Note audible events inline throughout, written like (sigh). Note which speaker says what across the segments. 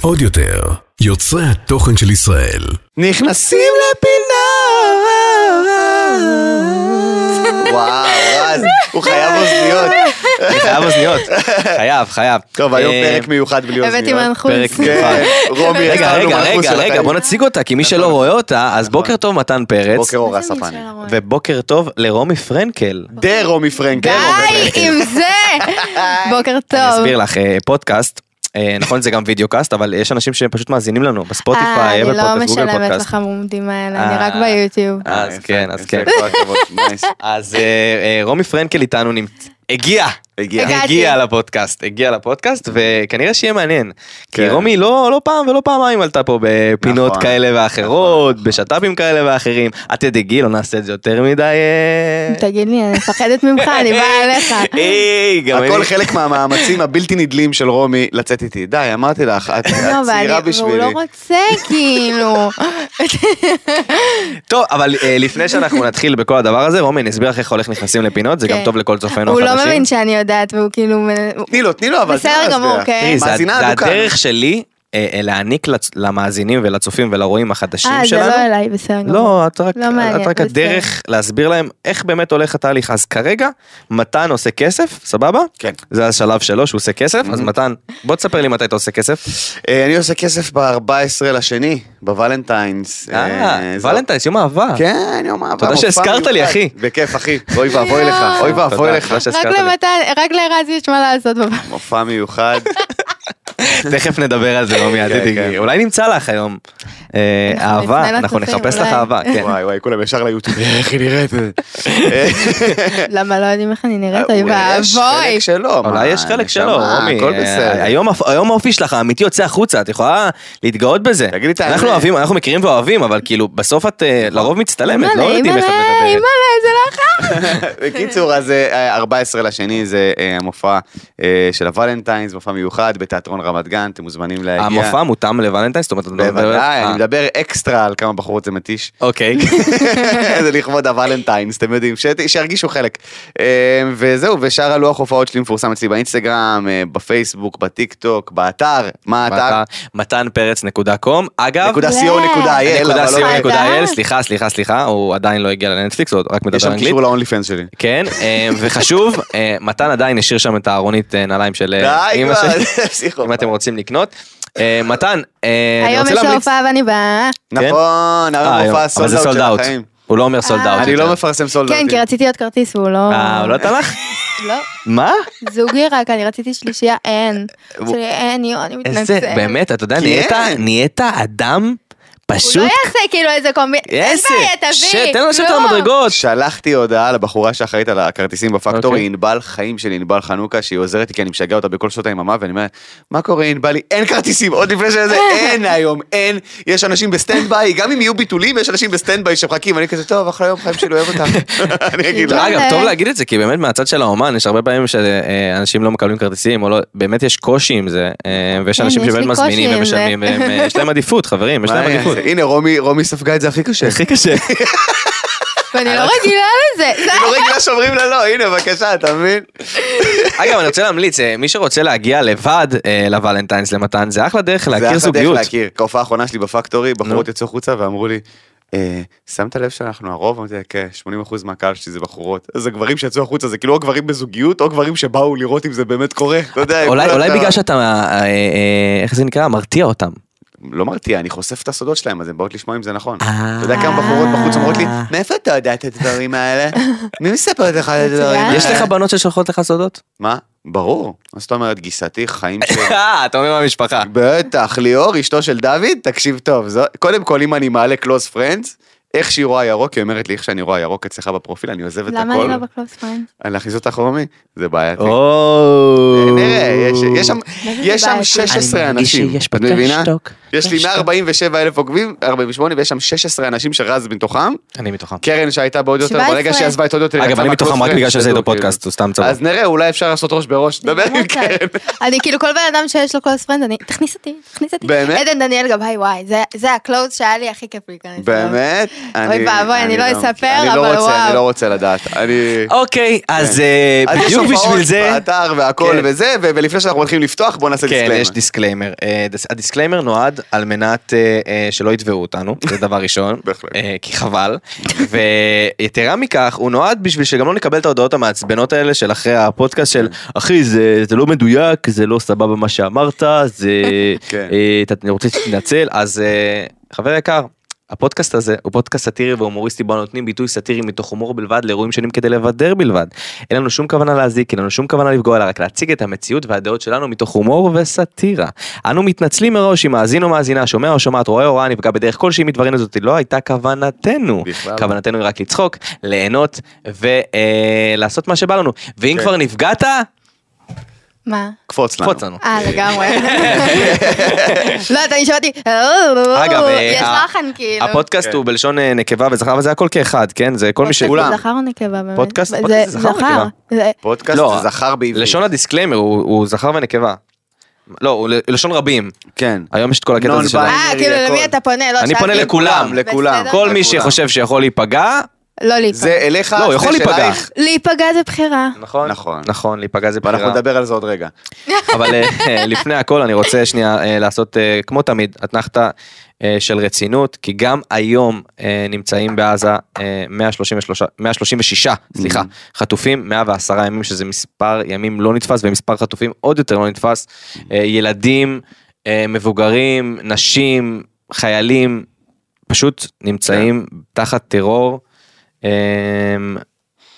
Speaker 1: עוד יותר, יוצרי התוכן של ישראל.
Speaker 2: נכנסים לפינה.
Speaker 3: וואו, רז, הוא חייב אוזניות.
Speaker 2: אני חייב אוזניות. חייב, חייב.
Speaker 3: טוב, היום
Speaker 2: אה,
Speaker 3: פרק מיוחד בלי אוזניות.
Speaker 4: הבאתי מנחוס.
Speaker 2: פרק
Speaker 3: כן, רומי,
Speaker 2: רגע,
Speaker 3: הכנו
Speaker 2: רגע,
Speaker 3: מנחוס
Speaker 2: רגע,
Speaker 3: של
Speaker 2: רגע,
Speaker 3: החיים.
Speaker 2: בוא נציג אותה, כי מי שלא רואה אותה, אז בוקר טוב מתן פרץ,
Speaker 3: בוקר אור הספני.
Speaker 2: ובוקר טוב לרומי פרנקל.
Speaker 3: דה רומי פרנקל.
Speaker 4: די עם זה! בוקר
Speaker 2: אני
Speaker 4: טוב.
Speaker 2: אסביר לך, אה, פודקאסט, אה, נכון זה גם וידאו קאסט, אבל יש אנשים שפשוט מאזינים לנו
Speaker 4: אה,
Speaker 2: בספוטיפיי,
Speaker 4: אני
Speaker 2: אפל
Speaker 4: לא
Speaker 2: פודקאסט, גוגל
Speaker 4: משלמת
Speaker 2: פודקאסט.
Speaker 4: לך מומדים האלה, אני
Speaker 2: אה.
Speaker 4: רק ביוטיוב.
Speaker 3: אה,
Speaker 2: אז
Speaker 3: יפה,
Speaker 2: כן, אז
Speaker 3: יפה,
Speaker 2: כן.
Speaker 3: כל הכבוד, נייס.
Speaker 2: אז אה, אה, רומי פרנקל איתנו נמצ... הגיע.
Speaker 3: הגיע.
Speaker 4: הגעתי.
Speaker 2: הגיע לפודקאסט, הגיע לפודקאסט, וכנראה שיהיה מעניין. כי
Speaker 3: כן.
Speaker 2: רומי לא, לא פעם ולא פעמיים עלתה פה בפינות
Speaker 3: נכון,
Speaker 2: כאלה ואחרות,
Speaker 3: נכון,
Speaker 2: בשת"פים כאלה ואחרים. את תדאגי, לא נעשה את זה יותר מדי... אה.
Speaker 4: תגיד לי, אני מפחדת ממך, אני באה אליך.
Speaker 2: היי, גם אני...
Speaker 3: הכל
Speaker 2: (laughs)
Speaker 3: חלק מהמאמצים הבלתי נדלים של רומי לצאת איתי. די, אמרתי לך, את את
Speaker 4: לא, אבל
Speaker 3: צעירה
Speaker 4: אני- והוא
Speaker 3: אה, בשבילי.
Speaker 4: לא רוצה,
Speaker 2: (laughs)
Speaker 4: כאילו.
Speaker 2: טוב, אבל אה, לפני שאנחנו (laughs) נתחיל בכל הדבר הזה, רומי, נסביר לך איך הולך נכנסים לפינות, זה גם
Speaker 4: כן.
Speaker 2: טוב לכל צופינו
Speaker 4: הוא
Speaker 2: החדשים.
Speaker 4: לא מבין שאני יודעת, והוא כאילו... מ- הוא-
Speaker 3: תני לו, תני לו, אבל...
Speaker 4: בסדר
Speaker 3: תני לו
Speaker 4: גמור,
Speaker 3: להסביר.
Speaker 4: כן.
Speaker 2: תראי, זה
Speaker 3: מאזינה
Speaker 2: זה
Speaker 3: אדוקה.
Speaker 2: הדרך שלי אה, אה, להעניק לצ- למאזינים ולצופים ולרואים החדשים
Speaker 4: אה, זה
Speaker 2: שלנו.
Speaker 4: לא אליי, בסדר גמור.
Speaker 2: לא, את רק,
Speaker 4: לא מעניין,
Speaker 2: את רק
Speaker 4: בסדר.
Speaker 2: הדרך להסביר להם איך באמת הולך התהליך. אז כרגע, מתן עושה כסף, סבבה?
Speaker 3: כן.
Speaker 2: זה השלב שלו שהוא עושה כסף,
Speaker 3: Mm-hmm.
Speaker 2: אז מתן, בוא תספר לי מתי אתה עושה כסף.
Speaker 3: אה, אני עושה כסף ב-14 לשני, בוולנטיינס.
Speaker 2: אה,
Speaker 3: זה- לא-
Speaker 2: ולנטיינס, יום אהבה.
Speaker 3: כן, יום אהבה.
Speaker 2: תודה
Speaker 3: מופע
Speaker 2: שהזכרת לי,
Speaker 3: מיוחד.
Speaker 2: אחי.
Speaker 3: בכיף, אחי. אוי ואבוי לך,
Speaker 4: יואו.
Speaker 3: אוי ואבוי
Speaker 2: תודה,
Speaker 3: לך.
Speaker 2: תודה שהזכרת
Speaker 4: רק
Speaker 2: לי.
Speaker 4: למתן, רק לרז יש מה לעשות
Speaker 3: (laughs)
Speaker 4: בבית.
Speaker 3: מופע מיוחד.
Speaker 2: (laughs) תכף נדבר על זה, לא מיד,
Speaker 3: כן,
Speaker 2: תדאגי.
Speaker 3: כן.
Speaker 2: אולי נמצא לך היום אה,
Speaker 4: אנחנו
Speaker 2: אהבה,
Speaker 4: נפנה
Speaker 2: אנחנו
Speaker 4: לצופים,
Speaker 2: נחפש לך
Speaker 4: אולי.
Speaker 2: אהבה, (laughs) כן.
Speaker 3: וואי וואי, כולם ישר ליוטיוב. איך היא נראית?
Speaker 2: (laughs)
Speaker 4: למה לא יודעים איך אני נראית? אוי
Speaker 3: אולי אה, יש
Speaker 4: ואבוי.
Speaker 3: חלק שלו.
Speaker 2: אולי
Speaker 3: מה,
Speaker 2: יש חלק
Speaker 3: נשמה,
Speaker 2: שלו, רומי.
Speaker 3: הכל
Speaker 2: אה,
Speaker 3: בסדר.
Speaker 2: היום הפ- היום האופי שלך האמיתי יוצא החוצה, את יכולה להתגאות בזה.
Speaker 3: תגידי את האמת.
Speaker 2: אנחנו אוהבים, אנחנו מכירים ואוהבים, אבל כאילו, בסוף את אה, לרוב מצטלמת, לא יודעים איך את מדברת.
Speaker 4: אימא'לה, זה לא חם.
Speaker 3: בקיצור, אז אה, 14 לשני זה אה, המופע אה, של הוולנטיינס, מופע מיוחד בתיאטרון רמת גן, אתם מוזמנים להגיע.
Speaker 2: אה, המופע מותאם לוולנטיין? זאת אומרת, את לא מדברת-
Speaker 3: בוודאי,
Speaker 2: אה,
Speaker 3: אני מדבר אקסטרה על כמה בחורות זה מתיש.
Speaker 2: אוקיי.
Speaker 3: (laughs) זה לכבוד הוולנטיינס, אתם יודעים, שת- שירגישו חלק. אמ, וזהו, ושאר הלוח הופעות שלי מפורסם אצלי באינסטגרם, אה, בפייסבוק, בטיק טוק, באתר. מה האתר?
Speaker 2: מתן פרץ נקודה קום. אגב,
Speaker 3: נקודה
Speaker 4: לא.
Speaker 3: co נקודה אייל,
Speaker 2: נקודה
Speaker 3: אבל
Speaker 2: co
Speaker 3: לא...
Speaker 2: נקודה
Speaker 4: חדש.
Speaker 2: אייל, סליחה, סליחה, סליחה, הוא עדיין לא הגיע לנטפליקס, הוא רק
Speaker 3: יש
Speaker 2: מדבר
Speaker 3: שם
Speaker 2: אנגלית.
Speaker 3: קישור להונלי פנס שלי.
Speaker 2: כן, אה, וחשוב, אה, מתן עדיין השאיר שם את הארונית אה, נעליים של אה,
Speaker 3: די
Speaker 2: אמא
Speaker 3: כבר,
Speaker 2: שלי,
Speaker 3: (laughs) זה פסיכופת.
Speaker 2: אם אתם רוצים לקנות. אה, מתן, אה, אני
Speaker 4: היום
Speaker 2: רוצה
Speaker 4: יש לו
Speaker 2: להמליץ...
Speaker 4: הופעה ואני באה.
Speaker 2: כן?
Speaker 3: נכון,
Speaker 2: אה,
Speaker 3: היום
Speaker 2: היום,
Speaker 3: מופע
Speaker 2: אבל זה
Speaker 3: סולד
Speaker 2: סולד
Speaker 3: של
Speaker 2: אאוט.
Speaker 3: החיים.
Speaker 2: הוא לא אומר סולד
Speaker 4: אה.
Speaker 2: אאוט.
Speaker 3: אני לא מפרסם סולד
Speaker 4: כן, כי רציתי עוד כרטיס והוא לא...
Speaker 2: אה, הוא לא נתן
Speaker 4: (laughs)
Speaker 2: לך?
Speaker 4: לא.
Speaker 2: מה?
Speaker 4: זוגי רק, אני רציתי שלישייה, אין. שלי, אין, יו, אני מתנצל.
Speaker 2: איזה, באמת, אתה יודע,
Speaker 3: כן.
Speaker 2: נהיית- נהיית אדם
Speaker 4: הוא לא
Speaker 2: פשוט...
Speaker 4: יעשה כאילו איזה קומבינה. אין
Speaker 2: איזה,
Speaker 4: בעיה, תביא.
Speaker 2: שט, תן לו לשבת על
Speaker 4: לא.
Speaker 2: המדרגות.
Speaker 3: שלחתי הודעה לבחורה שאחראית על הכרטיסים בפקטור,
Speaker 2: אוקיי.
Speaker 3: היא ענבל חיים שלי, ענבל חנוכה, שהיא עוזרת לי כי אני משגע אותה בכל שעות היממה, ואני אומר, מה קורה ענבל? היא, אין כרטיסים, עוד לפני שזה,
Speaker 2: (laughs)
Speaker 3: אין היום, אין, יש אנשים בסטנד ביי, גם אם יהיו ביטולים, יש אנשים בסטנד ביי שמחכים, אני כזה, טוב, אחלה יום, חיים שלי אוהב
Speaker 2: (laughs)
Speaker 3: אותך. אני אגיד לה.
Speaker 2: אגב,
Speaker 4: אה.
Speaker 2: טוב להגיד את זה, כי באמת מהצד של האומן, יש הרבה פעמים שאנשים לא מקבלים כרטיסים, או לא, באמת יש קושי עם זה, אה, ויש
Speaker 4: כן,
Speaker 2: אנשים
Speaker 4: יש
Speaker 2: שבאמת
Speaker 4: לי
Speaker 2: משמינים
Speaker 4: קושי עם זה.
Speaker 2: ומשלמים, והם, אה, יש להם עדיפות, חברים, יש
Speaker 3: מה,
Speaker 2: להם עדיפות.
Speaker 3: הנה, רומי- רומי ספגה את זה הכי קשה.
Speaker 2: הכי קשה.
Speaker 4: ואני
Speaker 2: אה,
Speaker 4: לא רגילה לזה. זה-
Speaker 3: אני לא רגילה שאומרים לה לא, הנה, בבקשה, אתה מבין?
Speaker 2: (laughs) אגב, אני רוצה להמליץ, אה, מי שרוצה להגיע לבד אה, לוולנטיינס למתן, זה אחלה דרך
Speaker 3: זה
Speaker 2: להכיר
Speaker 3: אחלה דרך
Speaker 2: זוגיות.
Speaker 3: להכיר. ההופעה האחרונה שלי בפקטורי, בחורות
Speaker 2: נו.
Speaker 3: יצאו החוצה ואמרו לי, "אה, שמת לב שאנחנו הרוב? אמרתי, לה, כן, 80% מהקהל שלי זה בחורות. אז הגברים שיצאו החוצה זה כאילו או גברים בזוגיות, או גברים שבאו לראות אם זה באמת קורה. אתה יודע,
Speaker 2: (laughs) אולי
Speaker 3: כל
Speaker 2: אולי
Speaker 3: ה-
Speaker 2: בגלל שאתה, אה, אה, איך זה נקרא, מרתיע אותם.
Speaker 3: לא מרתיע, אני חושף את הסודות שלהם, אז הן באות לשמוע אם זה נכון.
Speaker 2: אה.
Speaker 3: אתה יודע כמה בחורות בחוץ אומרות לי, מאיפה אתה יודע את הדברים
Speaker 2: (laughs)
Speaker 3: האלה? מי מספרת לך את הדברים
Speaker 4: מצוין.
Speaker 3: האלה?
Speaker 2: יש לך בנות ששולחות לך סודות?
Speaker 3: מה? ברור. מה זאת אומרת, גיסתי,
Speaker 2: (laughs)
Speaker 3: חיים שלי.
Speaker 2: אה, אתה אומר במשפחה.
Speaker 3: בטח, ליאור, אשתו של דוד, תקשיב טוב, זו, קודם כל אם אני מעלה קלוס פרנדס, איך שהיא רואה ירוק, היא אומרת לי איך שאני רואה ירוק אצלך בפרופיל, אני עוזב את
Speaker 4: למה אני
Speaker 3: הכל,
Speaker 4: לא בקלוס פריינד?
Speaker 3: אני להכניס אותך רומי, זה בעייתי.
Speaker 2: או...
Speaker 3: נראה, אה, יש- יש שם-
Speaker 4: מה זה
Speaker 3: יש שם
Speaker 4: בעייתי?
Speaker 3: 16 אנשים, את מבינה? יש לי 147 אלף עוקבים, 48, ויש שם 16 אנשים שרז מתוכם.
Speaker 2: אני מתוכם.
Speaker 3: קרן שהייתה בעוד יותר,
Speaker 4: 17.
Speaker 3: ברגע שהיא עזבה את עוד יותר, היא
Speaker 2: אגב,
Speaker 3: יצאה
Speaker 2: אני
Speaker 3: מהקלוב
Speaker 2: מתוכם רק
Speaker 3: פרנד,
Speaker 2: בגלל שזה
Speaker 3: שתדעו,
Speaker 2: איתו פודקאסט,
Speaker 3: כאילו.
Speaker 2: הוא סתם צבא.
Speaker 3: אז נראה, אולי אפשר לעשות ראש בראש,
Speaker 2: לא,
Speaker 3: דבר עם
Speaker 4: לא רוצה.
Speaker 3: קרן.
Speaker 2: כן.
Speaker 4: אני כאילו כל בן אדם שיש לו קלוס פרנד, אני, תכניס אותי, תכניס אותי.
Speaker 3: באמת?
Speaker 4: עדן דניאל גבאי, וואי, זה- זה הקלוס שהיה לי הכי כיף להיכנס. אליו.
Speaker 3: באמת? אני-
Speaker 4: ואבוי, אני לא אספר,
Speaker 3: אני לא
Speaker 4: אבל
Speaker 3: רוצה, אני
Speaker 4: וואו.
Speaker 3: לא רוצה לדעת. אני...
Speaker 2: אוקיי, אז אה,
Speaker 3: כן. אז יש
Speaker 2: בדיוק
Speaker 3: הופעות
Speaker 2: בשביל זה...
Speaker 3: באתר והכל
Speaker 2: כן.
Speaker 3: וזה, ו- ולפני שאנחנו הולכים לפתוח, בואו נעשה
Speaker 2: כן,
Speaker 3: דיסקליימר.
Speaker 2: יש דיסקליימר. אה, דס- הדיסקליימר נועד על מנת אה, אה, שלא יתבעו אותנו, זה דבר ראשון,
Speaker 3: (laughs) בהחלט.
Speaker 2: אה, כי חבל. ויתרה מכך, הוא נועד בשביל שגם לא נקבל את ההודעות המעצבנות האלה של אחרי הפודקאסט של,
Speaker 3: כן.
Speaker 2: אחי, זה זה לא מדויק, זה לא סבבה מה שאמרת, זה...
Speaker 3: (laughs) כן.
Speaker 2: אה, אתה רוצה שתתנצל, אז אה, חבר יקר. הפודקאסט הזה הוא פודקאסט סאטירי והומוריסטי בו נותנים ביטוי סאטירי מתוך הומור בלבד לאירועים שונים כדי לבדר בלבד. אין לנו שום כוונה להזיק, אין לנו שום כוונה לפגוע, אלא רק להציג את המציאות והדעות שלנו מתוך הומור וסאטירה. אנו מתנצלים מראש אם מאזין או מאזינה, שומע או שומעת, רואה או רואה, נפגע בדרך כלשהי מדברנו זאת לא הייתה כוונתנו.
Speaker 3: בכלל.
Speaker 2: כוונתנו היא רק לצחוק, ליהנות ולעשות מה שבא לנו. ואם
Speaker 3: כן.
Speaker 2: כבר נפגעת,
Speaker 4: מה?
Speaker 3: קפוץ לנו.
Speaker 2: קפוץ לנו.
Speaker 4: אה,
Speaker 2: (laughs)
Speaker 4: לגמרי. לא, יודעת, אני שמעתי,
Speaker 2: אגב, אה,
Speaker 4: יש
Speaker 2: ה-
Speaker 4: לחן כאילו.
Speaker 2: הפודקאסט
Speaker 3: כן.
Speaker 2: הוא בלשון אה, נקבה וזכר, אבל זה הכל כאחד, כן? זה כל מי ש...
Speaker 4: פודקאסט
Speaker 3: כולם.
Speaker 4: זכר או נקבה באמת?
Speaker 2: פודקאסט- פודקאסט זה זכר או נקבה?
Speaker 4: זה-
Speaker 3: פודקאסט
Speaker 2: לא,
Speaker 3: זה זכר בעברית.
Speaker 2: לשון הדיסקליימר הוא הוא זכר ונקבה. לא, הוא ל- לשון רבים.
Speaker 3: כן.
Speaker 2: היום יש את כל הקטע הזה של...
Speaker 3: Non-binary.
Speaker 2: ה-
Speaker 4: אה, כאילו למי
Speaker 3: הכל.
Speaker 4: אתה פונה? לא,
Speaker 2: אני
Speaker 4: שאלתי.
Speaker 2: פונה לכולם,
Speaker 3: לכולם.
Speaker 4: בסדר.
Speaker 2: כל מי
Speaker 3: לכולם.
Speaker 2: שחושב שיכול להיפגע,
Speaker 4: לא
Speaker 3: זה
Speaker 4: להיפגע.
Speaker 3: אליך,
Speaker 2: לא, הוא יכול
Speaker 3: זה
Speaker 2: להיפגע.
Speaker 3: שלך,
Speaker 4: להיפגע זה
Speaker 2: (laughs)
Speaker 4: בחירה.
Speaker 2: נכון,
Speaker 3: נכון.
Speaker 2: נכון, להיפגע זה
Speaker 3: ואנחנו
Speaker 2: בחירה,
Speaker 3: נדבר על זה עוד רגע.
Speaker 2: אבל אה, לפני הכל אני רוצה שנייה אה, לעשות אה, כמו תמיד אתנחתה אה, של רצינות, כי גם היום אה, נמצאים בעזה אה, 133 136 סליחה, חטופים, 110 ימים שזה מספר ימים לא נתפס ומספר חטופים עוד יותר לא נתפס, אה, ילדים, אה, מבוגרים, נשים, חיילים, פשוט נמצאים תחת טרור. אמ,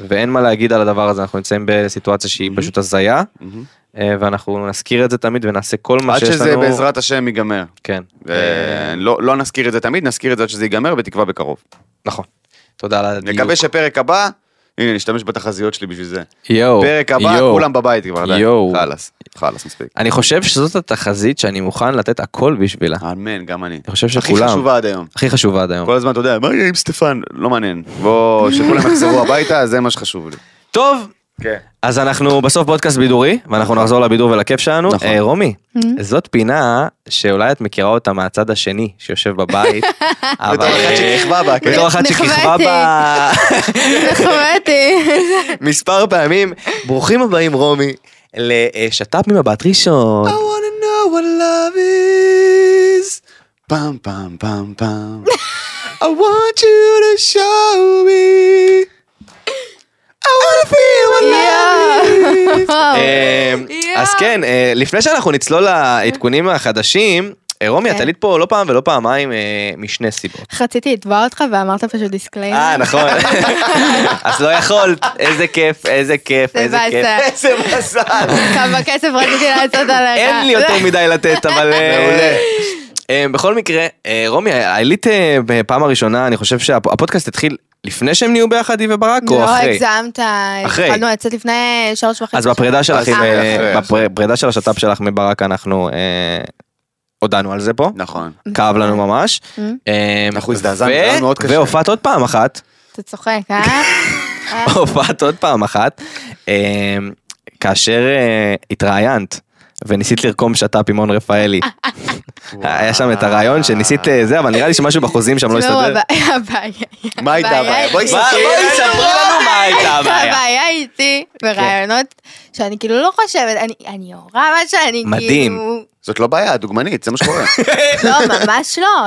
Speaker 2: ואין מה להגיד על הדבר הזה אנחנו נמצאים בסיטואציה שהיא פשוט הזיה אה, ואנחנו נזכיר את זה תמיד ונעשה כל מה
Speaker 3: עד
Speaker 2: שיש לנו.
Speaker 3: שזה בעזרת השם ייגמר.
Speaker 2: כן.
Speaker 3: אה, לא לא נזכיר את זה תמיד, נזכיר את זה עד שזה ייגמר, בתקווה בקרוב.
Speaker 2: נכון. תודה על הדיוק.
Speaker 3: נקווה שפרק הבא, הנה נשתמש בתחזיות שלי בשביל זה.
Speaker 2: יואו.
Speaker 3: פרק הבא,
Speaker 2: יואו.
Speaker 3: כולם בבית כבר, די.
Speaker 2: יואו.
Speaker 3: חלאס, חלאס מספיק.
Speaker 2: אני חושב שזאת התחזית שאני מוכן לתת הכל בשבילה.
Speaker 3: אמן, גם אני.
Speaker 2: אני חושב
Speaker 3: הכי
Speaker 2: שכולם.
Speaker 3: חשובה עד היום.
Speaker 2: הכי חשובה עד היום.
Speaker 3: כל הזמן אתה יודע, מה יהיה עם סטפן? לא מעניין.
Speaker 4: (laughs)
Speaker 3: בוא, שכולם יחזרו הביתה, זה מה שחשוב לי.
Speaker 2: טוב.
Speaker 3: כן.
Speaker 2: אז אנחנו בסוף פודקאסט בידורי ואנחנו נחזור לבידור ולכיף שלנו.
Speaker 3: נכון.
Speaker 2: אה, רומי, זאת פינה שאולי את מכירה אותה מהצד השני שיושב בבית. אבל-
Speaker 3: בתור אחת שכיכבה בה,
Speaker 2: אה,
Speaker 3: כן.
Speaker 2: בתור אחת שכיכבה
Speaker 4: נחבאתי.
Speaker 2: בה. לא. (laughs)
Speaker 4: נחמדתי.
Speaker 2: מספר פעמים. ברוכים הבאים רומי לשת"פ ממבט ראשון.
Speaker 3: I wanna know what love is. פעם פעם פעם
Speaker 4: (laughs)
Speaker 3: פעם. I want you to show me. I wanna feel what
Speaker 2: (laughs)
Speaker 3: love is.
Speaker 2: אה,
Speaker 4: יואו.
Speaker 2: אז כן, אה, לפני שאנחנו נצלול לעדכונים החדשים, אה, רומי, את
Speaker 4: כן.
Speaker 2: עלית פה לא פעם ולא פעמיים אה, משני סיבות.
Speaker 4: רציתי לתבוע אותך ואמרת פשוט דיסקליימר.
Speaker 2: אה,
Speaker 4: (laughs)
Speaker 2: נכון. אז לא יכולת, איזה כיף, איזה כיף,
Speaker 4: זה
Speaker 2: איזה כיף.
Speaker 4: באסה.
Speaker 3: איזה מזל.
Speaker 4: כמה כסף רציתי לעשות עליך.
Speaker 2: נכון. (laughs) אין לי יותר מדי לתת, אבל... אה,
Speaker 3: מעולה.
Speaker 2: אה, בכל מקרה, אה, רומי, עלית אה, בפעם הראשונה, אני חושב שהפודקאסט התחיל לפני שהם נהיו ביחד, היא וברק, או
Speaker 4: לא
Speaker 2: אחרי?
Speaker 4: הגזמת,
Speaker 2: אחרי.
Speaker 4: התחלנו לצאת לפני שלוש וחצי.
Speaker 2: אז בפרידה שלך, עם,
Speaker 4: אה,
Speaker 2: אה,
Speaker 3: אחרי, אחרי.
Speaker 2: בפרידה של השת"פ שלך מברק, אנחנו אה, הודענו על זה פה.
Speaker 3: נכון.
Speaker 2: כאב לנו ממש. אה,
Speaker 3: אנחנו הזדעזענו,
Speaker 2: ו-
Speaker 3: זה היה מאוד קשה.
Speaker 2: והופעת עוד פעם אחת,
Speaker 4: אתה צוחק, אה?
Speaker 2: (laughs)
Speaker 4: אה?
Speaker 2: הופעת עוד פעם אחת, אה, כאשר אה, התראיינת. וניסית לרקום שת"פ עם הון רפאלי. היה שם את הרעיון שניסית אה, זה, אבל נראה לי שמשהו בחוזים שם לא
Speaker 4: תשמעו,
Speaker 2: הסתדר.
Speaker 4: הבע- (laughs) הבעיה-
Speaker 3: מה הייתה הבעיה?
Speaker 4: הבעיה
Speaker 3: בואי
Speaker 4: היא-
Speaker 2: מה- בואי ספרי לנו מה הייתה
Speaker 4: (laughs)
Speaker 2: הבעיה.
Speaker 4: הבעיה איתי ברעיונות שאני כאילו לא חושבת, אני- אני יורה מה שאני כאילו...
Speaker 2: מדהים.
Speaker 3: זאת לא בעיה, דוגמנית, זה מה
Speaker 4: (laughs)
Speaker 3: שקורה.
Speaker 4: לא, ממש לא.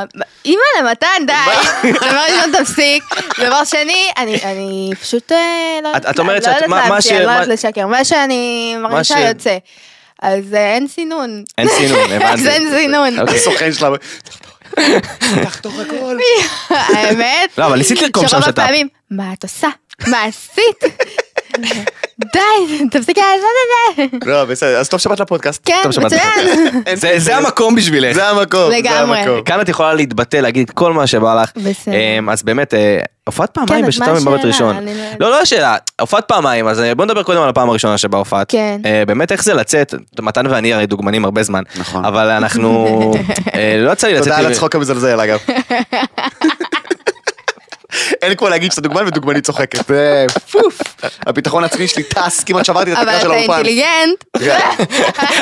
Speaker 4: אימא למתן, די. דבר ראשון, תפסיק. דבר שני, אני- אני פשוט אה, לא
Speaker 2: את- את אומרת
Speaker 4: לא
Speaker 2: שאת-
Speaker 4: יודעת
Speaker 2: מה- מה ש-
Speaker 4: להמציא, אני לא
Speaker 2: מה-
Speaker 4: יודעת לשקר. מה שאני מרגישה
Speaker 2: ש-
Speaker 4: יוצא. אז אה, אין סינון.
Speaker 2: אין סינון, הבנתי.
Speaker 4: אז אין סינון.
Speaker 2: אוקיי.
Speaker 3: הסוכן שלה... תחתוך
Speaker 4: (laughs)
Speaker 3: הכל.
Speaker 4: האמת.
Speaker 2: לא, אבל ניסית לרקום שם
Speaker 4: שרוב
Speaker 2: שת"פ.
Speaker 4: הפעמים, מה את עושה? מה עשית? (laughs) די, תפסיק לעשות את זה.
Speaker 3: לא, בסדר, אז טוב שבאת לפודקאסט.
Speaker 4: כן,
Speaker 2: טוב, שמעת.
Speaker 4: מצוין.
Speaker 3: אין-
Speaker 2: זה- זה המקום בשבילך.
Speaker 3: זה המקום, זה
Speaker 4: לגמרי. כן,
Speaker 3: המקום.
Speaker 2: כאן את יכולה להתבטא, להגיד כל מה שבא לך.
Speaker 4: בסדר. כן,
Speaker 2: אמ, אז באמת, אה, הופעת פעמיים
Speaker 4: אז
Speaker 2: בשלטון
Speaker 4: מה
Speaker 2: במבט
Speaker 4: השאלה?
Speaker 2: ראשון.
Speaker 4: אני לא-
Speaker 2: לא, לא השאלה, הופעת פעמיים, אז אה, בוא נדבר קודם על הפעם הראשונה שבה הופעת.
Speaker 4: כן.
Speaker 2: אה, באמת, איך זה לצאת, מתן ואני הרי דוגמנים הרבה זמן.
Speaker 3: נכון.
Speaker 2: אבל
Speaker 4: (laughs)
Speaker 2: אנחנו, אה, לא יצא לי לצאת...
Speaker 3: תודה
Speaker 2: עם-
Speaker 3: על הצחוק המזלזל אגב. אין כמו להגיד שאתה דוגמן ודוגמנית צוחקת. זה פוף. הביטחון העצמי שלי טס, כמעט שברתי את
Speaker 4: אבל
Speaker 3: התקרה של
Speaker 4: אתה
Speaker 3: האולפן.
Speaker 2: (laughs)
Speaker 4: אינטליגנט,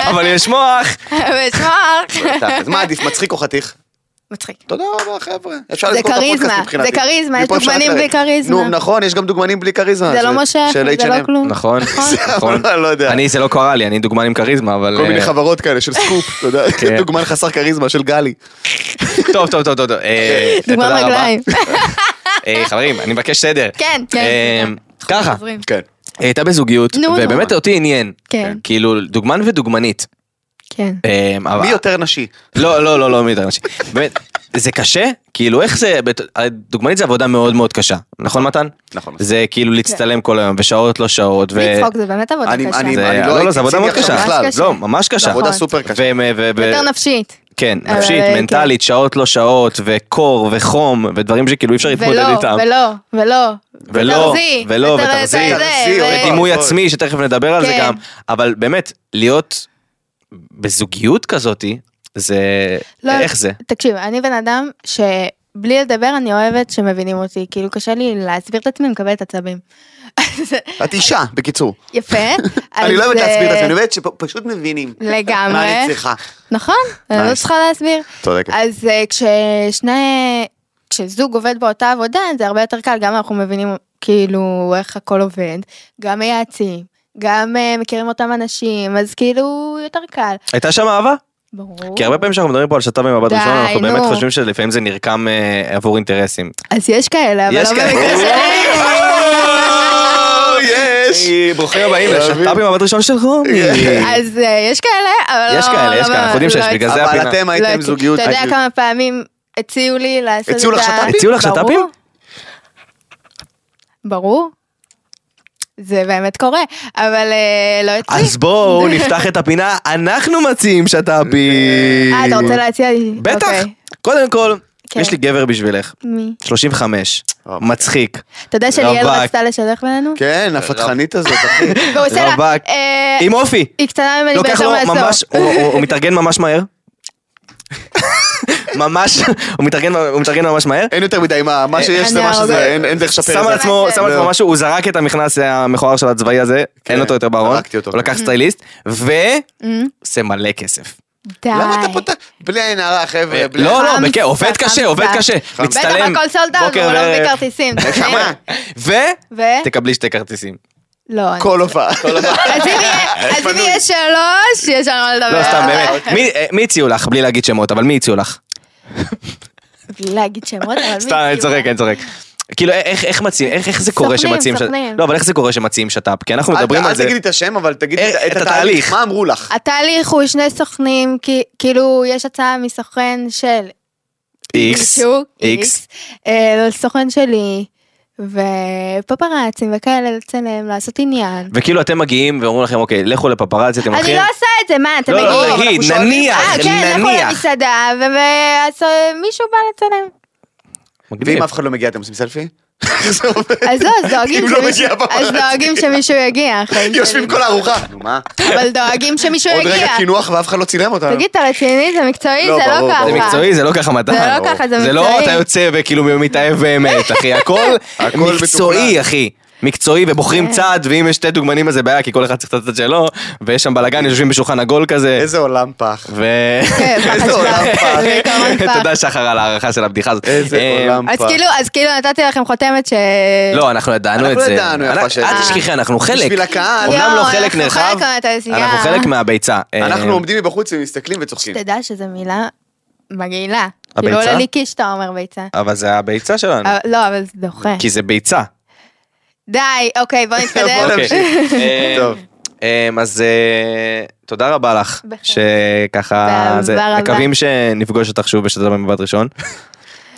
Speaker 2: אבל יש מוח.
Speaker 4: ושמור.
Speaker 3: אז כן, מה עדיף, מצחיק או חתיך?
Speaker 4: מצחיק.
Speaker 3: תודה רבה חבר'ה. אפשר
Speaker 4: זה
Speaker 3: לסגור את הפודקאסט
Speaker 4: כריזמה,
Speaker 3: מבחינתי.
Speaker 4: זה כריזמה, יש
Speaker 3: מפה אפשר
Speaker 4: דוגמנים
Speaker 3: ללכת.
Speaker 4: בלי כריזמה.
Speaker 3: נו נכון, יש גם דוגמנים בלי כריזמה.
Speaker 4: זה לא משה,
Speaker 3: של
Speaker 4: זה לא
Speaker 3: (laughs) H&M.
Speaker 4: כלום.
Speaker 2: אה, נכון, נכון.
Speaker 3: אבל לא יודע.
Speaker 2: אני, זה לא קרה לי, אני דוגמן עם כריזמה, אבל...
Speaker 3: כל מיני
Speaker 2: אה,
Speaker 3: חברות כאלה של סקופ, אתה יודע,
Speaker 2: (laughs) כן.
Speaker 3: (laughs) דוגמן חסר כריזמה של גלי.
Speaker 2: טוב, טוב, טוב, טוב. טוב, אה,
Speaker 4: דוגמה
Speaker 2: תודה רבה.
Speaker 4: רגליים.
Speaker 2: אה, חברים, אני מבקש סדר.
Speaker 4: כן, כן,
Speaker 2: אה,
Speaker 4: סליחה.
Speaker 2: ככה,
Speaker 4: חוזרים.
Speaker 3: כן.
Speaker 2: היא אה, הייתה בזוגיות,
Speaker 4: נו, נו.
Speaker 2: ובאמת אותי עניין.
Speaker 4: כן.
Speaker 2: כאילו, דוגמן ודוגמנית.
Speaker 4: כן.
Speaker 2: אה, אבל-
Speaker 3: מי יותר נשי?
Speaker 2: לא, לא, לא, לא, מי
Speaker 4: (laughs)
Speaker 2: יותר נשים. באמת, זה קשה? כאילו, איך זה... בת- הרי דוגמנית זה עבודה מאוד מאוד קשה. נכון, מתן?
Speaker 3: נכון.
Speaker 2: זה כאילו להצטלם כל היום, ושעות לא שעות, ו...
Speaker 4: כן. בלי צחוק זה באמת עבודה
Speaker 3: אני-
Speaker 4: קשה.
Speaker 3: אני-
Speaker 2: זה-
Speaker 3: לא
Speaker 2: לא,
Speaker 3: הייתי
Speaker 2: לא, זה עבודה
Speaker 3: מציג
Speaker 2: מאוד
Speaker 3: עכשיו
Speaker 2: קשה.
Speaker 4: בכלל, ממש
Speaker 2: לא,
Speaker 4: קשה.
Speaker 2: ממש קשה.
Speaker 3: זה עבודה
Speaker 4: נכון.
Speaker 3: סופר קשה.
Speaker 2: ו- ו- ו-
Speaker 4: יותר נפשית.
Speaker 2: כן,
Speaker 4: אבל,
Speaker 2: נפשית,
Speaker 4: אה,
Speaker 2: מנטלית, שעות לא שעות, וקור וחום, ודברים שכאילו אי אפשר להתמודד
Speaker 4: ולא,
Speaker 2: איתם.
Speaker 4: ולא, ולא.
Speaker 2: ולא,
Speaker 4: ותרזי,
Speaker 2: ולא,
Speaker 4: ותר-
Speaker 2: ותרזי.
Speaker 4: ותר-
Speaker 3: ותרזי,
Speaker 4: ו-
Speaker 3: אוי, אוי.
Speaker 2: דימוי עצמי, שתכף נדבר על זה
Speaker 4: נכון. כן.
Speaker 2: גם, אבל באמת, להיות בזוגיות כזאתי, זה...
Speaker 4: לא,
Speaker 2: איך זה?
Speaker 4: תקשיב, אני בן אדם שבלי לדבר אני אוהבת שמבינים אותי, כאילו קשה לי להסביר את עצמי, מקבלת עצבים.
Speaker 3: את אישה, בקיצור.
Speaker 4: יפה.
Speaker 3: (laughs) אני לא
Speaker 4: אז,
Speaker 3: אוהבת להסביר את
Speaker 4: אה,
Speaker 3: עצמי, אני אוהבת שפשוט מבינים. מה
Speaker 4: לגמרי.
Speaker 3: אני צריכה.
Speaker 4: נכון, אני לא
Speaker 3: Nice. אוקיי.
Speaker 4: צריכה להסביר.
Speaker 3: צודקת.
Speaker 4: אז אה, כששני, כשזוג עובד באותה עבודה זה הרבה יותר קל, גם אנחנו מבינים כאילו איך הכל עובד, גם מייעצים, גם אה, מכירים אותם אנשים, אז כאילו יותר קל.
Speaker 2: הייתה שם אהבה?
Speaker 4: ברור.
Speaker 2: כי הרבה פעמים כשאנחנו מדברים פה על שת"פ במבט
Speaker 4: די,
Speaker 2: ראשון, אנחנו באמת
Speaker 4: נו.
Speaker 2: חושבים שלפעמים זה נרקם אה, עבור אינטרסים.
Speaker 4: אז יש כאלה, אבל
Speaker 2: יש
Speaker 4: לא
Speaker 2: כאלה.
Speaker 4: במקרה שלהם.
Speaker 3: (laughs) Oh, יש!
Speaker 2: אה, ברוכים הבאים
Speaker 3: לא
Speaker 2: לשת"פ
Speaker 3: מבין.
Speaker 2: במבט ראשון של (laughs) רומי.
Speaker 4: (laughs) אז אה, יש כאלה, אבל לא...
Speaker 2: יש כאלה,
Speaker 4: לא
Speaker 2: יש כאלה, אנחנו יודעים
Speaker 4: לא
Speaker 2: שיש,
Speaker 4: הצ-
Speaker 2: בגלל זה
Speaker 3: אבל
Speaker 2: הפינה.
Speaker 3: אתם
Speaker 4: לא
Speaker 3: הייתם
Speaker 4: הצ-
Speaker 3: זוגיות.
Speaker 4: אתה יודע כמה פעמים הציעו לי לעשות את ה...
Speaker 3: הציעו לך שת"פים?
Speaker 2: הציעו לך שת"פים?
Speaker 4: ברור. ברור. זה באמת קורה, אבל אה, לא הציעו.
Speaker 2: אז
Speaker 4: (laughs)
Speaker 2: בואו נפתח את הפינה, אנחנו מציעים שת"פים.
Speaker 4: אה, אתה רוצה להציע לי?
Speaker 2: בטח.
Speaker 4: אוקיי.
Speaker 2: קודם כל,
Speaker 4: כן.
Speaker 2: יש לי גבר בשבילך.
Speaker 4: מי?
Speaker 2: 35,
Speaker 3: אה.
Speaker 2: מצחיק.
Speaker 4: אתה יודע שליאל
Speaker 2: רווק.
Speaker 4: רצתה לשלח בינינו?
Speaker 3: כן, הפתחנית הזאת, אחי.
Speaker 4: והוא עושה לה...
Speaker 2: רווק.
Speaker 4: אה,
Speaker 2: עם אופי.
Speaker 4: היא קטנה ממני
Speaker 2: לוקח
Speaker 4: ביותר
Speaker 2: לו
Speaker 4: מעשור.
Speaker 2: לא, ממש, הוא- הוא הוא מתארגן ממש
Speaker 4: (laughs)
Speaker 2: מהר. ממש, הוא מתארגן- הוא מתארגן ממש מהר.
Speaker 3: אין יותר מדי מה, מה שיש זה
Speaker 4: אה, אני
Speaker 3: מה שזה,
Speaker 4: ההוגה.
Speaker 3: אין- אין דרך לשפר את
Speaker 2: שם
Speaker 3: זה.
Speaker 2: על עצמו, שם על עצמו
Speaker 3: לא.
Speaker 2: משהו, הוא זרק את המכנס המכוער של הצבאי הזה, אין כן, אותו כן. יותר בארון,
Speaker 3: זרקתי אותו.
Speaker 2: הוא לקח סטייליסט, ועושה מלא כסף.
Speaker 4: Mm, די.
Speaker 3: למה אתה פותח? בלי עין הרע, חבר'ה. בלי-
Speaker 2: לא, לא,
Speaker 4: חמסה,
Speaker 2: בכ- עובד קשה,
Speaker 4: חמסה.
Speaker 2: עובד קשה,
Speaker 3: חמסה.
Speaker 4: בטח
Speaker 2: מצטלם,
Speaker 4: הכל סולד אאוט,
Speaker 2: בוקר
Speaker 4: הוא לא מביא
Speaker 2: וערב,
Speaker 4: כרטיסים.
Speaker 3: כמה?
Speaker 4: אה,
Speaker 2: ו...
Speaker 4: ו?
Speaker 2: תקבלי שתי כרטיסים.
Speaker 4: לא. אני-
Speaker 3: כל הופעה.
Speaker 4: אז אם יהיה-
Speaker 3: (laughs)
Speaker 4: אז אם יש שלוש, יש על מה לדבר.
Speaker 2: לא, סתם,
Speaker 4: אוקיי.
Speaker 2: באמת. מי- אה, מי הציעו לך? בלי להגיד שמות, אבל מי הציעו לך?
Speaker 4: בלי להגיד שמות, אבל מי... כאילו-
Speaker 2: סתם, אני צוחק, אני צוחק. כאילו, איך איך מציעים, איך איך זה קורה
Speaker 4: סוכנים,
Speaker 2: שמציעים... ש-
Speaker 4: סוכנים.
Speaker 2: לא, אבל איך זה קורה שמציעים שת"פ? כי אנחנו
Speaker 3: אל-
Speaker 2: מדברים על
Speaker 3: אל
Speaker 2: זה.
Speaker 3: תגידי את השם, אבל תגידי
Speaker 2: איך-
Speaker 3: את
Speaker 2: את
Speaker 3: התהליך.
Speaker 2: התהליך.
Speaker 3: מה אמרו לך?
Speaker 4: אה, התהליך הוא שני סוכנים, כי- כאילו, יש הצעה מסוכן של
Speaker 2: איקס,
Speaker 4: מישהו,
Speaker 2: איקס.
Speaker 4: אה, לסוכן שלי, ופפראצים וכאלה לצלם, לעשות עניין.
Speaker 2: וכאילו אתם מגיעים ואומרים לכם, אוקיי, לכו לפפרצי, אתם
Speaker 4: אני
Speaker 2: הולכים...
Speaker 4: לא עושה את זה, מה, אתם
Speaker 2: לא,
Speaker 4: מגיעים?
Speaker 2: לא, תגיד,
Speaker 3: שואלים.
Speaker 2: נניח,
Speaker 4: אה, כן, לכו
Speaker 2: נניח.
Speaker 4: למסעדה, ו- ו- אז, אה, מישהו בא לצלם.
Speaker 2: מגניב.
Speaker 3: ואם אף אחד לא מגיע, אתם עושים סלפי? איך (laughs) זה עובד?
Speaker 4: אה, אז לא,
Speaker 3: (laughs)
Speaker 4: אז דואגים
Speaker 3: אם לא
Speaker 4: שמישהו-
Speaker 3: מגיע פפראצי.
Speaker 4: אז דואגים שמישהו יגיע. החיים
Speaker 3: יושבים
Speaker 4: שלי.
Speaker 3: כל הארוחה. נו מה?
Speaker 4: אבל דואגים שמישהו
Speaker 3: עוד רגע
Speaker 4: יגיע.
Speaker 3: קינוח ואף אחד לא צילם אותנו.
Speaker 4: תגיד, אתה רציני? זה מקצועי?
Speaker 3: לא,
Speaker 4: זה לא
Speaker 3: ברור,
Speaker 4: ככה.
Speaker 2: זה
Speaker 3: ברור.
Speaker 2: מקצועי, זה לא ככה מתן.
Speaker 4: זה לא ככה, זה
Speaker 2: זה לא
Speaker 4: מקצועי.
Speaker 2: אתה יוצא וכאילו מתאהב באמת,
Speaker 4: (laughs)
Speaker 2: אחי. הכל
Speaker 3: הכל מתוכנן.
Speaker 2: מקצועי, אחי. מקצועי
Speaker 4: כן.
Speaker 2: ובוחרים צד, ואם יש שתי דוגמנים אז זה בעיה, כי כל אחד צריך את הצד שלו, ויש שם בלאגן, יושבים בשולחן עגול כזה.
Speaker 3: איזה עולם פח.
Speaker 2: ו...
Speaker 4: כן, פח
Speaker 3: איזה
Speaker 4: אשפה.
Speaker 3: עולם פח.
Speaker 4: זה
Speaker 2: (laughs)
Speaker 4: עיקרון פח.
Speaker 2: תודה שחר על ההערכה של הבדיחה הזאת.
Speaker 3: איזה
Speaker 2: אה,
Speaker 3: עולם
Speaker 4: אז
Speaker 3: פח.
Speaker 4: כאילו, אז כאילו נתתי לכם חותמת ש...
Speaker 2: לא, אנחנו ידענו את
Speaker 3: אנחנו
Speaker 2: זה.
Speaker 3: ידענו, יפה
Speaker 2: אנחנו-
Speaker 3: שאלה.
Speaker 2: אל תשכחי, אנחנו חלק.
Speaker 3: בשביל הקהל.
Speaker 2: אומנם
Speaker 4: יואו,
Speaker 2: לא חלק
Speaker 4: אנחנו
Speaker 2: נרחב,
Speaker 4: חלק מהתעשייה.
Speaker 2: אנחנו חלק מהביצה. אה,
Speaker 3: אנחנו עומדים מבחוץ ומסתכלים וצוחקים.
Speaker 4: שתדע שזו מילה מגעילה.
Speaker 2: הביצה?
Speaker 4: כאילו עולה לי קיש אתה אומר ביצה.
Speaker 2: אבל זה הביצה שלנו.
Speaker 4: אבל- לא, אבל זה דוחה.
Speaker 2: כי זה ביצה.
Speaker 4: די, אוקיי,
Speaker 2: (laughs)
Speaker 4: בוא נתקדם.
Speaker 3: בוא
Speaker 2: אוקיי.
Speaker 3: נמשיך.
Speaker 2: אה,
Speaker 3: טוב.
Speaker 2: אה, אז אה, תודה רבה לך,
Speaker 4: בכיף.
Speaker 2: שככה,
Speaker 4: תודה
Speaker 2: זה-
Speaker 4: רבה.
Speaker 2: מקווים שנפגוש אותך שוב בשלטון במבט ראשון.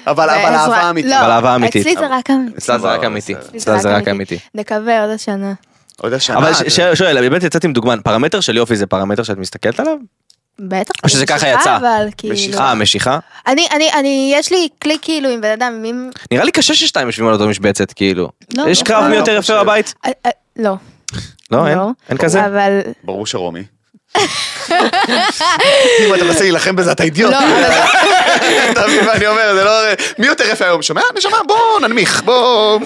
Speaker 3: אבל אבל
Speaker 4: בעזרת-
Speaker 3: אהבה אמיתית.
Speaker 4: אה, לא,
Speaker 2: אבל אהבה אמיתית.
Speaker 4: אצלי זה רק אמיתי.
Speaker 2: אצלה זה רק אמיתי. אצלה זה רק אמיתי.
Speaker 4: נקווה עוד השנה.
Speaker 3: עוד השנה. אה,
Speaker 2: אבל ש-
Speaker 3: אתה-
Speaker 2: ש- שואל, באמת יצאת עם דוגמן, פרמטר של יופי זה פרמטר שאת מסתכלת עליו?
Speaker 4: בטח.
Speaker 2: או שזה ככה
Speaker 4: משיכה,
Speaker 2: יצא?
Speaker 4: אבל כאילו...
Speaker 3: משיכה.
Speaker 2: אה, משיכה?
Speaker 4: אני, אני, אני, יש לי כלי כאילו עם בן אדם, אם...
Speaker 2: נראה לי קשה ששתיים יושבים על אותו משבצת, כאילו.
Speaker 4: לא,
Speaker 2: יש
Speaker 4: לא,
Speaker 2: קרב
Speaker 4: לא,
Speaker 2: מי
Speaker 3: לא
Speaker 2: יותר יפה
Speaker 3: חושב.
Speaker 2: בבית?
Speaker 4: אה, אה, לא.
Speaker 2: לא, אין?
Speaker 4: לא.
Speaker 2: אין כזה?
Speaker 4: אבל...
Speaker 3: ברור שרומי. אם אתה מנסה להילחם בזה אתה אידיוט.
Speaker 4: לא, אבל-
Speaker 3: אתה מבין מה אני אומר? זה לא... מי יותר יפה היום? שומע? נשמה? בוא ננמיך. בוא...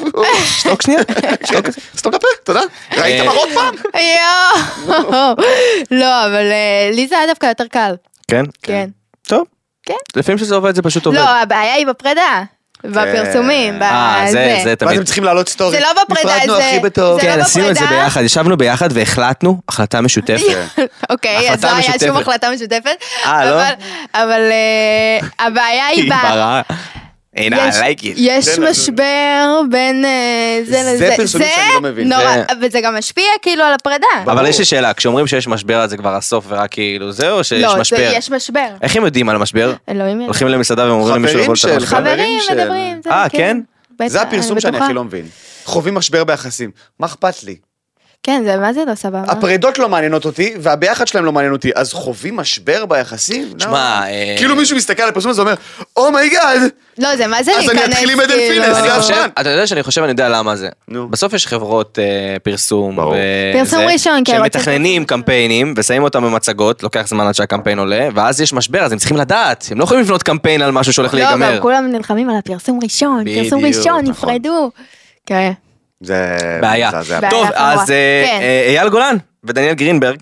Speaker 2: שתוק
Speaker 4: (laughs)
Speaker 2: שנייה. שתוק.
Speaker 3: סתום את הפה, תודה. ראית
Speaker 2: אה,
Speaker 3: מראות פעם?
Speaker 4: יואו. לא, אבל אה, לי זה היה דווקא יותר קל.
Speaker 2: כן?
Speaker 4: כן.
Speaker 2: טוב.
Speaker 4: כן.
Speaker 2: לפעמים שזה עובד זה פשוט עובד.
Speaker 4: לא, הבעיה היא בפרדה. בפרסומים.
Speaker 2: אה,
Speaker 4: בזה.
Speaker 2: זה, זה
Speaker 3: ואז
Speaker 2: תמיד.
Speaker 3: הם צריכים לעלות סטורי.
Speaker 4: זה לא בפרידה,
Speaker 3: נפרדנו
Speaker 4: זה-
Speaker 3: הכי בטוב.
Speaker 4: זה לא
Speaker 2: כן, עשינו את זה
Speaker 4: בפרידה.
Speaker 2: ביחד, ישבנו ביחד והחלטנו החלטה
Speaker 4: (laughs)
Speaker 2: משותפת.
Speaker 4: אוקיי, אז
Speaker 2: החלטה
Speaker 4: לא היה שום
Speaker 2: משותפת.
Speaker 4: החלטה משותפת.
Speaker 2: אה, לא?
Speaker 4: אבל- אבל אה, הבעיה
Speaker 2: (laughs)
Speaker 4: היא... ב-
Speaker 2: ברעה. הנה, I
Speaker 4: יש-
Speaker 2: like it.
Speaker 4: יש
Speaker 3: זה-
Speaker 4: משבר בין אה, זה
Speaker 3: זה
Speaker 4: לזה.
Speaker 3: פרסומים
Speaker 4: זה
Speaker 3: שאני לא מבין,
Speaker 4: נורא,
Speaker 2: זה-
Speaker 4: וזה גם משפיע כאילו על הפרידה.
Speaker 2: אבל יש לי שאלה, כשאומרים שיש משבר אז זה כבר הסוף ורק כאילו זה או שיש
Speaker 4: לא, זה-
Speaker 2: משבר?
Speaker 4: יש כן. משבר.
Speaker 2: איך הם יודעים על המשבר?
Speaker 4: אלוהים ידע.
Speaker 2: הולכים למסעדה ואומרים
Speaker 3: חברים
Speaker 2: למישהו לבוא
Speaker 3: של-
Speaker 2: למשבר?
Speaker 3: חברים
Speaker 4: חברים
Speaker 3: של-
Speaker 4: מדברים. זה,
Speaker 2: אה, כן?
Speaker 4: בטח,
Speaker 3: זה הפרסום
Speaker 4: אני
Speaker 3: שאני
Speaker 4: בטוחה.
Speaker 3: הכי לא מבין. חווים משבר ביחסים, מה אכפת לי?
Speaker 4: כן, זה מה זה לא סבבה.
Speaker 3: הפרידות לא מעניינות אותי, והביחד שלהם לא מעניין אותי, אז חווים משבר ביחסים?
Speaker 2: תשמע,
Speaker 3: לא.
Speaker 2: אה,
Speaker 3: כאילו מישהו מסתכל על הפרסום הזה ואומר, "Oh אומייגאד,
Speaker 4: לא, זה מה זה
Speaker 3: אז אני
Speaker 4: להיכנס כאילו.
Speaker 3: אתחיל עם עדן פינס,
Speaker 2: אני
Speaker 3: זה
Speaker 2: חושב,
Speaker 3: הזמן.
Speaker 2: אתה יודע שאני חושב, אני יודע למה זה.
Speaker 3: נו.
Speaker 2: בסוף יש חברות אה, פרסום.
Speaker 3: ברור.
Speaker 2: ו-
Speaker 4: פרסום
Speaker 2: זה,
Speaker 4: ראשון, כן,
Speaker 2: שמתכננים קמפיינים ושמים אותם במצגות, לוקח זמן עד שהקמפיין עולה, ואז יש משבר, אז הם צריכים לדעת, הם לא יכולים לבנות קמפיין על משהו שהולך
Speaker 4: לא,
Speaker 2: להיגמר.
Speaker 4: גם כולם נלחמים על הפרסום ראשון,
Speaker 2: בדיוק,
Speaker 4: פרסום ראשון,
Speaker 2: נכון.
Speaker 4: נפרדו. כן.
Speaker 3: זה...
Speaker 2: בעיה.
Speaker 3: מזעזע.
Speaker 4: בעיה.
Speaker 2: טוב,
Speaker 4: חמורה.
Speaker 2: אז אה,
Speaker 4: כן.
Speaker 2: אה, אייל גולן ודניאל גרינברג,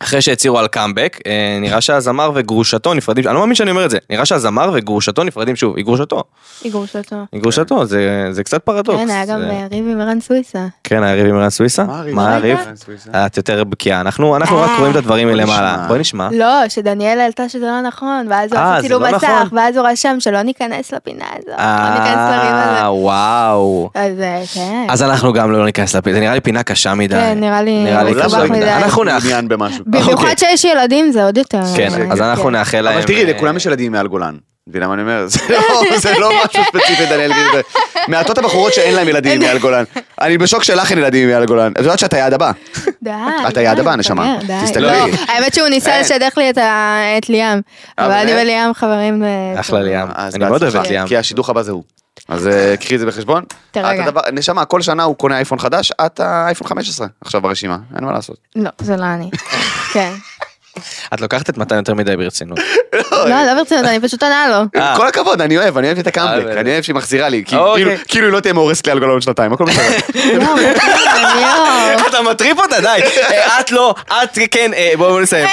Speaker 2: אחרי שהצהירו על קאמבק, אה, נראה שהזמר וגרושתו נפרדים, אני לא מאמין שאני אומר את זה, נראה שהזמר וגרושתו נפרדים שוב, היא גרושתו,
Speaker 4: איגור שלטון.
Speaker 2: היא גרושתו,
Speaker 3: כן.
Speaker 2: זה זה קצת פרדוקס.
Speaker 4: כן, היה גם
Speaker 2: זה-
Speaker 4: אה, ריב עם ערן סויסה.
Speaker 2: כן, היה ריב עם רן סוויסה? מה הריב? את יותר בקיאה, אנחנו אנחנו רק
Speaker 4: אה.
Speaker 2: רואים את הדברים
Speaker 3: בואי
Speaker 2: מלמעלה,
Speaker 3: נשמע.
Speaker 2: בואי נשמע.
Speaker 4: לא, שדניאל העלתה שזה לא נכון, ואז הוא
Speaker 2: אה,
Speaker 4: עשה
Speaker 2: זה
Speaker 4: צילום
Speaker 2: לא
Speaker 4: מסך,
Speaker 2: נכון.
Speaker 4: ואז הוא רשם שלא ניכנס לפינה הזאת, לא ניכנס לריב הזה.
Speaker 2: אה, וואו.
Speaker 4: אז אה, כן.
Speaker 2: אז אנחנו גם לא ניכנס לפינה, זה נראה לי פינה קשה מדי.
Speaker 4: כן, נראה לי
Speaker 2: נראה לי
Speaker 4: מסובך
Speaker 2: קשה
Speaker 4: מדי.
Speaker 2: מדי. אנחנו נאח...
Speaker 3: עניין במשהו.
Speaker 4: במיוחד
Speaker 2: אוקיי.
Speaker 4: שיש ילדים זה עוד יותר.
Speaker 2: כן,
Speaker 4: אה,
Speaker 2: אז אנחנו נאחל להם...
Speaker 3: אבל תראי,
Speaker 2: אה,
Speaker 3: לכולם יש ילדים מעל גולן. מבינה מה אני אומר? (laughs) זה לא- זה לא משהו ספציפי, דניאל גרינברג. מעטות הבחורות שאין להם ילדים מעל גולן. אני בשוק שלך אין ילדים מעל גולן. את יודעת שאת היעד הבא.
Speaker 4: די.
Speaker 3: את היעד
Speaker 4: די,
Speaker 3: הבא, נשמה. אה.
Speaker 4: תסתגר, די.
Speaker 3: תסתגרי.
Speaker 4: לא, האמת שהוא ניסה
Speaker 3: אין.
Speaker 4: לשדך לי את ה- את ליאם, אבל
Speaker 3: אבל
Speaker 4: אני
Speaker 3: אין.
Speaker 4: וליאם חברים. אה,
Speaker 2: אחלה
Speaker 4: טוב.
Speaker 2: ליאם,
Speaker 3: אז כן.
Speaker 2: אני מאוד אוהב את
Speaker 3: בהצלחה,
Speaker 2: ליאם.
Speaker 3: כי השידוך הבא זה הוא. אז אה, קחי את זה בחשבון.
Speaker 4: תרגע.
Speaker 3: את הדבר- נשמה, כל שנה הוא קונה אייפון חדש, את האייפון 15 עכשיו ברשימה, אין מה לעשות.
Speaker 4: לא, זה לא
Speaker 2: (laughs)
Speaker 4: אני. כן.
Speaker 2: את לוקחת את מתן יותר
Speaker 3: (laughs)
Speaker 2: מדי ברצינות.
Speaker 4: לא, לא ברצינות, אני פשוט עונה
Speaker 2: (laughs)
Speaker 4: לו.
Speaker 2: אה.
Speaker 3: כל הכבוד, אני אוהב, אני אוהב את הקאמבק,
Speaker 2: אה,
Speaker 3: אני אוהב שהיא מחזירה לי, כי-
Speaker 2: אוקיי.
Speaker 3: כאילו- כאילו היא לא תהיה מאורסת לי על גולן עוד שנתיים, הכל
Speaker 2: (laughs)
Speaker 3: בסדר.
Speaker 4: יואו, יואו.
Speaker 2: אתה מטריף
Speaker 3: (laughs)
Speaker 2: אותה, די. אה, את לא, את כן, אה, בואו נסיים.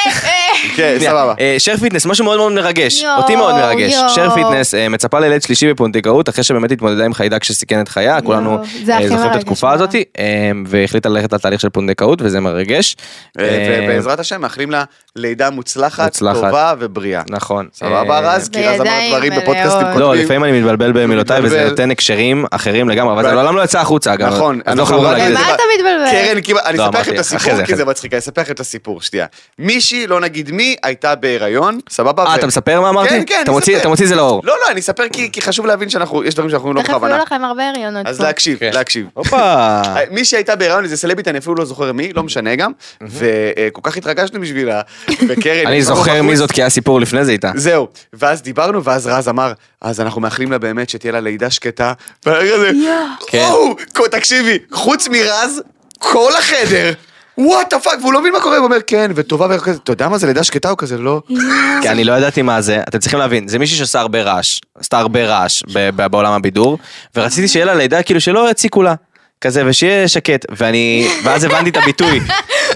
Speaker 3: כן,
Speaker 2: שנייה,
Speaker 3: סבבה.
Speaker 2: אה, שר פיטנס, משהו מאוד מאוד מרגש.
Speaker 4: יואו,
Speaker 2: אותי מאוד מרגש.
Speaker 4: יואו.
Speaker 2: שר פיטנס אה, מצפה לילד שלישי בפונדקאות, אחרי שבאמת התמודדה עם חיידק שסיכן את חייה, כולנו
Speaker 4: זה
Speaker 2: אה,
Speaker 4: הכי
Speaker 2: זוכרים את
Speaker 4: מרגש
Speaker 2: התקופה
Speaker 4: בעולם.
Speaker 2: הזאת, אה, והחליטה ללכת לתהליך של פונדקאות, וזה מרגש. אה,
Speaker 3: ובעזרת השם מאחלים לה לידה מוצלחת,
Speaker 2: מוצלחת.
Speaker 3: טובה ובריאה.
Speaker 2: נכון.
Speaker 3: סבבה
Speaker 2: אה,
Speaker 3: רז? כי רז אמר
Speaker 4: בידיים
Speaker 3: דברים בפודקאסטים
Speaker 4: מלאות.
Speaker 2: לא,
Speaker 3: קודמים.
Speaker 2: לפעמים אני מתבלבל במילותיי וזה
Speaker 3: מתבלבל.
Speaker 2: נותן הקשרים אחרים לגמרי, אבל זה
Speaker 3: ו-
Speaker 2: לעולם לא יצא החוצה אגב.
Speaker 3: נכון,
Speaker 2: אז לא
Speaker 3: אנחנו
Speaker 2: חייבים
Speaker 3: רק-
Speaker 2: להגיד את זה.
Speaker 4: למה אתה מתבלבל?
Speaker 3: קרן, כמעט- אני
Speaker 2: לא,
Speaker 3: אספר
Speaker 2: אמרתי,
Speaker 3: לכם את הסיפור,
Speaker 2: אחרי זה,
Speaker 3: כי
Speaker 2: אחרי
Speaker 3: זה מצחיק, אני אספר לכם את הסיפור, שנייה. מישהי, לא נגיד מי, הייתה בהיריון, סבבה?
Speaker 2: אה,
Speaker 3: ו-
Speaker 2: אתה מספר מה אמרתי?
Speaker 3: כן, כן,
Speaker 2: אתה
Speaker 3: אני
Speaker 2: מוציא-
Speaker 3: אספר.
Speaker 2: אתה מוציא את זה לאור.
Speaker 3: לא, לא, אני אספר כי כי חשוב להבין שאנחנו, יש דברים שאנחנו אומרים
Speaker 4: תכף
Speaker 3: לא בכוונה.
Speaker 4: יהיו לכם הרבה הריונות.
Speaker 3: אז
Speaker 4: פה.
Speaker 3: להקשיב,
Speaker 2: כן.
Speaker 3: להקשיב. אה,
Speaker 2: הופה.
Speaker 3: מי שהייתה בהיריון, איזה סלבית, אני אפילו לא זוכר מי, לא משנה גם, וכל כך התרגשנו בשבילה, וקרן...
Speaker 2: אני זוכר
Speaker 3: אה.
Speaker 2: מי זאת כי היה סיפור לפני זה איתה.
Speaker 3: זהו, ואז דיברנו, ואז רז אמר, אז אנחנו מאחלים לה באמת שתהיה לה לידה שקטה, והרגע הזה,
Speaker 2: כן.
Speaker 3: וואו, כ- תקשיבי, חוץ מרז, כל החדר, וואט הפאק, והוא לא מבין מה קורה, הוא אומר, כן, וטובה, והוא כזה, אתה יודע מה זה לידה שקטה? הוא כזה, לא.
Speaker 2: כי אני לא ידעתי מה זה, אתם צריכים להבין, זה מישהי שעושה הרבה רעש, עשתה הרבה רעש ב- ב- בעולם הבידור, ורציתי שיהיה לה לידה כאילו שלא יציקו לה, כזה, ושיהיה שקט, ואני, ואז הבנתי את
Speaker 4: (laughs)
Speaker 2: הביטוי,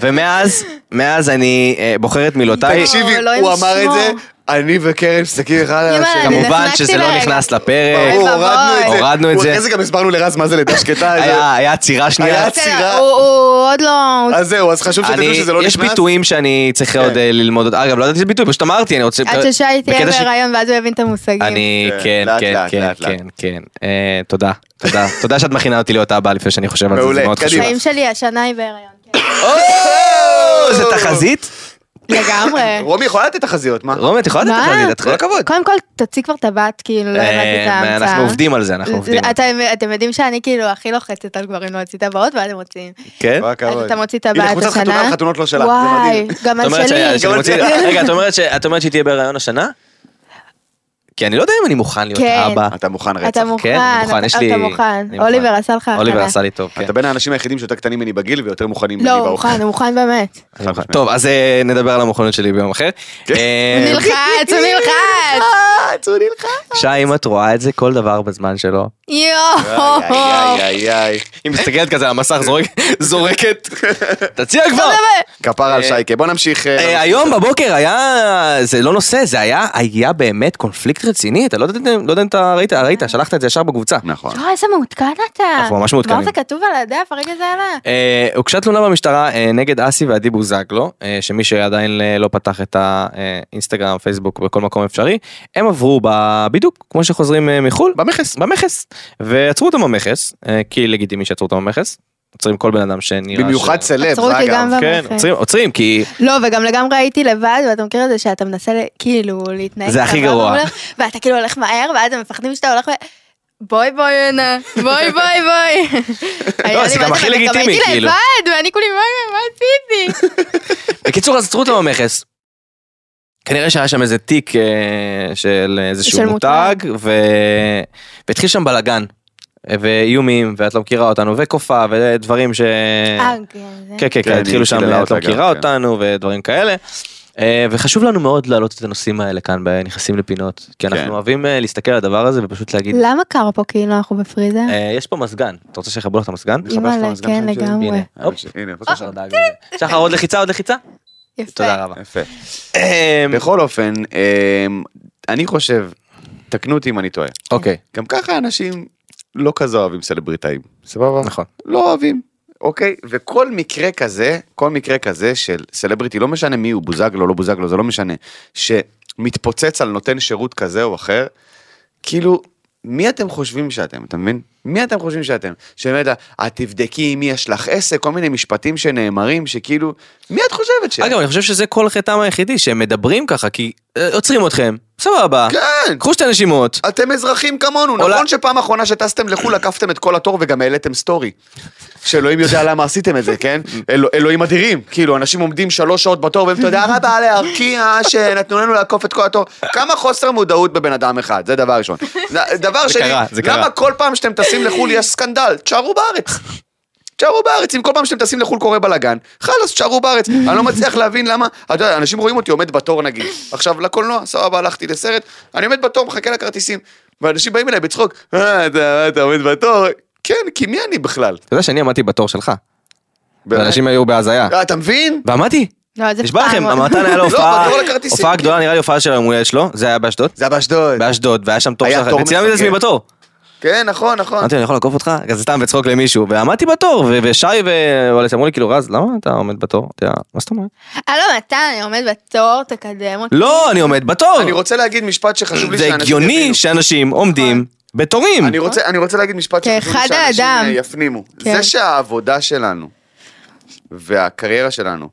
Speaker 2: ומאז, מאז אני אה, בוחר את מילותיי,
Speaker 3: תקשיבי,
Speaker 4: אלוהים
Speaker 3: הוא אמר את זה,
Speaker 4: ישמור.
Speaker 3: אני וקרן מסתכלים אחד על
Speaker 4: יאללה,
Speaker 3: השני.
Speaker 2: כמובן
Speaker 4: נחנקתי
Speaker 2: שזה לא
Speaker 4: לרגע.
Speaker 2: נכנס לפרק,
Speaker 3: ברור,
Speaker 4: אוי
Speaker 3: הורדנו את זה.
Speaker 4: ואבוי.
Speaker 2: הורדנו את זה.
Speaker 3: אחרי זה גם הסברנו לרז מה זה לידה שקטה. זה-
Speaker 2: היה היה עצירה שנייה.
Speaker 3: היה
Speaker 4: בסדר,
Speaker 3: עצירה.
Speaker 4: הוא- הוא עוד לא... הוא-
Speaker 3: אז זהו, אז חשוב שתדעו
Speaker 2: אני,
Speaker 3: שזה לא נכנס. כן.
Speaker 2: יש ביטויים שאני צריך עוד אה, ללמוד, עוד- אגב, לא ידעתי איזה ביטוי, פשוט אמרתי, אני רוצה...
Speaker 4: עד ששי תהיה
Speaker 2: בקטע ש-
Speaker 4: בהיריון ואז הוא יבין את המושגים.
Speaker 2: אני,
Speaker 3: כן,
Speaker 2: כן,
Speaker 3: לאט,
Speaker 2: כן,
Speaker 3: לאט,
Speaker 2: כן,
Speaker 3: לאט, לאט.
Speaker 2: כן, כן, אה, תודה,
Speaker 3: (laughs)
Speaker 2: תודה, תודה שאת מכינה אותי להיות האבא לפני שאני חושב על זה, זה
Speaker 3: מעולה,
Speaker 2: מאוד חשוב.
Speaker 3: קדימה.
Speaker 4: חיים שלי, השנה היא בהיריון. כן.
Speaker 2: זה תחזית? (laughs)
Speaker 4: לגמרי.
Speaker 3: רומי יכולה לתת תחזיות, מה?
Speaker 2: רומי, את יכולה לתת
Speaker 4: מה?
Speaker 2: תחזית, את כל הכבוד.
Speaker 4: קודם כל, תוציא כבר את הבת, כאילו, לא הבנתי את
Speaker 2: אה,
Speaker 4: ההמצאה.
Speaker 2: אנחנו עובדים על זה, אנחנו עובדים. על זה.
Speaker 4: אתם, אתם יודעים שאני כאילו הכי לוחצת על גברים לא להוציא טבעות ואתם מוציאים.
Speaker 2: כן?
Speaker 3: כל הכבוד.
Speaker 4: אז אתה מוציא
Speaker 3: הנה,
Speaker 4: טבעת
Speaker 3: קבוצת
Speaker 4: השנה.
Speaker 3: חתונה וחתונות לא שלה, זה
Speaker 4: וואי,
Speaker 3: מדהים.
Speaker 4: גם
Speaker 2: את
Speaker 4: על
Speaker 2: אומרת ש-
Speaker 4: שלי.
Speaker 2: שאני מוציא-
Speaker 3: גם על שלי.
Speaker 2: רגע, את אומרת ש- את אומרת שהיא תהיה בהיריון השנה? כי אני לא יודע אם אני מוכן להיות
Speaker 4: כן.
Speaker 2: אבא.
Speaker 3: אתה מוכן
Speaker 4: אתה
Speaker 3: רצח.
Speaker 2: כן, אני מוכן,
Speaker 4: מוכן,
Speaker 2: יש לי...
Speaker 4: אתה מוכן.
Speaker 2: אני
Speaker 4: אוליבר עשה לך הכנה.
Speaker 2: אוליבר עשה לי טוב, כן.
Speaker 3: אתה בין האנשים היחידים שיותר קטנים ממני בגיל ויותר מוכנים ממני
Speaker 4: לא, הוא
Speaker 3: באוכל.
Speaker 4: מוכן, הוא מוכן באמת.
Speaker 2: אני מוכן. טוב, אז אה, נדבר על המוכנות שלי ביום אחר.
Speaker 3: כן.
Speaker 2: אה,
Speaker 4: הוא נלחץ, הוא נלחץ.
Speaker 3: צאו נלחץ.
Speaker 2: שי, אם את רואה את זה, כל דבר בזמן
Speaker 3: (laughs)
Speaker 2: שלו.
Speaker 4: יואו. אה,
Speaker 3: איי איי איי.
Speaker 2: היא מסתכלת כזה על המסך,
Speaker 3: (laughs)
Speaker 2: זורק- זורקת. תציע כבר.
Speaker 3: כפרה על
Speaker 2: אה,
Speaker 3: שייקה, בוא נמשיך. אה,
Speaker 2: אה, היום בבוקר היה, זה לא נושא, זה היה, היה באמת קונפליקט רציני, אתה לא יודע לא יודע אם אתה ראית, ראית, שלחת את זה ישר בקבוצה.
Speaker 3: נכון.
Speaker 4: יואו, איזה מעודכן אתה.
Speaker 2: אנחנו ממש מעודכנים.
Speaker 4: כבר זה כתוב על הדף, הרגע זה עלה.
Speaker 2: אה, הוגשה תלונה במשטרה אה, נגד אסי ועדי בוזגלו, אה, שמי שעדיין אה, לא פתח את האינסטגרם, פייסבוק, בכל מקום אפשרי, הם עברו בבידוק, כמו שחוזרים אה, מחו"ל, במכס, במכס, ועצרו אותם במכס, אה, כי לגיטימי שעצרו אותם במכס, עוצרים כל בן אדם שנראה...
Speaker 3: במיוחד
Speaker 2: ש...
Speaker 3: סלב,
Speaker 4: עצרו אותי אה, גם
Speaker 3: אגב.
Speaker 4: במכס.
Speaker 2: כן, עוצרים, עוצרים, כי...
Speaker 4: לא, וגם לגמרי הייתי לבד, ואתה מכיר את זה שאתה מנסה ל- כאילו להתנהג.
Speaker 2: זה הכי
Speaker 4: סבבה
Speaker 2: גרוע.
Speaker 4: מולם, ואתה כאילו הולך מהר, ואז הם מפחדים שאתה הולך ו... בואי בואי הנה, בואי בואי בואי. היה לי
Speaker 2: זה
Speaker 4: מה
Speaker 2: גם הכי
Speaker 4: אבל
Speaker 2: לגיטימי,
Speaker 4: גם הייתי
Speaker 2: כאילו.
Speaker 4: לבד, ואני כולי, "מה- מה עשיתי?
Speaker 2: בקיצור, אז עצרו אותם במכס. כנראה שהיה שם איזה תיק אה, של איזשהו
Speaker 4: של
Speaker 2: מותג, ו... והתחיל שם בלאגן. ואיומים, ואת לא מכירה אותנו, וכופה, ודברים ש...
Speaker 4: אה, כן, זה-
Speaker 2: כן, כן,
Speaker 3: כן,
Speaker 2: כן, התחילו
Speaker 3: היא
Speaker 2: שם,
Speaker 3: קיללה
Speaker 2: את לא
Speaker 3: אותה גם,
Speaker 2: מכירה
Speaker 3: כן.
Speaker 2: אותנו, ודברים כאלה. אה, וחשוב לנו מאוד להעלות את הנושאים האלה כאן, בנכנסים לפינות, כי
Speaker 3: כן.
Speaker 2: אנחנו אוהבים אה, להסתכל על הדבר הזה ופשוט להגיד,
Speaker 4: למה קר פה כאילו אנחנו בפריזר?
Speaker 2: אה, יש פה מזגן, אתה רוצה שיחברו לך את המזגן?
Speaker 3: לך
Speaker 4: אימא'לה,
Speaker 3: פה הסגן
Speaker 4: כן
Speaker 3: שלך, שירי?
Speaker 4: לגמרי.
Speaker 2: הנה, הופ,
Speaker 3: הנה,
Speaker 4: לא.
Speaker 3: בבקשה.
Speaker 2: דאג לזה. שחר עוד לחיצה, עוד לחיצה?
Speaker 4: כן. יפה.
Speaker 2: תודה רבה.
Speaker 3: יפה.
Speaker 2: אה,
Speaker 3: בכל אופן, אה, אני חושב, תקנו אותי אם אני טועה.
Speaker 2: אוקיי,
Speaker 3: גם ככה אנשים לא כזה אוהבים סלבריטאים, סבבה?
Speaker 2: נכון.
Speaker 3: לא אוהבים, אוקיי? וכל מקרה כזה, כל מקרה כזה של סלבריטי, לא משנה מי הוא, בוזגלו, לא בוזגלו, זה לא משנה, שמתפוצץ על נותן שירות כזה או אחר, כאילו, מי אתם חושבים שאתם, אתה מבין? מי אתם חושבים שאתם? שבאמת, את תבדקי עם מי יש לך עסק, כל מיני משפטים שנאמרים, שכאילו, מי את חושבת ש...
Speaker 2: אגב, אני חושב שזה כל חטאם היחידי, שהם מדברים ככה, כי אה, עוצרים אתכם, סבבה,
Speaker 3: כן!
Speaker 2: קחו שתי נשימות,
Speaker 3: אתם אזרחים כמונו,
Speaker 2: עולה-
Speaker 3: נכון שפעם אחרונה שטסתם לחו"ל עקפתם את כל התור וגם העליתם סטורי. שאלוהים יודע למה עשיתם את זה,
Speaker 2: (laughs)
Speaker 3: כן? אלו- אלוהים אדירים. כאילו, אנשים עומדים שלוש שעות בתור והם תודה
Speaker 2: (laughs)
Speaker 3: רבה לארקיע שנתנו לנו לעקוף את כל התור. כמה חוסר מודעות בבן אדם אחד, זה דבר
Speaker 2: (laughs)
Speaker 3: ראשון. דבר
Speaker 2: זה
Speaker 3: שני,
Speaker 2: קרה, זה קרה.
Speaker 3: למה כל פעם שאתם טסים לחו"ל יש סקנדל? תשארו בארץ. תשארו בארץ, אם כל פעם שאתם טסים לחו"ל קורה בלאגן, חלאס, תשארו בארץ. אני לא מצליח להבין למה, אתה יודע, אנשים רואים אותי עומד בתור נגיד, עכשיו לקולנוע, סבבה, הלכתי לסרט, אני עומד בתור, מחכה לכרטיסים, ואנשים באים אליי בצחוק, אה, אתה אתה עומד בתור, כן, כי מי אני בכלל?
Speaker 2: אתה יודע שאני עמדתי בתור שלך,
Speaker 3: באמת?
Speaker 2: ואנשים היו בהזיה,
Speaker 3: אה, אתה מבין?
Speaker 2: ועמדתי,
Speaker 4: לא, זה
Speaker 2: נשבע לכם,
Speaker 4: מאוד.
Speaker 3: (laughs)
Speaker 2: המתן היה לו
Speaker 3: לא,
Speaker 2: הופעה,
Speaker 3: בתור לכרטיסים.
Speaker 2: הופעה גדולה, נראה לי הופעה של המולדת שלו, זה היה באשדוד,
Speaker 3: זה היה באשדוד.
Speaker 2: באשדוד, והיה שם תור
Speaker 3: היה
Speaker 2: שלך,
Speaker 3: תור
Speaker 2: וצילמתי את עצמי
Speaker 3: מסגר.
Speaker 2: בתור.
Speaker 3: כן, נכון, נכון.
Speaker 2: אמרתי, אני יכול לעקוף אותך? כזה סתם בצחוק למישהו, ועמדתי בתור, ו- ושי ואולס אמרו לי, כאילו, רז, למה אתה עומד בתור? אתה יודע, מה זאת אומרת?
Speaker 4: הלו, מתן, אה, לא, אני עומד בתור, תקדם אותי.
Speaker 2: לא, אני עומד בתור!
Speaker 3: אני רוצה להגיד משפט שחשוב לי
Speaker 2: זה
Speaker 3: שאנשים
Speaker 2: הגיוני
Speaker 3: יבינו. אה.
Speaker 2: שאנשים עומדים בתורים.
Speaker 3: אני רוצה, אני רוצה להגיד משפט שחשוב לי
Speaker 4: כאחד
Speaker 3: שאנשים
Speaker 4: האדם.
Speaker 3: אה, יפנימו.
Speaker 4: כן.
Speaker 3: זה שהעבודה שלנו והקריירה שלנו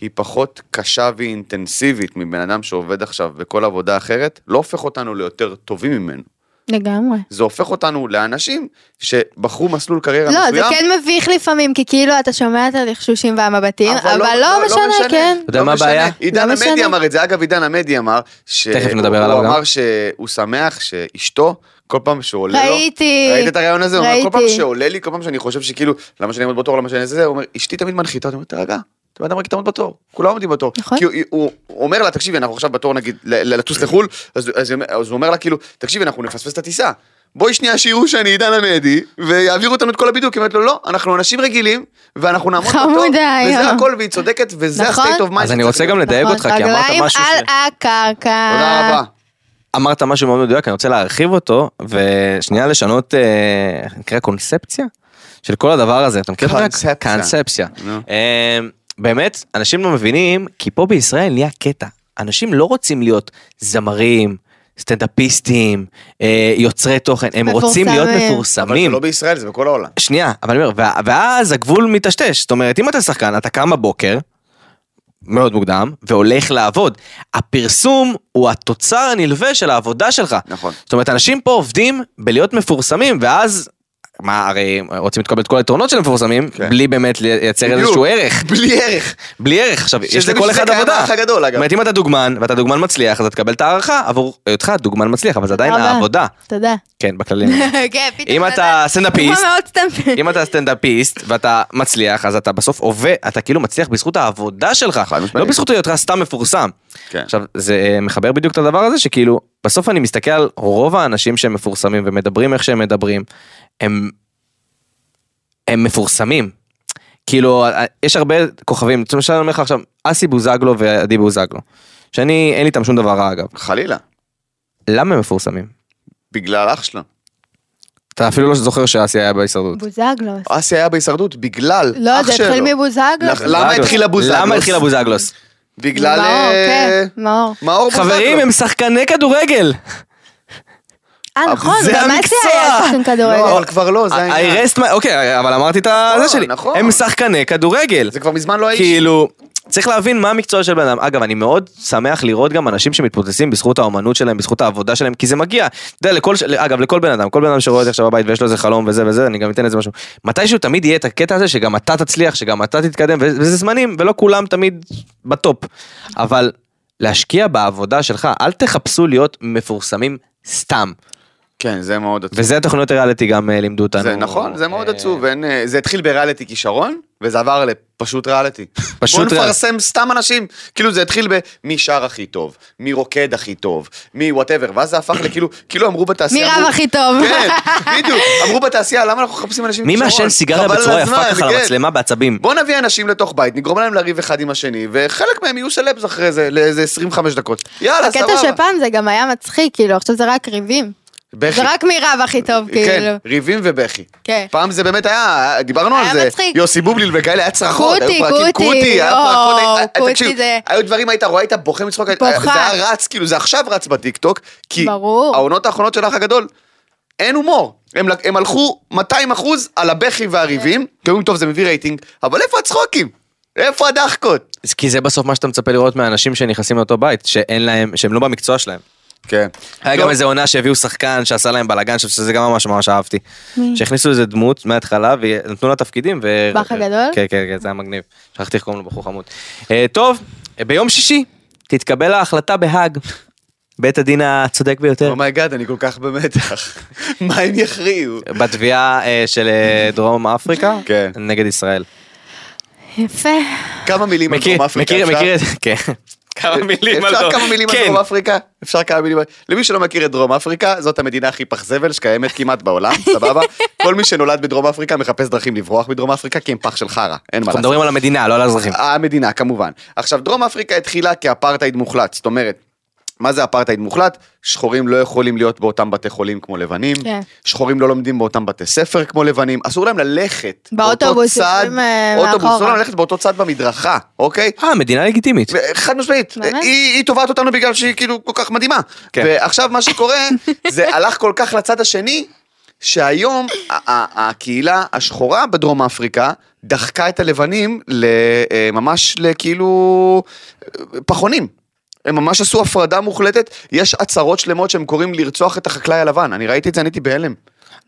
Speaker 3: היא פחות קשה ואינטנסיבית מבן אדם שעובד עכשיו בכל עבודה אחרת, לא הופך אותנו ליותר טובים ממנו.
Speaker 2: לא.
Speaker 4: לגמרי.
Speaker 3: זה הופך אותנו לאנשים שבחרו מסלול קריירה
Speaker 4: לא, זה
Speaker 3: מסוים.
Speaker 4: כן מביך לפעמים, כי כאילו אתה שומע את הלחשושים והמבטים, אבל לא משנה, כן.
Speaker 2: אתה יודע
Speaker 3: לא
Speaker 2: מה
Speaker 3: משנה.
Speaker 2: הבעיה?
Speaker 3: עידן
Speaker 4: לא
Speaker 3: המדי
Speaker 4: משנה.
Speaker 3: אמר את זה, אגב עידן המדי אמר, ש-
Speaker 2: תכף נדבר
Speaker 3: הוא-
Speaker 2: עליו גם.
Speaker 3: הוא אמר שהוא שמח שאשתו, כל פעם שעולה לו,
Speaker 4: ראיתי.
Speaker 3: ראית את הרעיון הזה? הוא אומר, כל
Speaker 4: ראיתי.
Speaker 3: פעם שעולה לי, כל פעם שאני חושב שכאילו, למה שאני עומד בתור, למה שאני זה, הוא אומר, אשתי תמיד מנחיתה, אותי, הוא אומר, תרגע. אתה בן אדם רק תעמוד בתור, כולם עומדים בתור.
Speaker 4: נכון.
Speaker 3: כי הוא- הוא הוא אומר לה, תקשיבי, אנחנו עכשיו בתור נגיד ל- ל- לטוס לחו"ל, אז אז הוא אומר- אז הוא אומר לה כאילו, תקשיבי, אנחנו נפספס את הטיסה. בואי שנייה שיראו שאני עידן עמדי, ויעבירו אותנו את כל הבידוק. היא אומרת לו, לא, אנחנו אנשים רגילים, ואנחנו נעמוד בתור.
Speaker 4: חמודה,
Speaker 3: וזה
Speaker 4: יואו.
Speaker 3: הכל, והיא צודקת, וזה
Speaker 4: נכון.
Speaker 3: ה-state of mind.
Speaker 2: אז אני
Speaker 3: שצריך
Speaker 2: רוצה
Speaker 3: להיות.
Speaker 2: גם לדייק
Speaker 4: נכון,
Speaker 2: אותך, כי אמרת
Speaker 4: רגליים
Speaker 2: משהו ש-
Speaker 4: על הקרקע.
Speaker 3: תודה רבה.
Speaker 2: אמרת משהו מאוד מדויק, אני רוצה להרחיב אותו, ושנייה לשנות, אה, נקרא קונספציה? של כל הדבר הזה, אתה מכיר את
Speaker 3: קונספציה.
Speaker 2: קונספציה.
Speaker 3: נו.
Speaker 2: אה, באמת, אנשים לא מבינים, כי פה בישראל נהיה קטע. אנשים לא רוצים להיות זמרים, סטנדאפיסטים, אה, יוצרי תוכן, הם רוצים להיות
Speaker 4: מפורסמים.
Speaker 3: אבל זה
Speaker 2: מפורסמים.
Speaker 3: לא בישראל, זה בכל העולם.
Speaker 2: שנייה, אבל אני אומר, וה- ואז הגבול מיטשטש, זאת אומרת, אם אתה שחקן, אתה קם בבוקר, מאוד מוקדם, והולך לעבוד. הפרסום הוא התוצר הנלווה של העבודה שלך.
Speaker 3: נכון.
Speaker 2: זאת אומרת, אנשים פה עובדים בלהיות מפורסמים, ואז, מה, הרי רוצים לקבל את כל היתרונות של המפורסמים,
Speaker 3: כן.
Speaker 2: בלי באמת לייצר
Speaker 3: בדיוק.
Speaker 2: איזשהו
Speaker 3: (laughs)
Speaker 2: ערך.
Speaker 3: בלי ערך.
Speaker 2: בלי ערך. עכשיו, יש
Speaker 3: שזה
Speaker 2: לכל
Speaker 3: בשביל זה
Speaker 2: אחד
Speaker 3: קיים
Speaker 2: עבודה.
Speaker 3: האח הגדול, אגב.
Speaker 2: זאת אומרת, אם אתה דוגמן, ואתה דוגמן מצליח, אז אתה תקבל את ההערכה עבור היותך דוגמן מצליח, אבל זה עדיין
Speaker 4: תודה.
Speaker 2: העבודה.
Speaker 4: תודה.
Speaker 2: כן, בכללים.
Speaker 4: (laughs)
Speaker 3: (laughs)
Speaker 4: כן, פתאום.
Speaker 2: אם אתה סטנדאפיסט,
Speaker 4: דוגמה מאוד סתם.
Speaker 2: אם אתה סטנדאפיסט ואתה מצליח, אז אתה בסוף עובד, אתה כאילו מצליח בזכות העבודה שלך,
Speaker 3: חד משמעית.
Speaker 2: לא בזכות היותך סתם מפורסם.
Speaker 3: כן.
Speaker 2: עכשיו, זה אה, מחבר בדיוק את הדבר הזה, שכאילו, בסוף אני מסתכל על רוב האנשים שהם מפורסמים ומדברים איך שהם מדברים, הם, הם מפורסמים. כאילו, אה, יש הרבה כוכבים, למשל אני אומר לך עכשיו, אסי בוזגלו ועדי בוזגלו, שאני, אין לי איתם שום דבר רע אגב,
Speaker 3: חלילה.
Speaker 2: למה הם מפורסמים?
Speaker 3: בגלל אח שלו.
Speaker 2: אתה אפילו לא זוכר שאסי היה בהישרדות.
Speaker 4: בוזגלו.
Speaker 3: אסי היה בהישרדות בגלל
Speaker 4: לא,
Speaker 3: אח
Speaker 4: זה
Speaker 3: שלו.
Speaker 4: התחיל מבוזגלו.
Speaker 3: לך- למה התחילה בוזגלוס?
Speaker 2: למה התחילה בוזגלוס?
Speaker 3: בגלל...
Speaker 4: מאור,
Speaker 3: אה,
Speaker 4: כן, מאור.
Speaker 3: מאור בוזגלו.
Speaker 2: חברים, הם שחקני כדורגל.
Speaker 4: אה,
Speaker 3: אבל
Speaker 4: נכון,
Speaker 3: זה
Speaker 4: גם אסי היה
Speaker 2: המקצוע.
Speaker 4: שחקן
Speaker 3: לא,
Speaker 4: כדורגל.
Speaker 3: אבל כבר לא, זה
Speaker 2: I
Speaker 3: העניין.
Speaker 2: rest my... אוקיי, אבל אמרתי את הזה שלי.
Speaker 3: נכון.
Speaker 2: הם שחקני כדורגל.
Speaker 3: זה כבר מזמן לא האיש.
Speaker 2: כאילו, צריך להבין מה המקצוע של בן אדם. אגב, אני מאוד שמח לראות גם אנשים שמתפוצצים בזכות האומנות שלהם, בזכות העבודה שלהם, כי זה מגיע. אתה יודע, לכל... ש- אגב, לכל בן אדם, כל בן אדם שרואה אותי עכשיו בבית ויש לו איזה חלום וזה וזה, אני גם אתן לזה משהו. מתישהו תמיד יהיה את הקטע הזה שגם אתה תצליח, שגם אתה תתקדם, ו- וזה זמנים, ולא כולם תמיד בטופ. אבל להשקיע בעבודה שלך, אל תחפשו להיות מפורסמים סתם.
Speaker 3: כן, זה מאוד עצוב.
Speaker 2: וזה התוכניות הריאליטי גם אה, לימדו אותנו.
Speaker 3: זה נכון, זה מאוד
Speaker 2: אה,
Speaker 3: עצוב, אין, אה, זה התחיל בריאליטי כישרון, וזה עבר לפשוט ריאליטי.
Speaker 2: (laughs) פשוט
Speaker 3: בוא
Speaker 2: ריאליטי.
Speaker 3: נפרסם סתם אנשים, כאילו זה התחיל ב- מי שר הכי טוב, מי רוקד הכי טוב, מי וואטאבר, ואז זה הפך לכאילו, כאילו אמרו בתעשייה...
Speaker 4: מי
Speaker 3: אמרו-
Speaker 4: רב הכי טוב.
Speaker 3: (laughs) כן, בדיוק, אמרו בתעשייה, למה אנחנו מחפשים אנשים עם
Speaker 2: מי
Speaker 3: כישרון?
Speaker 2: מעשן סיגריה
Speaker 3: חבל על
Speaker 2: בצורה
Speaker 3: הזמן,
Speaker 2: יפה ככה
Speaker 3: כן.
Speaker 2: למצלמה בעצבים?
Speaker 3: בוא נביא אנשים לתוך בית, נגרום להם לריב אחד עם השני, וחלק מהם יהיו סלבס אחרי זה, לאיזה 25 דקות.
Speaker 2: לא,
Speaker 3: יאללה, סבבה.
Speaker 4: הקטע שפעם זה גם היה מצחיק, כאילו, עכשיו זה רק ריבים.
Speaker 3: בכי.
Speaker 4: זה רק מי רב הכי טוב, כאילו.
Speaker 3: כן, ריבים ובכי.
Speaker 4: כן.
Speaker 3: פעם זה באמת היה, דיברנו
Speaker 4: היה
Speaker 3: על זה.
Speaker 4: מצחיק.
Speaker 3: יוסי בובליל וכאלה, היה צרחות.
Speaker 4: קוטי,
Speaker 3: היו פרקים,
Speaker 4: קוטי,
Speaker 3: היה
Speaker 4: או,
Speaker 3: פרקון, היה-
Speaker 4: קוטי
Speaker 3: אה, תקשיב,
Speaker 4: זה-
Speaker 3: היו דברים, היית רואה, היית בוכה מצחוק, אה,
Speaker 4: בוכה.
Speaker 3: זה היה רץ, כאילו זה עכשיו רץ בטיקטוק, כי
Speaker 4: ברור.
Speaker 3: העונות האחרונות של האח הגדול, אין הומור. הם, לק- הם הלכו 200 אחוז על הבכי והריבים, כי אומרים, טוב, זה מביא רייטינג, אבל איפה הצחוקים? איפה הדחקות?
Speaker 2: זה- כי זה בסוף מה שאתה מצפה לראות מהאנשים שנכנסים לאותו בית, שאין להם, שהם לא במקצוע שלהם.
Speaker 3: כן.
Speaker 2: היה גם איזה עונה שהביאו שחקן שעשה להם בלאגן, שזה גם ממש ממש אהבתי. שהכניסו איזה דמות מההתחלה ונתנו לה תפקידים. ו-
Speaker 4: באח הגדול?
Speaker 2: כן, כן, כן, זה היה מגניב. שכחתי איך קוראים לו בחור חמוד. אה, טוב, ביום שישי תתקבל ההחלטה בהאג. בית הדין הצודק
Speaker 3: (laughs)
Speaker 2: ביותר.
Speaker 3: אומייגאד, אני כל כך במתח. (laughs) מה הם יכריעו?
Speaker 2: בתביעה אה, של אה, דרום אפריקה
Speaker 3: כן.
Speaker 2: נגד ישראל.
Speaker 4: יפה.
Speaker 3: כמה מילים על
Speaker 2: מכיר,
Speaker 3: דרום אפריקה
Speaker 2: מכיר,
Speaker 3: אפשר?
Speaker 2: מכיר, את- כן. כמה מילים על
Speaker 3: אפשר
Speaker 2: דרום.
Speaker 3: כמה מילים על
Speaker 2: כן.
Speaker 3: דרום אפריקה? אפשר כמה מילים על... למי שלא מכיר את דרום אפריקה, זאת המדינה הכי פח זבל שקיימת כמעט בעולם, סבבה? כל מי שנולד בדרום אפריקה מחפש דרכים לברוח מדרום אפריקה כי הם פח של חרא, אין מה
Speaker 2: אנחנו
Speaker 3: לעשות.
Speaker 2: מדברים על המדינה, לא על האזרחים.
Speaker 3: המדינה, כמובן. עכשיו, דרום אפריקה התחילה כאפרטהייד מוחלט, זאת אומרת... מה זה אפרטהייד מוחלט? שחורים לא יכולים להיות באותם בתי חולים כמו לבנים,
Speaker 4: כן.
Speaker 3: שחורים לא לומדים באותם בתי ספר כמו לבנים, אסור להם ללכת
Speaker 4: באוטובוס,
Speaker 3: באותו צד,
Speaker 4: יושבים, אה,
Speaker 3: אוטובוס, אסור
Speaker 4: מאחורה.
Speaker 3: להם ללכת באותו צד במדרכה, אוקיי?
Speaker 2: אה, מדינה לגיטימית.
Speaker 3: חד משמעית,
Speaker 4: באמת?
Speaker 3: היא, היא תובעת אותנו בגלל שהיא כאילו כל כך מדהימה.
Speaker 2: כן.
Speaker 3: ועכשיו מה שקורה, זה הלך כל כך לצד השני, שהיום ה- ה- הקהילה השחורה בדרום אפריקה דחקה את הלבנים ל- אה, ממש לכאילו אה, פחונים. הם ממש עשו הפרדה מוחלטת, יש עצרות שלמות שהם קוראים לרצוח את החקלאי הלבן, אני ראיתי את זה, אני הייתי בהלם.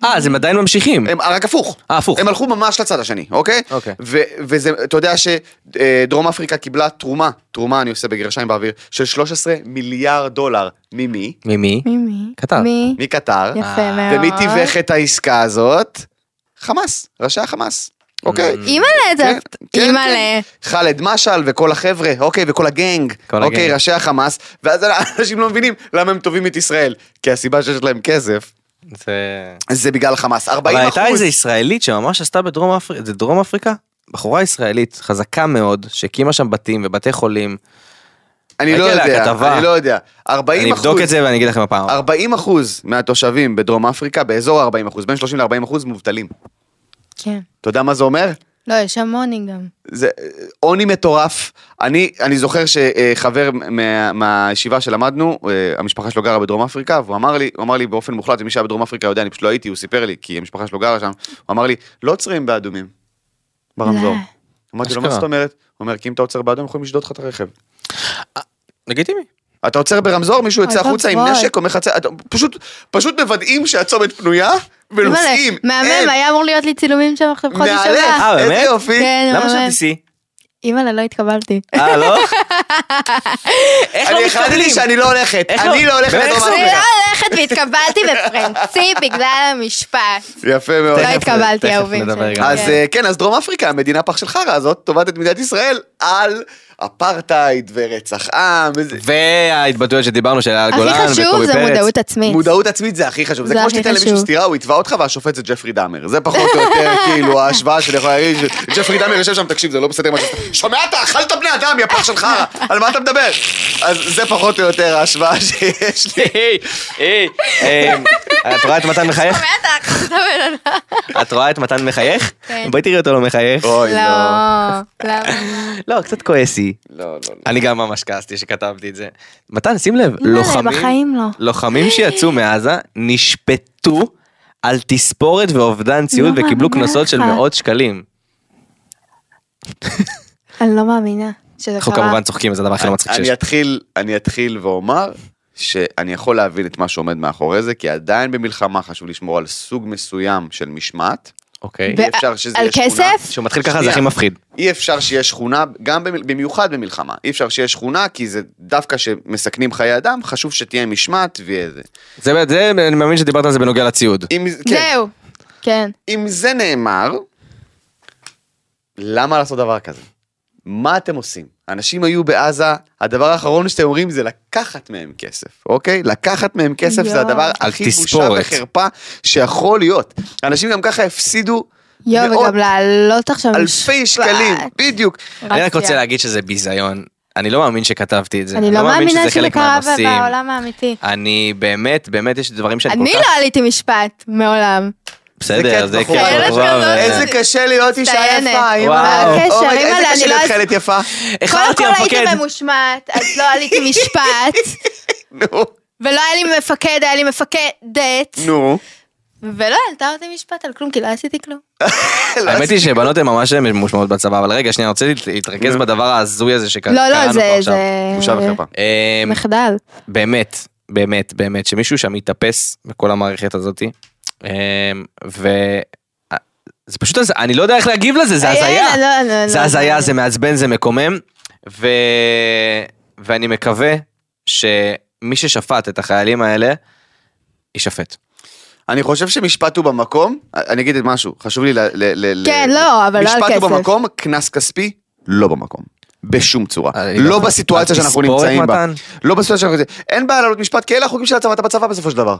Speaker 2: אה, אז הם עדיין ממשיכים.
Speaker 3: הם רק הפוך.
Speaker 2: אה, הפוך.
Speaker 3: הם הלכו ממש לצד השני, אוקיי?
Speaker 2: אוקיי.
Speaker 3: ו- וזה, אתה יודע שדרום אפריקה קיבלה תרומה, תרומה אני עושה בגרשיים באוויר, של 13 מיליארד דולר. ממי?
Speaker 2: ממי?
Speaker 4: ממי?
Speaker 2: קטר.
Speaker 4: מי?
Speaker 3: מקטר.
Speaker 2: אה.
Speaker 4: יפה מאוד.
Speaker 3: ומי תיווך את העסקה הזאת? חמאס, ראשי החמאס, אוקיי?
Speaker 2: Mm.
Speaker 4: אימא'לה, זה...
Speaker 3: כן, כן,
Speaker 4: אימא'לה.
Speaker 3: כן. ח'אלד משעל וכל החבר'ה, אוקיי, וכל הגנג,
Speaker 2: כל
Speaker 3: אוקיי,
Speaker 2: הגנג.
Speaker 3: ראשי החמאס, ואז (laughs) אנשים לא מבינים למה הם תובעים את ישראל, כי הסיבה שיש להם כסף,
Speaker 2: זה...
Speaker 3: זה בגלל חמאס, 40
Speaker 2: אבל
Speaker 3: אחוז.
Speaker 2: הייתה איזו ישראלית שממש עשתה בדרום אפריקה, זה דרום אפריקה? בחורה ישראלית חזקה מאוד, שהקימה שם בתים ובתי חולים.
Speaker 3: אני לא
Speaker 2: ראיתי עליה
Speaker 3: יודע,
Speaker 2: כתבה.
Speaker 3: אני לא יודע. 40
Speaker 2: אני
Speaker 3: אחוז,
Speaker 2: אבדוק את זה ואני אגיד לכם הפעם.
Speaker 3: 40 אחוז מהתושבים בדרום אפריקה, באזור 40 אחוז, בין 30 ל-40 אחוז מובטלים.
Speaker 4: כן.
Speaker 3: אתה יודע מה זה אומר?
Speaker 4: לא, יש שם מוני גם.
Speaker 3: זה אה, עוני מטורף. אני, אני זוכר שחבר מה, מהישיבה שלמדנו, אה, המשפחה שלו גרה בדרום אפריקה, והוא אמר לי, הוא אמר לי באופן מוחלט, ומי שהיה בדרום אפריקה יודע, אני פשוט לא הייתי, הוא סיפר לי, כי המשפחה שלו גרה שם, הוא אמר לי, לא עוצרים באדומים, ברמזור.
Speaker 4: לא.
Speaker 3: אמרתי לו, מה
Speaker 2: אשכרה.
Speaker 3: זאת אומרת? אומר, כי אם אתה עוצר באדום, יכולים לשדוד לך את הרכב.
Speaker 2: לגיטימי.
Speaker 3: אתה עוצר ברמזור, מישהו יוצא
Speaker 4: אוי
Speaker 3: החוצה עם
Speaker 4: ואבוי.
Speaker 3: נשק, אומר לך, "צא", אתה- פשוט, פשוט מוודאים שהצומת פנויה, ונוסעים.
Speaker 4: אימא'לה, מהמם,
Speaker 3: אין.
Speaker 4: היה אמור להיות לי צילומים שם עכשיו חודש
Speaker 3: מאלף,
Speaker 4: הבא.
Speaker 2: אה,
Speaker 3: איזה
Speaker 2: באמת?
Speaker 3: יופי.
Speaker 4: כן,
Speaker 2: למה
Speaker 4: ממש.
Speaker 2: שאת תיסעי?
Speaker 4: אימא'לה, לא התקבלתי.
Speaker 2: אה,
Speaker 4: (laughs)
Speaker 2: לא? איך לא
Speaker 3: אני החלטתי
Speaker 2: מסתכלים?
Speaker 3: שאני לא הולכת,
Speaker 2: איך
Speaker 3: אני
Speaker 2: לא-
Speaker 3: לא הולכת
Speaker 2: באמת,
Speaker 3: לדרום
Speaker 2: איך זה
Speaker 4: אני
Speaker 3: אפריקה.
Speaker 4: לא הולכת והתקבלתי
Speaker 3: (laughs)
Speaker 4: בפרנסי בגלל המשפט.
Speaker 3: יפה מאוד.
Speaker 4: לא
Speaker 2: תכף-
Speaker 4: התקבלתי,
Speaker 2: תכף
Speaker 4: אהובים
Speaker 2: נדבר
Speaker 4: שלי.
Speaker 2: גם על
Speaker 3: אז
Speaker 2: זה.
Speaker 4: כן.
Speaker 3: אה, כן, אז דרום אפריקה, המדינה פח של חרא הזאת, תובעת את מדינת ישראל על אפרטהייד ורצח עם. וזה-
Speaker 2: וההתבטאויות שדיברנו של אייל גולן
Speaker 4: הכי חשוב
Speaker 2: וקובי
Speaker 4: זה
Speaker 2: פרץ.
Speaker 4: מודעות עצמית.
Speaker 3: מודעות עצמית זה הכי חשוב, זה
Speaker 4: זה
Speaker 3: כמו
Speaker 4: הכי
Speaker 3: שתיתן למישהו
Speaker 4: חשוב.
Speaker 3: סטירה, הוא יתבע אותך והשופט זה ג'פרי דאמר, זה פחות או
Speaker 4: (laughs)
Speaker 3: יותר כאילו ההשוואה שאני יכול להגיד, ש- ג'פרי דאמר יושב שם, תקשיב זה לא בסדר מה שאתה, שומע אתה אכלת בני אדם יא פח של חרא, על מה אתה מדבר? אז זה פחות או יותר ההשוואה שיש לי.
Speaker 2: היי, היי, היי, אה, את רואה את מתן
Speaker 4: (laughs)
Speaker 2: מחייך?
Speaker 4: באמת, אחת הבן אדם.
Speaker 2: את רואה את מתן מחייך?
Speaker 4: כן.
Speaker 2: בואי תראי אותו לא מחייך.
Speaker 3: אוי
Speaker 4: לא,
Speaker 3: לא.
Speaker 4: למה?
Speaker 2: לא, קצת כועסי.
Speaker 3: לא, לא,
Speaker 2: אני גם ממש כעסתי שכתבתי את זה. מתן, שים לב,
Speaker 4: לא,
Speaker 2: לוחמים,
Speaker 4: בחיים לא.
Speaker 2: לוחמים שיצאו מעזה נשפטו על תספורת ואובדן ציוד
Speaker 4: לא
Speaker 2: וקיבלו
Speaker 4: מאמינה
Speaker 2: קנסות של
Speaker 4: לך.
Speaker 2: מאות שקלים.
Speaker 4: אני לא מאמינה שזה
Speaker 2: אנחנו
Speaker 4: קרה.
Speaker 2: כמובן צוחקים, זה הדבר הכי לא מצחיק שיש.
Speaker 3: אני אתחיל, אני אתחיל ואומר שאני יכול להבין את מה שעומד מאחורי זה, כי עדיין במלחמה חשוב לשמור על סוג מסוים של משמעת.
Speaker 2: אוקיי.
Speaker 4: ב-
Speaker 3: אי אפשר שזה
Speaker 4: על
Speaker 3: יהיה שכונה.
Speaker 4: כסף?
Speaker 2: כשהוא מתחיל ככה זה
Speaker 3: שנייה.
Speaker 2: הכי מפחיד.
Speaker 3: אי אפשר שיהיה שכונה, גם במ- במיוחד במלחמה, אי אפשר שיהיה שכונה, כי זה דווקא שמסכנים חיי אדם, חשוב שתהיה משמעת ויהיה זה.
Speaker 2: זה, זה, אני מאמין שדיברת על זה בנוגע לציוד.
Speaker 3: אם, כן,
Speaker 4: זהו. כן.
Speaker 3: אם זה נאמר, למה לעשות דבר כזה? מה אתם עושים? אנשים היו בעזה, הדבר האחרון שאתם אומרים זה לקחת מהם כסף, אוקיי? לקחת מהם כסף זה
Speaker 4: יואו.
Speaker 3: הדבר
Speaker 2: על
Speaker 3: הכי בושה
Speaker 2: תספורת.
Speaker 3: וחרפה שיכול להיות. אנשים גם ככה הפסידו
Speaker 4: יואו,
Speaker 3: מאות,
Speaker 4: וגם לעלות עכשיו...
Speaker 3: אלפי
Speaker 4: משפט.
Speaker 3: שקלים, בדיוק.
Speaker 2: אני רק רוצה
Speaker 4: רציה.
Speaker 2: להגיד שזה ביזיון. אני לא מאמין שכתבתי את זה.
Speaker 4: אני לא מאמינה
Speaker 2: שזה
Speaker 4: שזה
Speaker 2: חלק
Speaker 4: קרה
Speaker 2: מהנושאים.
Speaker 4: בעולם האמיתי.
Speaker 2: אני באמת, באמת יש דברים שאני כל
Speaker 4: אני
Speaker 2: כך...
Speaker 4: לא עליתי משפט, מעולם.
Speaker 2: בסדר,
Speaker 3: זה
Speaker 2: זה
Speaker 3: בחורה.
Speaker 2: קטע
Speaker 4: ילד
Speaker 2: בחורה,
Speaker 4: כזאת.
Speaker 2: אבל-
Speaker 3: איזה קשה להיות אישה
Speaker 4: אה, מצטיינת.
Speaker 3: יפה,
Speaker 2: וואו.
Speaker 3: אימא.
Speaker 4: הקשר,
Speaker 3: אוי,
Speaker 4: אימא,
Speaker 3: איזה
Speaker 4: אני
Speaker 3: קשה
Speaker 4: לא
Speaker 3: להיות
Speaker 4: הייתי-
Speaker 3: חיילת יפה.
Speaker 4: קודם
Speaker 2: איחרתי
Speaker 4: כל הייתי
Speaker 2: המפקד.
Speaker 4: ממושמעת, אז לא
Speaker 2: (laughs)
Speaker 4: עליתי משפט,
Speaker 3: נו,
Speaker 4: ולא היה לי מפקד, היה לי מפקדת,
Speaker 3: נו.
Speaker 4: ולא העלתה אותי משפט על כלום, כי לא עשיתי כלום.
Speaker 3: (laughs)
Speaker 2: האמת היא שבנות הן ממש ממושמעות בצבא, אבל רגע, שנייה, אני רוצה להת- להתרכז בדבר ההזוי הזה שקראנו כן,
Speaker 4: לא,
Speaker 2: פה
Speaker 4: לא,
Speaker 2: עכשיו.
Speaker 4: זה... זה...
Speaker 3: בושה
Speaker 4: אה,
Speaker 3: וחרפה.
Speaker 2: אמ,
Speaker 4: מחדל.
Speaker 2: באמת, באמת, באמת, שמישהו שם יתאפס בכל המערכת הזאתי. אמ, ו... אה, זה פשוט, הז- אני לא יודע איך להגיב לזה, זה
Speaker 4: אין,
Speaker 2: הזיה.
Speaker 4: לא, לא, לא,
Speaker 2: זה
Speaker 4: לא,
Speaker 2: הזיה,
Speaker 4: לא.
Speaker 2: זה מעצבן, זה מקומם. ו... ואני מקווה שמי ששפט את החיילים האלה, יישפט.
Speaker 3: אני חושב שמשפט הוא במקום, אני אגיד את משהו, חשוב לי ל... ל- ל-
Speaker 4: כן,
Speaker 3: ל-
Speaker 4: לא, אבל לא על
Speaker 3: משפט הוא
Speaker 4: כסף.
Speaker 3: במקום, קנס כספי, לא במקום. בשום צורה.
Speaker 2: אני
Speaker 3: לא
Speaker 2: גם-
Speaker 3: בסיטואציה
Speaker 2: אה, אז
Speaker 3: שאנחנו
Speaker 2: תספורת,
Speaker 3: נמצאים בה.
Speaker 2: מתן?
Speaker 3: לא בסיטואציה שאנחנו נמצאים אין בעיה לעלות משפט, כי אלה החוקים של הצבא, אתה בצבא בסופו של דבר.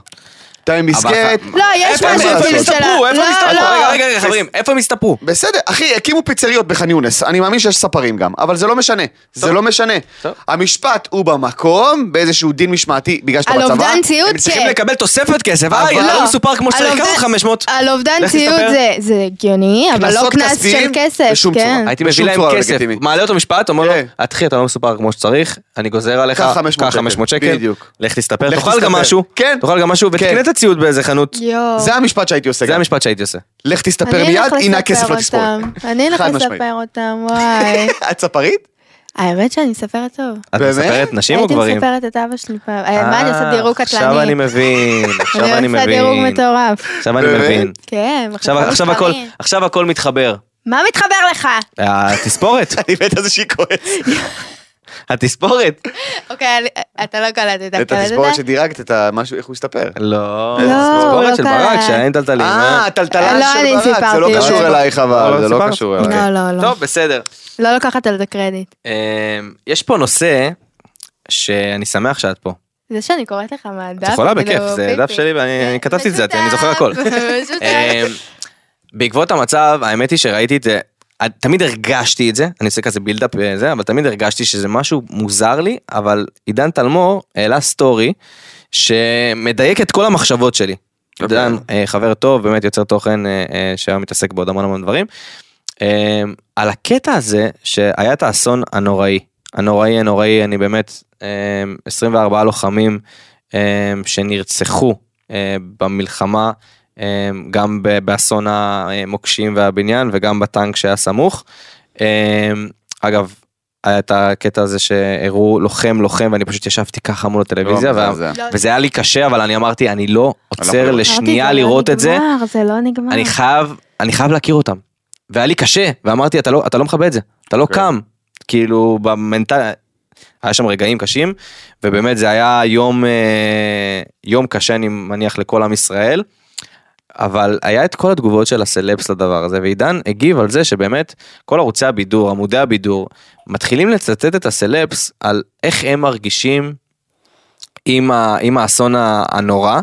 Speaker 3: אתה עם מסגרת.
Speaker 2: אבל-
Speaker 4: לא, יש
Speaker 2: איפה
Speaker 3: מה
Speaker 2: הם
Speaker 4: משהו
Speaker 2: איפה הם
Speaker 3: לעשות.
Speaker 4: בממשלה.
Speaker 2: הסתפרו? איפה הם
Speaker 4: לא,
Speaker 2: הסתפרו? רגע,
Speaker 4: לא.
Speaker 2: רגע, רגע, חברים, איפה הם הסתפרו?
Speaker 3: בסדר, אחי, הקימו פיצריות בח'אן יונס, אני מאמין שיש ספרים גם, אבל זה לא משנה, זה לא משנה.
Speaker 2: טוב.
Speaker 3: המשפט הוא במקום, באיזשהו דין משמעתי, בגלל שאתה
Speaker 4: על
Speaker 3: בצבא.
Speaker 4: אובדן ציוד,
Speaker 2: הם צריכים
Speaker 4: כן.
Speaker 2: לקבל תוספת כסף, אה,
Speaker 3: אבל-
Speaker 2: יא, לא
Speaker 4: לא.
Speaker 2: מסופר כמו
Speaker 4: על
Speaker 2: שצריך, כמה
Speaker 4: אובדן-
Speaker 2: 500?
Speaker 4: על אובדן
Speaker 2: לך
Speaker 4: ציוד
Speaker 2: תספר.
Speaker 4: זה- זה הגיוני, אבל לא
Speaker 3: קנסות
Speaker 4: קנס
Speaker 3: כספיים,
Speaker 4: של כסף,
Speaker 3: בשום צורה.
Speaker 4: כן.
Speaker 2: הייתי מביא
Speaker 3: בשום
Speaker 2: להם
Speaker 3: צורה לא
Speaker 2: כסף,
Speaker 3: לגיטימי.
Speaker 2: מעלה אותו משפט, אומר לו,
Speaker 3: כן.
Speaker 2: אחי אתה לא מסופר כמו שצריך, אני גוזר עליך,
Speaker 3: קח 500
Speaker 2: קח 500
Speaker 3: שקל.
Speaker 2: שקל,
Speaker 3: בדיוק.
Speaker 2: לך תסתפר,
Speaker 3: לך
Speaker 2: תאכל גם
Speaker 3: תסתפר.
Speaker 2: משהו,
Speaker 3: כן.
Speaker 2: תאכל גם משהו
Speaker 3: כן.
Speaker 2: ותקנה את הציוד באיזה חנות,
Speaker 4: יואו.
Speaker 3: זה המשפט שהייתי עושה
Speaker 2: זה
Speaker 3: גם.
Speaker 2: המשפט שהייתי עושה.
Speaker 3: לך תסתפר
Speaker 4: אני אלך
Speaker 3: מיד, הנה הכסף
Speaker 4: לספר
Speaker 3: לתספורת.
Speaker 4: אותם. אני אלך
Speaker 3: חד משמעית.
Speaker 4: לספר אותם,
Speaker 2: (laughs)
Speaker 4: וואי.
Speaker 3: את ספרית? (laughs)
Speaker 4: האמת שאני מספרת טוב.
Speaker 2: את
Speaker 3: באמת?
Speaker 2: מספרת נשים או
Speaker 4: הייתי
Speaker 2: גברים?
Speaker 4: מספרת את אבא שלי פעם. אה, מה אני עושה
Speaker 2: אה,
Speaker 4: דירוג קטלני?
Speaker 2: עכשיו אני
Speaker 4: (laughs)
Speaker 2: מבין, עכשיו אני
Speaker 4: עושה דירוג
Speaker 2: מבין,
Speaker 4: מטורף.
Speaker 2: עכשיו אני
Speaker 3: באמת?
Speaker 2: מבין,
Speaker 4: כן,
Speaker 2: עכשיו-
Speaker 4: מחלקה
Speaker 2: עכשיו הכל-
Speaker 4: מספרים.
Speaker 2: עכשיו הכל מתחבר,
Speaker 4: מה מתחבר לך?
Speaker 3: (laughs)
Speaker 2: התספורת,
Speaker 3: אני מת על זה שהיא כועסת.
Speaker 2: התספורת,
Speaker 4: אוקיי, אני- אתה לא קלטת, אתה
Speaker 3: את
Speaker 4: קלטת?
Speaker 3: התספורת שדירגת, את המשהו, איך הוא הסתפר.
Speaker 2: לא,
Speaker 4: לא,
Speaker 2: התספורת
Speaker 4: לא
Speaker 2: של
Speaker 4: קרה.
Speaker 2: ברק שהיה עם טלטלים,
Speaker 3: אה, הטלטלה
Speaker 4: לא, אני
Speaker 3: של ברק, זה לא
Speaker 4: סיפרתי.
Speaker 3: קשור
Speaker 4: לא,
Speaker 3: אלייך אבל,
Speaker 2: לא
Speaker 3: זה לא
Speaker 2: סיפרת?
Speaker 3: קשור
Speaker 2: אוקיי.
Speaker 3: אלייך.
Speaker 4: לא, לא, לא.
Speaker 2: טוב בסדר.
Speaker 4: לא לוקחת על זה קרדיט.
Speaker 2: אמ, יש פה נושא שאני שמח שאת פה.
Speaker 4: זה שאני קוראת לך מהדף,
Speaker 2: את יכולה
Speaker 4: כאילו,
Speaker 2: בכיף, זה
Speaker 4: פיפי.
Speaker 2: דף שלי ואני אני כתבתי את זה, אני זוכר
Speaker 4: (laughs)
Speaker 2: הכל.
Speaker 4: משותף.
Speaker 2: אמ, בעקבות המצב, האמת היא שראיתי את זה, תמיד הרגשתי את זה, אני עושה כזה בילדאפ וזה, אבל תמיד הרגשתי שזה משהו מוזר לי, אבל עידן תלמור העלה סטורי שמדייק את כל המחשבות שלי.
Speaker 3: אוקיי.
Speaker 2: עידן אה, חבר טוב, באמת יוצר תוכן אה, אה, שהיום מתעסק בעוד המון המון דברים. אה, על הקטע הזה שהיה את האסון הנוראי, הנוראי הנוראי, אני באמת, אה, 24 לוחמים אה, שנרצחו אה, במלחמה, אה, גם ב- באסון המוקשים והבניין וגם בטנק שהיה סמוך. אה, אגב, היה את הקטע הזה שהראו לוחם לוחם ואני פשוט ישבתי ככה מול הטלוויזיה, וה-
Speaker 3: מזעזע.
Speaker 4: לא,
Speaker 2: וזה היה לי קשה אבל אני אמרתי אני לא עוצר
Speaker 3: אמרתי,
Speaker 2: לשנייה לראות את זה,
Speaker 4: זה לא נגמר, זה לא נגמר.
Speaker 2: אני חייב, אני חייב להכיר אותם. והיה לי קשה, ואמרתי, אתה לא, אתה לא מכבה את זה, אתה לא
Speaker 3: אוקיי.
Speaker 2: קם. כאילו, במנטל... היה שם רגעים קשים, ובאמת זה היה יום, אה, יום קשה, אני מניח, לכל עם ישראל. אבל היה את כל התגובות של הסלבס לדבר הזה, ועידן הגיב על זה שבאמת כל ערוצי הבידור, עמודי הבידור, מתחילים לצטט את הסלבס על איך הם מרגישים עם, ה, עם האסון ה- הנורא,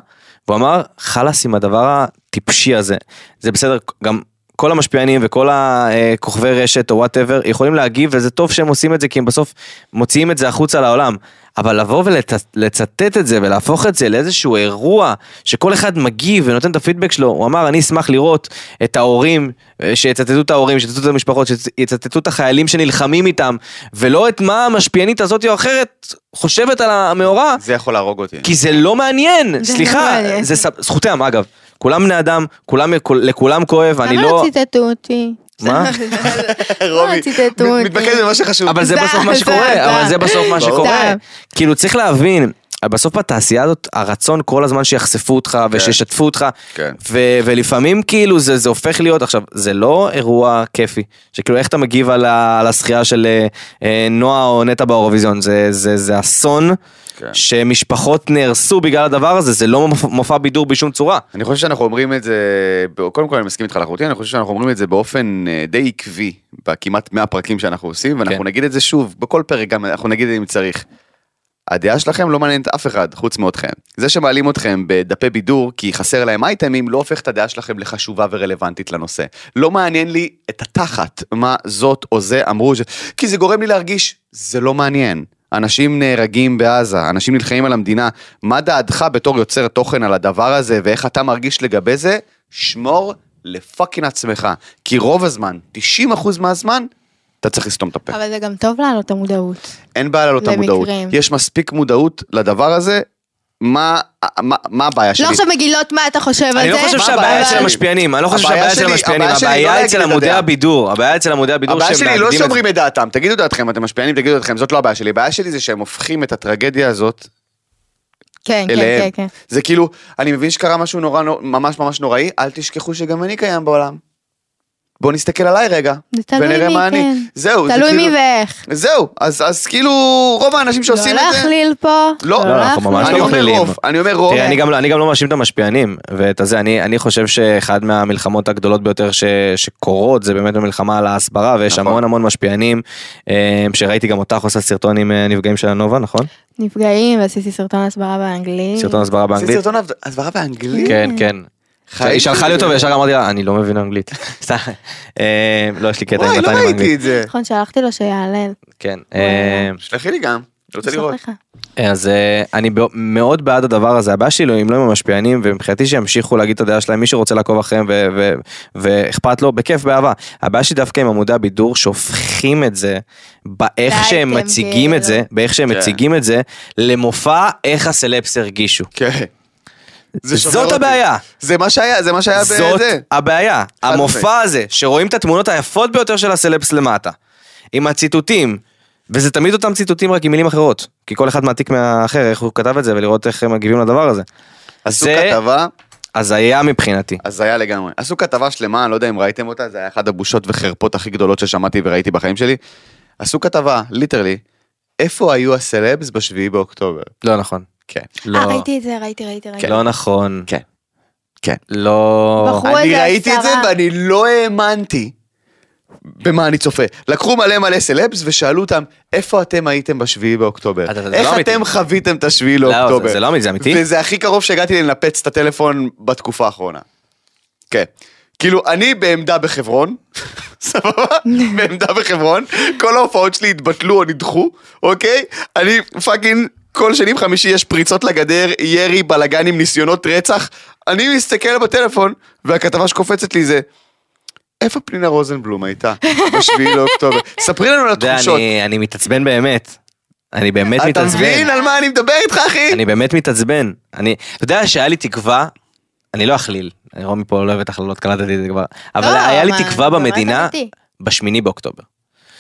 Speaker 2: והוא אמר, חלאס עם הדבר הטיפשי הזה. זה בסדר, גם כל המשפיענים וכל הכוכבי רשת או וואטאבר יכולים להגיב, וזה טוב שהם עושים את זה, כי הם בסוף מוציאים את זה החוצה לעולם. אבל לבוא ולצטט את זה ולהפוך את זה לאיזשהו אירוע שכל אחד מגיב ונותן את הפידבק שלו, הוא אמר, אני אשמח לראות את ההורים, אה, שיצטטו את ההורים, שיצטטו את המשפחות, שיצטטו את החיילים שנלחמים איתם, ולא את מה המשפיענית הזאת או אחרת חושבת על
Speaker 4: לא.
Speaker 2: המאורע,
Speaker 3: זה יכול להרוג אותי. (laughs)
Speaker 2: כי זה לא מעניין,
Speaker 4: זה לא
Speaker 2: סליחה,
Speaker 4: מעניין.
Speaker 2: זה סב- זכותם אגב, כולם בני אדם, כולם, לכולם כואב, אני
Speaker 4: למה
Speaker 2: לא,
Speaker 4: לא ציטטו אותי?
Speaker 2: (laughs) מה?
Speaker 4: לא, ציטטו
Speaker 3: מת-
Speaker 4: אותי.
Speaker 3: מתמקד במה שחשוב.
Speaker 2: אבל זה
Speaker 4: זה-
Speaker 2: בסוף מה
Speaker 4: זה-
Speaker 2: שקורה,
Speaker 4: זה-
Speaker 2: אבל זה בסוף מה
Speaker 3: ברור.
Speaker 2: שקורה,
Speaker 4: זה-
Speaker 2: כאילו צריך להבין, בסוף בתעשייה הזאת הרצון כל הזמן שיחשפו אותך ושישתפו אותך,
Speaker 3: כן.
Speaker 2: ו- ולפעמים כאילו זה זה הופך להיות, עכשיו זה לא אירוע כיפי, שכאילו איך אתה מגיב על ה- על הזכייה של אה, אה, נועה או נטע באירוויזיון, זה- זה זה אסון.
Speaker 3: כן.
Speaker 2: שמשפחות נהרסו בגלל הדבר הזה, זה לא מופע- מופע בידור בשום צורה.
Speaker 3: אני חושב שאנחנו אומרים את זה, ב- קודם כל אני מסכים איתך לחלוטין, אני חושב שאנחנו אומרים את זה באופן אה, די עקבי, בכמעט 100 פרקים שאנחנו עושים, ואנחנו
Speaker 2: כן.
Speaker 3: נגיד את זה שוב, בכל פרק גם אנחנו נגיד את זה אם צריך. הדעה שלכם לא מעניינת אף אחד חוץ מאתכם. זה שמעלים אתכם בדפי בידור כי חסר להם אייטמים לא הופך את הדעה שלכם לחשובה ורלוונטית לנושא. לא מעניין לי את התחת, מה זאת או זה אמרו, ש... כי זה גורם לי להרגיש, זה לא מעניין. אנשים נהרגים בעזה, אנשים נלחמים על המדינה, מה דעתך בתור יוצר תוכן על הדבר הזה ואיך אתה מרגיש לגבי זה? שמור לפאקינג עצמך, כי רוב הזמן, 90% מהזמן, אתה צריך לסתום את הפה.
Speaker 4: אבל זה גם טוב להעלות את המודעות.
Speaker 3: אין בעיה להעלות את
Speaker 4: למקרים.
Speaker 3: המודעות. יש מספיק מודעות לדבר הזה, מה, מה, מה הבעיה שלי?
Speaker 4: לא עכשיו מגילות מה אתה חושב על זה.
Speaker 2: אני לא חושב
Speaker 3: מה
Speaker 2: שהבעיה
Speaker 3: הבעיה
Speaker 2: של
Speaker 3: שלי?
Speaker 2: המשפיענים, אני לא חושב
Speaker 3: הבעיה
Speaker 2: שהבעיה של
Speaker 3: שלי-
Speaker 2: המשפיענים,
Speaker 3: הבעיה שלי לא
Speaker 2: הבעיה
Speaker 3: להגיד
Speaker 2: אצל
Speaker 3: את
Speaker 2: עמודי
Speaker 3: הדעה.
Speaker 2: הבידור, הבעיה אצל עמודי הבידור
Speaker 3: הבעיה
Speaker 2: שהם
Speaker 3: שלי לא
Speaker 2: מאגדים את זה.
Speaker 3: שאומרים את דעתם, תגידו דעתכם, אתם משפיענים, תגידו דעתכם, זאת לא הבעיה שלי, הבעיה שלי זה שהם הופכים את הטרגדיה הזאת
Speaker 4: כן, כן,
Speaker 3: אליהם.
Speaker 4: כן, כן.
Speaker 3: זה כאילו, אני מבין שקרה משהו נורא, נו- ממש ממש נוראי, אל תשכחו שגם אני קיים בעולם. בואו נסתכל עליי רגע,
Speaker 4: זה תלוי
Speaker 3: ונראה
Speaker 4: מי,
Speaker 3: מה אני.
Speaker 4: כן.
Speaker 3: זהו, זה
Speaker 4: תלוי
Speaker 3: כאילו-
Speaker 4: מי ואיך.
Speaker 3: זהו, אז אז כאילו, רוב האנשים
Speaker 4: לא
Speaker 3: שעושים את זה...
Speaker 4: להכליל פה.
Speaker 3: לא,
Speaker 2: לא, אנחנו
Speaker 4: להכליל.
Speaker 2: ממש
Speaker 3: אני
Speaker 2: לא
Speaker 3: אומר
Speaker 2: מכלילים.
Speaker 3: רוב, אני אומר רוב.
Speaker 2: תראה, אני גם לא- אני גם לא מאשים את המשפיענים ואת הזה, אני אני חושב שאחד מהמלחמות הגדולות ביותר ש- שקורות זה באמת המלחמה על ההסברה, ויש
Speaker 3: נכון.
Speaker 2: המון המון משפיענים, אה, שראיתי גם אותך עושה סרטון עם אה, נפגעים של הנובה, נכון?
Speaker 4: נפגעים, ועשיתי סרטון הסברה באנגלית.
Speaker 2: סרטון הסברה
Speaker 3: זה
Speaker 2: באנגלית.
Speaker 3: אה, סרטון הסברה באנגלית?
Speaker 2: כן, כן.
Speaker 3: חייתי.
Speaker 2: היא שלחה לי אותו וישר אמרתי לה, אני לא מבין
Speaker 3: (laughs)
Speaker 2: אנגלית. סתם, אה, לא, יש לי קטע עם
Speaker 3: וואי, לא
Speaker 2: מתן עם
Speaker 3: ראיתי
Speaker 2: אנגלית.
Speaker 3: את זה.
Speaker 4: נכון, שלחתי לו שיעלל.
Speaker 2: כן.
Speaker 4: וואי,
Speaker 2: אה,
Speaker 3: שלחי לי גם, אני רוצה
Speaker 4: אשלח
Speaker 3: לראות.
Speaker 4: לך.
Speaker 2: אז אה, אני בא- מאוד בעד הדבר הזה, הבעיה שלי אם לא עם המשפיענים, ומבחינתי שימשיכו להגיד את הדעה שלהם, מי שרוצה לעקוב אחריהם ו- ו- ואכפת לו, בכיף, באהבה. הבעיה שלי דווקא עם עמודי הבידור, שהופכים את זה, באיך שהם
Speaker 4: לאייטם,
Speaker 2: מציגים את זה,
Speaker 4: כאילו.
Speaker 2: באיך שהם
Speaker 3: כן.
Speaker 2: מציגים את זה, למופע איך הסלפס הרגישו.
Speaker 3: כן. זה שובר
Speaker 2: זאת
Speaker 3: אותי.
Speaker 2: הבעיה.
Speaker 3: זה מה שהיה, זה מה שהיה
Speaker 2: זאת
Speaker 3: בזה.
Speaker 2: הבעיה. המופע הזה, שרואים את התמונות היפות ביותר של הסלפס למטה, עם הציטוטים, וזה תמיד אותם ציטוטים רק עם מילים אחרות, כי כל אחד מעתיק מהאחר איך הוא כתב את זה ולראות איך הם מגיבים לדבר הזה. אז
Speaker 3: עשו
Speaker 2: זה
Speaker 3: כתבה,
Speaker 2: הזיה מבחינתי.
Speaker 3: הזיה לגמרי. עשו כתבה שלמה, אני לא יודע אם ראיתם אותה, זה היה אחת הבושות וחרפות הכי גדולות ששמעתי וראיתי בחיים שלי. עשו כתבה, ליטרלי, איפה היו הסלבס בשביעי באוקטובר?
Speaker 2: לא נכון.
Speaker 3: כן.
Speaker 2: לא.
Speaker 4: אה, ראיתי את זה, ראיתי, ראיתי, ראיתי.
Speaker 2: לא נכון.
Speaker 3: כן. כן.
Speaker 2: לא.
Speaker 4: בחור- הוא
Speaker 3: אני
Speaker 4: איזה
Speaker 3: ראיתי את זה
Speaker 4: עשרה.
Speaker 3: ואני לא האמנתי במה אני צופה. לקחו מלא מלא סלבס ושאלו אותם, איפה אתם הייתם בשביעי באוקטובר?
Speaker 2: אבל זה לא
Speaker 3: איך
Speaker 2: אמיתי.
Speaker 3: אתם חוויתם את השביעי
Speaker 2: לא, זה-
Speaker 3: לאוקטובר?
Speaker 2: זה לא אמיתי, זה אמיתי?
Speaker 3: וזה הכי קרוב שהגעתי לנפץ את הטלפון בתקופה האחרונה. כן. כאילו, אני בעמדה בחברון, (laughs) סבבה? בעמדה בחברון, כל ההופעות שלי התבטלו או נדחו, אוקיי? אני פאקינג, כל שני וחמישי יש פריצות לגדר, ירי, בלאגנים, ניסיונות רצח. אני מסתכל בטלפון, והכתבה שקופצת לי זה, איפה פנינה רוזנבלום הייתה בשביעי
Speaker 2: (laughs)
Speaker 3: לאוקטובר? ספרי לנו על
Speaker 2: אתה יודע,
Speaker 3: התחושות.
Speaker 2: אני- אני מתעצבן באמת. אני באמת
Speaker 3: אתה
Speaker 2: מתעצבן.
Speaker 3: מבין על מה אני מדבר איתך, אחי?
Speaker 2: אני באמת מתעצבן. אני, אתה יודע שהיה לי תקווה, אני לא אכליל, אני רואה מפה לא אוהבת הכללות, קלטתי את זה כבר, אבל
Speaker 4: לא,
Speaker 2: היה לי
Speaker 4: אבל
Speaker 2: תקווה
Speaker 4: זה באמת
Speaker 2: במדינה
Speaker 4: אמיתי.
Speaker 2: בשמיני באוקטובר.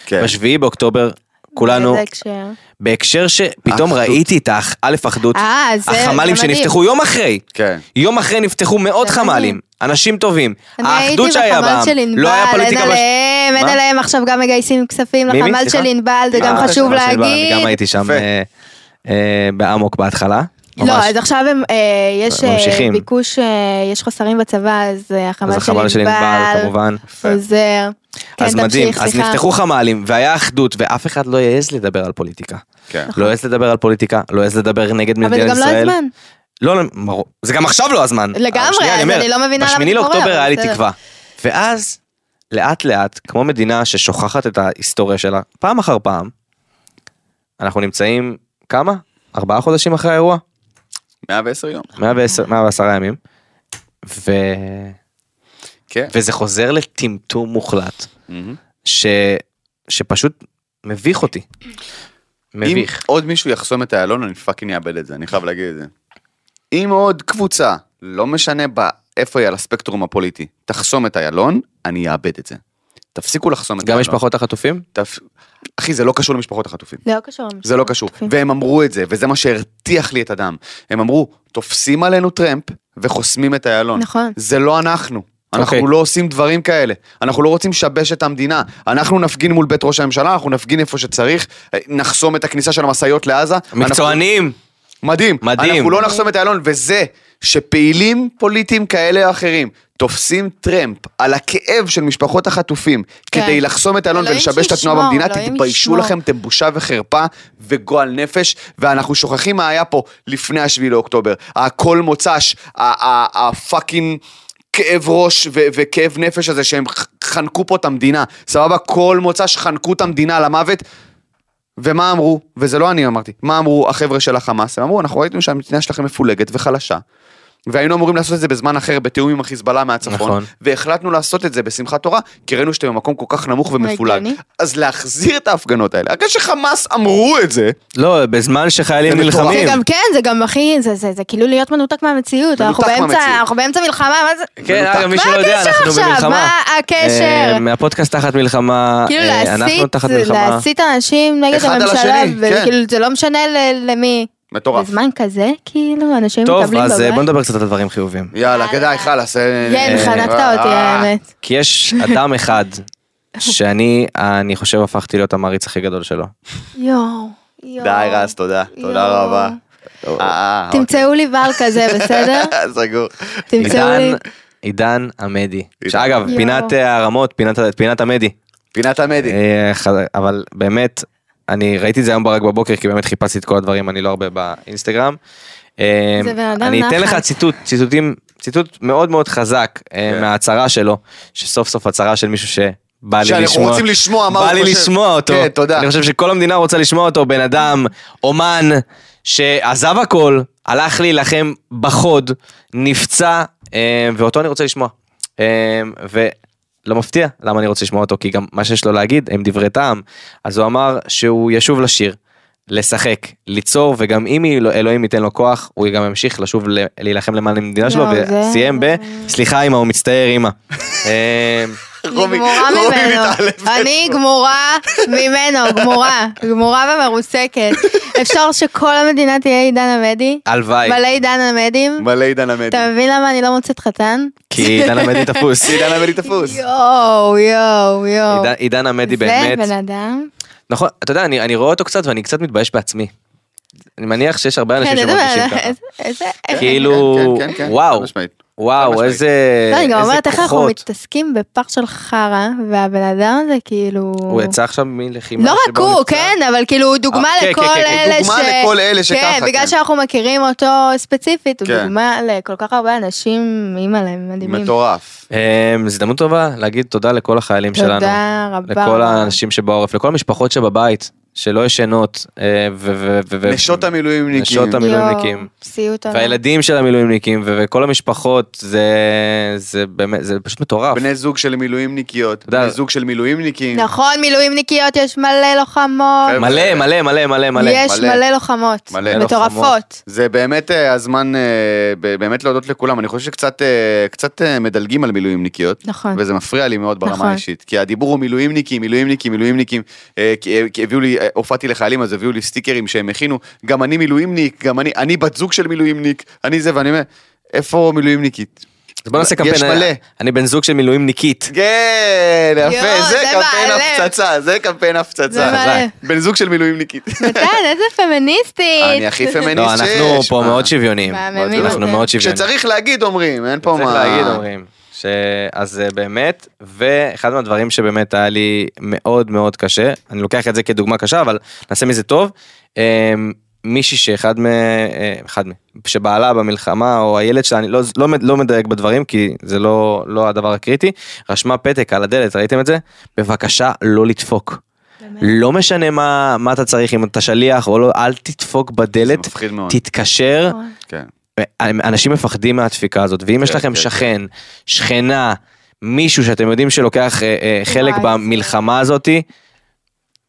Speaker 3: כן.
Speaker 2: בשביעי באוקטובר, כולנו,
Speaker 4: באיזה הקשר?
Speaker 2: בהקשר שפתאום
Speaker 3: האחדות.
Speaker 2: ראיתי את האח- א' אחדות,
Speaker 4: אה, זה- זה
Speaker 2: החמ"לים
Speaker 4: מדהים.
Speaker 2: שנפתחו יום אחרי.
Speaker 3: כן.
Speaker 2: יום אחרי נפתחו מאות
Speaker 4: זה
Speaker 2: חמ"לים,
Speaker 4: מדהים.
Speaker 2: אנשים טובים.
Speaker 4: אני הייתי
Speaker 2: האחדות שהיה
Speaker 4: בחמ"ל
Speaker 2: בעם,
Speaker 4: של ענבל,
Speaker 2: לא היה
Speaker 4: אין
Speaker 2: פוליטיקה... בש-
Speaker 4: עליהם, אין
Speaker 2: מה?
Speaker 4: עליהם, עכשיו גם מגייסים כספים
Speaker 2: מי, מי?
Speaker 4: לחמ"ל
Speaker 2: סליחה?
Speaker 4: של ענבל, זה
Speaker 2: אה,
Speaker 4: גם
Speaker 2: אוקיי,
Speaker 4: חשוב
Speaker 2: חמ"ל של ענבל, אני גם
Speaker 4: להגיד.
Speaker 2: הייתי שם
Speaker 3: יפה.
Speaker 2: אה, אה, באמוק בהתחלה.
Speaker 4: לא,
Speaker 2: ממש.
Speaker 4: אז עכשיו הם, אה, יש אה,
Speaker 2: ממשיכים.
Speaker 4: ביקוש, אה, יש חוסרים בצבא, אז אה,
Speaker 2: אז
Speaker 4: החמ"ל
Speaker 2: החמ"ל של ענבל כמובן.
Speaker 4: עוזר. כן,
Speaker 2: אז מדהים,
Speaker 4: תמשיך,
Speaker 2: אז
Speaker 4: סליחה.
Speaker 2: נפתחו חמ"לים והיה אחדות ואף אחד לא יעז לדבר על פוליטיקה.
Speaker 3: כן.
Speaker 2: לא יעז לדבר על פולטיקה, לא יעז לדבר נגד מדינת
Speaker 4: נכון. אבל זה
Speaker 2: ישראל.
Speaker 4: גם לא הזמן.
Speaker 2: לא, לא, ברור. זה גם עכשיו לא הזמן.
Speaker 4: לגמרי,
Speaker 2: אבל שנייה,
Speaker 4: אז
Speaker 2: אומר,
Speaker 4: אני לא מבינה למה
Speaker 2: בשמיני
Speaker 4: זה קורה,
Speaker 2: לאוקטובר
Speaker 4: אבל
Speaker 2: היה לי
Speaker 4: בסדר.
Speaker 2: תקווה. ואז, לאט לאט, כמו מדינה ששוכחת את ההיסטוריה שלה, פעם אחר פעם, אנחנו נמצאים, כמה? ארבעה חודשים אחרי האירוע?
Speaker 3: 110 יום.
Speaker 4: נכון.
Speaker 2: 110 110 ימים. ו...
Speaker 3: כן.
Speaker 2: וזה חוזר לטמטום מוחלט,
Speaker 3: מהמם.
Speaker 2: ש... שפשוט מביך אותי. מביך.
Speaker 3: אם עוד מישהו יחסום את איילון, אני פאקינג אאבד את זה, אני חייב להגיד את זה. אם עוד קבוצה, לא משנה בה, איפה היא על הספקטרום הפוליטי, תחסום את איילון, אני אאבד את זה. תפסיקו לחסום את
Speaker 2: גם
Speaker 3: איילון.
Speaker 2: משפחות החטופים?
Speaker 3: תפ... אחי, זה לא קשור למשפחות החטופים.
Speaker 4: זה לא קשור.
Speaker 3: זה לא קשור. והם אמרו את זה, וזה מה שהרתיח לי את הדם. הם אמרו, תופסים עלינו טרמפ וחוסמים את איילון.
Speaker 4: נכון.
Speaker 3: זה לא אנחנו. אנחנו
Speaker 2: אוקיי.
Speaker 3: לא עושים דברים כאלה. אנחנו לא רוצים לשבש את המדינה. אנחנו נפגין מול בית ראש הממשלה, אנחנו נפגין איפה שצריך, אה, נחסום את הכניסה של המשאיות לעזה. אנחנו...
Speaker 2: מקצוענים!
Speaker 3: מדהים.
Speaker 2: מדהים.
Speaker 3: אנחנו לא נחסום את איילון, וזה שפעילים פוליטיים כאלה או אחרים תופסים טרמפ על הכאב של משפחות החטופים
Speaker 4: כן.
Speaker 3: כדי לחסום את איילון
Speaker 4: אלוהים
Speaker 3: ולשבש את התנועה
Speaker 4: שישמור,
Speaker 3: במדינה,
Speaker 4: אלוהים
Speaker 3: תתביישו
Speaker 4: ישמור.
Speaker 3: לכם, אתם בושה וחרפה וגועל נפש, ואנחנו שוכחים מה היה פה לפני השביעי לאוקטובר. הכל מוצ"ש, ה- ה- הפאקינג... כאב ראש ו- וכאב נפש הזה שהם ח- חנקו פה את המדינה, סבבה? כל מוצ"ש חנקו את המדינה למוות, ומה אמרו, וזה לא אני אמרתי, מה אמרו החבר'ה של החמאס, הם אמרו, אנחנו ראינו שהמדינה שלכם מפולגת וחלשה. והיינו אמורים לעשות את זה בזמן אחר, בתיאום עם החיזבאללה מהצפון,
Speaker 2: נכון.
Speaker 3: נכון. והחלטנו לעשות את זה בשמחת תורה, כי ראינו שאתם במקום כל כך נמוך ומפולג.
Speaker 4: לא הגיוני.
Speaker 3: אז להחזיר את ההפגנות האלה, אחרי שחמאס אמרו את זה,
Speaker 2: לא, בזמן שחיילים
Speaker 3: זה מטורף.
Speaker 4: זה
Speaker 2: נלחמים.
Speaker 4: גם כן, זה גם הכי, זה- זה זה כאילו להיות מנותק מהמציאות. אנחנו
Speaker 3: מנותק
Speaker 4: באמצע-
Speaker 3: מהמציאות. אה,
Speaker 4: אנחנו באמצע מלחמה, מה זה?
Speaker 2: כן,
Speaker 3: מנותק.
Speaker 2: אגב, מי
Speaker 4: מה
Speaker 2: שלא יודע,
Speaker 4: הקשר
Speaker 2: אנחנו
Speaker 4: עכשיו?
Speaker 2: במלחמה.
Speaker 4: מה הקשר?
Speaker 2: אה, מהפודקאסט תחת מלחמה,
Speaker 4: כאילו
Speaker 2: אה, אנחנו
Speaker 4: להסית,
Speaker 2: תחת מלחמה.
Speaker 4: להסית אנשים נגד
Speaker 3: אחד על
Speaker 4: הממשלה,
Speaker 3: השני, כן.
Speaker 4: וכאילו זה לא משנה ל- למי.
Speaker 3: מטורף.
Speaker 4: בזמן כזה, כאילו, אנשים
Speaker 2: טוב,
Speaker 4: מתאבלים
Speaker 2: אז אה, בוא
Speaker 4: בבית.
Speaker 2: נדבר קצת על דברים חיובים.
Speaker 3: יאללה, גדי, חלאס. אה,
Speaker 4: כן,
Speaker 3: אה,
Speaker 4: חנקת
Speaker 3: אה,
Speaker 4: אותי,
Speaker 3: אה.
Speaker 4: האמת.
Speaker 2: כי יש אדם אחד שאני, אני חושב, הפכתי להיות המעריץ הכי גדול שלו.
Speaker 4: יואו, יואו.
Speaker 3: אה, די, רז, תודה. תודה
Speaker 4: יואו.
Speaker 3: רבה. אה, אה,
Speaker 4: תמצאו לי בעל כזה,
Speaker 3: (laughs)
Speaker 4: בסדר?
Speaker 3: אוקיי. סגור.
Speaker 4: תמצאו
Speaker 2: עידן,
Speaker 4: לי.
Speaker 2: עידן עמדי.
Speaker 3: עידן.
Speaker 2: שאגב,
Speaker 4: יואו.
Speaker 2: פינת אה, הרמות, פינת- פינת עמדי.
Speaker 3: פינת המדי.
Speaker 2: אה, ח- אבל באמת, אני ראיתי את זה היום ברק בבוקר, כי באמת חיפשתי את כל הדברים, אני לא הרבה באינסטגרם. אה,
Speaker 4: זה בן אדם
Speaker 2: אני אתן
Speaker 4: נחת.
Speaker 2: לך ציטוט, ציטוטים, ציטוט מאוד מאוד חזק אה,
Speaker 3: כן.
Speaker 2: מההצהרה שלו, שסוף סוף הצהרה של מישהו שבא לי
Speaker 3: שאנחנו
Speaker 2: לשמוע.
Speaker 3: רוצים לשמוע מה
Speaker 2: בא
Speaker 3: הוא
Speaker 2: לי
Speaker 3: חושב.
Speaker 2: לשמוע אותו.
Speaker 3: כן, תודה.
Speaker 2: אני חושב שכל המדינה רוצה לשמוע אותו, בן אדם, אומן, שעזב הכל, הלך להילחם בחוד, נפצע, אה, ואותו אני רוצה לשמוע. אה, ולא מפתיע למה אני רוצה לשמוע אותו, כי גם מה שיש לו להגיד הם דברי טעם. אז הוא אמר שהוא ישוב לשיר, לשחק, ליצור, וגם אם אלו- אלוהים ייתן לו כוח, הוא גם ימשיך לשוב ל- להילחם למען המדינה שלו,
Speaker 4: לא, זה-
Speaker 2: וסיים ב... סליחה אמא, הוא מצטער אמא. (laughs) אה,
Speaker 4: אני גמורה
Speaker 3: רומי
Speaker 4: ממנו,
Speaker 3: מתעלפת.
Speaker 4: אני גמורה ממנו, גמורה, גמורה ומרוסקת. אפשר שכל המדינה תהיה עידן עמדי?
Speaker 2: הלוואי,
Speaker 4: מלא עידן עמדים?
Speaker 3: מלא עידן המדי.
Speaker 4: אתה מבין למה אני לא מוצאת חתן?
Speaker 2: כי דן עמדי תפוס.
Speaker 4: (laughs)
Speaker 3: עידן המדי תפוס.
Speaker 4: יואו, יואו, יואו.
Speaker 2: עידן- עידן עמדי
Speaker 4: זה
Speaker 2: באמת,
Speaker 4: בן אדם.
Speaker 2: נכון, אתה יודע, אני אני רואה אותו קצת ואני קצת מתבייש בעצמי. אני מניח שיש הרבה אנשים
Speaker 4: כן, אתה
Speaker 2: שמרגישים
Speaker 4: יודע, אה,
Speaker 2: ככה.
Speaker 4: איזה- איזה... איך-
Speaker 2: כאילו,
Speaker 3: כן, כן, כן,
Speaker 2: וואו,
Speaker 3: חד משמעית.
Speaker 2: וואו,
Speaker 3: משמעית.
Speaker 2: איזה
Speaker 4: לא, אני גם
Speaker 2: איזה
Speaker 4: אומרת איך אנחנו
Speaker 2: כוחות.
Speaker 4: מתעסקים בפח של חרא, והבן אדם הזה כאילו...
Speaker 2: הוא יצא עכשיו מלחימה.
Speaker 4: לא רק
Speaker 2: שבה
Speaker 4: הוא,
Speaker 2: נפצע.
Speaker 4: כן, אבל כאילו הוא דוגמה
Speaker 2: אה, כן,
Speaker 4: לכל
Speaker 2: כן, כן, כן,
Speaker 4: אלה ש...
Speaker 3: דוגמה לכל אלה שככה,
Speaker 4: כן, בגלל
Speaker 3: כן.
Speaker 4: שאנחנו מכירים אותו ספציפית, הוא
Speaker 3: כן.
Speaker 4: דוגמה לכל כך הרבה אנשים, אימא להם, מדהימים.
Speaker 3: מטורף.
Speaker 2: אמ, זו הזדמנות טובה להגיד תודה לכל החיילים שלנו.
Speaker 4: תודה רבה.
Speaker 2: לכל האנשים שבעורף, לכל המשפחות שבבית. שלא ישנות, אה, ו... ו- ו- ו-
Speaker 3: נשות המילואימניקים.
Speaker 2: נשות המילואימניקים. המילואימניקים.
Speaker 4: יואו, סיוט עליי.
Speaker 2: והילדים של המילואימניקים ו- וכל המשפחות זה זה באמת זה פשוט מטורף.
Speaker 3: בני זוג של מילואימניקיות,
Speaker 2: יודע-
Speaker 3: בני זוג של מילואימניקים.
Speaker 4: נכון, מילואימניקיות יש מלא לוחמות.
Speaker 3: חבר'ה,
Speaker 2: מלא מלא מלא כן, מלא מלא.
Speaker 4: יש
Speaker 3: מלא.
Speaker 4: מלא לוחמות.
Speaker 3: מלא
Speaker 4: מטורפות.
Speaker 3: זה באמת אה, הזמן אה, ב- באמת להודות לכולם, אני חושב שקצת אה, קצת אה, מדלגים על מילואימניקיות,
Speaker 4: נכון.
Speaker 3: וזה מפריע לי מאוד ברמה
Speaker 4: נכון.
Speaker 3: האישית, כי הדיבור הוא מילואימניקים, מילואימניקים, מילואימניקים, אה, כי, אה, כי הביאו לי, אה, הופעתי לחיילים אז הביאו לי סטיקרים שהם הכינו, גם אני מילואימניק, גם אני, אני בת זוג של מילואימניק, אני זה, ואני אומר, איפה מילואימניקית?
Speaker 2: אז בוא נעשה קמפיין.
Speaker 3: יש
Speaker 2: אני-
Speaker 3: מלא.
Speaker 2: אני בן זוג של מילואימניקית.
Speaker 3: כן,
Speaker 4: יואו,
Speaker 3: יפה, זה
Speaker 4: זה
Speaker 3: קמפיין
Speaker 4: מעלה.
Speaker 3: הפצצה, זה קמפיין
Speaker 4: זה
Speaker 3: הפצצה.
Speaker 4: מלא.
Speaker 3: בן זוג של מילואימניקית.
Speaker 4: (laughs) מתן, כן, איזה פמיניסטית.
Speaker 3: אה, אני הכי פמיניסט
Speaker 2: לא
Speaker 3: שיש.
Speaker 2: אנחנו פה
Speaker 3: מה?
Speaker 2: מאוד שוויוניים.
Speaker 4: מהממים
Speaker 2: אנחנו
Speaker 4: אתם.
Speaker 2: מאוד שוויוניים.
Speaker 3: כשצריך להגיד אומרים, אין פה מה...
Speaker 2: צריך להגיד אומרים. ש... אז אה, באמת, ואחד מהדברים שבאמת היה לי מאוד מאוד קשה, אני לוקח את זה כדוגמה קשה, אבל נעשה מזה טוב, אה, מישהי שאחד מ... אה, אחד מ... שבעלה במלחמה, או הילד שלה, אני לא, לא, מד- לא מדייק בדברים, כי זה לא, לא הדבר הקריטי, רשמה פתק על הדלת, ראיתם את זה? בבקשה לא לדפוק. לא משנה מה, מה אתה צריך, אם אתה שליח או לא, אל תדפוק בדלת,
Speaker 3: זה מפחיד מאוד.
Speaker 2: תתקשר,
Speaker 4: אוי.
Speaker 3: כן.
Speaker 2: אנשים מפחדים מהדפיקה הזאת, ואם יש
Speaker 3: כן,
Speaker 2: לכם
Speaker 3: כן,
Speaker 2: שכן, שכנה, מישהו שאתם יודעים שלוקח אה, אה, חלק
Speaker 4: וואי,
Speaker 2: במלחמה הזאתי,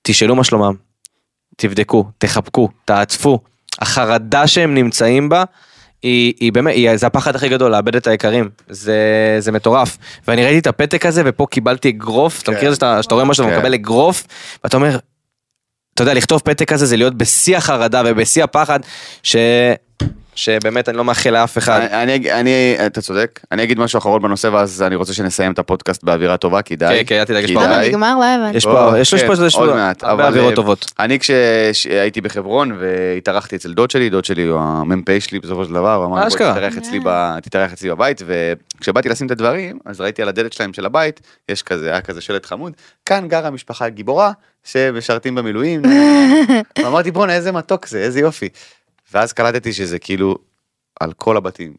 Speaker 2: תשאלו מה שלומם, תבדקו, תחבקו, תעטפו. החרדה שהם נמצאים בה, היא, היא באמת, היא, זה הפחד הכי גדול, לאבד את היקרים. זה, זה מטורף. ואני ראיתי את הפתק הזה, ופה קיבלתי אגרוף, אתה
Speaker 3: כן.
Speaker 2: מכיר את זה שאתה- שאתה רואה משהו
Speaker 3: כן.
Speaker 2: ומקבל אגרוף, ואתה אומר, אתה יודע, לכתוב פתק כזה זה להיות בשיא החרדה ובשיא הפחד, ש... שבאמת אני לא מאחל לאף אחד.
Speaker 3: אני, אני- אני, אתה צודק, אני אגיד משהו אחרון בנושא ואז אני רוצה שנסיים את הפודקאסט באווירה טובה, כי די.
Speaker 2: כן, כן, אל תדאג, יש פה
Speaker 4: למה
Speaker 2: די.
Speaker 3: כדאי.
Speaker 4: נגמר? לא הבנתי.
Speaker 2: יש פה,
Speaker 3: בוא,
Speaker 2: יש יש
Speaker 3: כן,
Speaker 2: פה איזה
Speaker 3: עוד מעט, אבל,
Speaker 2: הרבה עבירות
Speaker 3: אה,
Speaker 2: טובות.
Speaker 3: אני כשהייתי בחברון והתארחתי אצל דוד שלי, דוד שלי הוא המ"פ שלי בסופו של דבר, הוא אמר לי
Speaker 2: אשכרה.
Speaker 3: בוא תתארח אצלי, ב- תתארח אצלי בבית, וכשבאתי לשים את הדברים, אז ראיתי על הדלת שלהם של הבית, יש כזה, היה כזה שלט חמוד, כאן גרה משפחה גיבורה, שמשרתים במילואים, ואמרתי בואנה איזה מתוק זה, איזה יופי. ואז קלטתי שזה כאילו על כל הבתים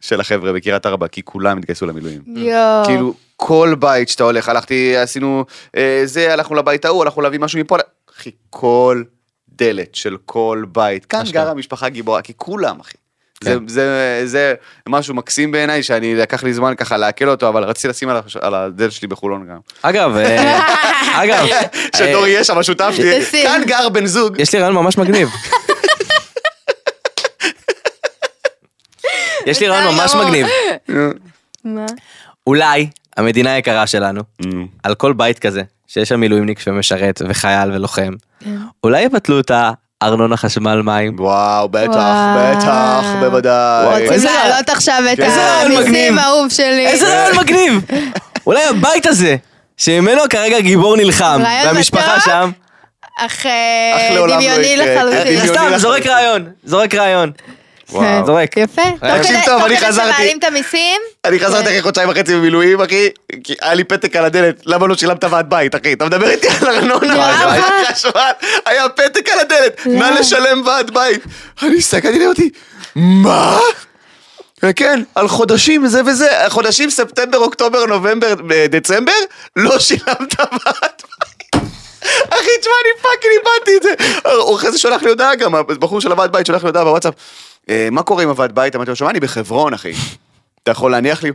Speaker 3: של החבר'ה בקריית ארבע, כי כולם התגייסו למילואים.
Speaker 4: יואו.
Speaker 3: כאילו כל בית שאתה הולך, הלכתי, עשינו אה, זה, הלכנו לבית ההוא, הלכנו להביא משהו מפה, אחי, כל דלת של כל בית. כאן
Speaker 2: אשכרה.
Speaker 3: גרה משפחה גיבורה, כי כולם, אחי. זה,
Speaker 2: כן.
Speaker 3: זה, זה משהו מקסים בעיניי, שאני לקח לי זמן ככה לעכל אותו, אבל רציתי לשים על, הש- על הדלת שלי בחולון גם.
Speaker 2: אגב, אה, אגב,
Speaker 3: שדור
Speaker 2: אה,
Speaker 3: יהיה שם, השותף שלי,
Speaker 4: תשים.
Speaker 3: כאן גר בן זוג.
Speaker 2: יש לי רעיון ממש מגניב. יש לי רעיון ממש
Speaker 4: בסדר.
Speaker 2: מגניב.
Speaker 4: מה?
Speaker 2: אולי המדינה היקרה שלנו, על כל בית כזה, שיש שם מילואימניק שמשרת וחייל ולוחם, אולי יבטלו את הארנונה חשמל מים.
Speaker 3: וואו, בטח,
Speaker 4: וואו.
Speaker 3: בטח, בוודאי.
Speaker 4: רוצים להעלות עכשיו את
Speaker 2: איזה רעיון מגניב.
Speaker 4: המיסים האהוב שלי.
Speaker 2: איזה רעיון מגניב! אולי הבית הזה, שממנו כרגע גיבור נלחם,
Speaker 4: אולי עוד
Speaker 2: והמשפחה
Speaker 4: בטוח?
Speaker 2: שם,
Speaker 4: אך אה,
Speaker 3: אך לעולם לא
Speaker 4: דמיוני
Speaker 3: יקרה.
Speaker 4: לחלוטין.
Speaker 3: דמיוני.
Speaker 2: סתם,
Speaker 3: לחלוטין.
Speaker 2: זורק רעיון, זורק רעיון.
Speaker 4: כן.
Speaker 2: זורק.
Speaker 4: יפה. תוך
Speaker 2: תקשיב
Speaker 4: כדי-
Speaker 3: אה, טוב,
Speaker 4: תוך
Speaker 3: אני
Speaker 4: כדי
Speaker 3: חזרתי.
Speaker 4: שמעלים את המיסים,
Speaker 3: אני חזרתי אחרי חודשיים וחצי במילואים, אחי, כי היה לי פתק על הדלת, למה לא שילמת ועד בית, אחי? אתה מדבר איתי על ארנונה,
Speaker 4: למה?
Speaker 3: על חשמל, היה פתק על הדלת, נא
Speaker 4: למה?
Speaker 3: לשלם ועד בית. אני הסתכלתי ואמרתי, מה? כן, על חודשים זה וזה, חודשים ספטמבר, אוקטובר, נובמבר, אה, דצמבר, לא שילמת ועד בית. אחי, תשמע, אני פאקינג איבדתי את זה. הוא אחרי זה שולח לי הודעה גם, הבחור של הוועד בית שולח לי הודעה בוואטסאפ. "אה, מה קורה עם הוועד בית? אמרתי לו, שמע, אני בחברון, אחי. אתה יכול להניח לי,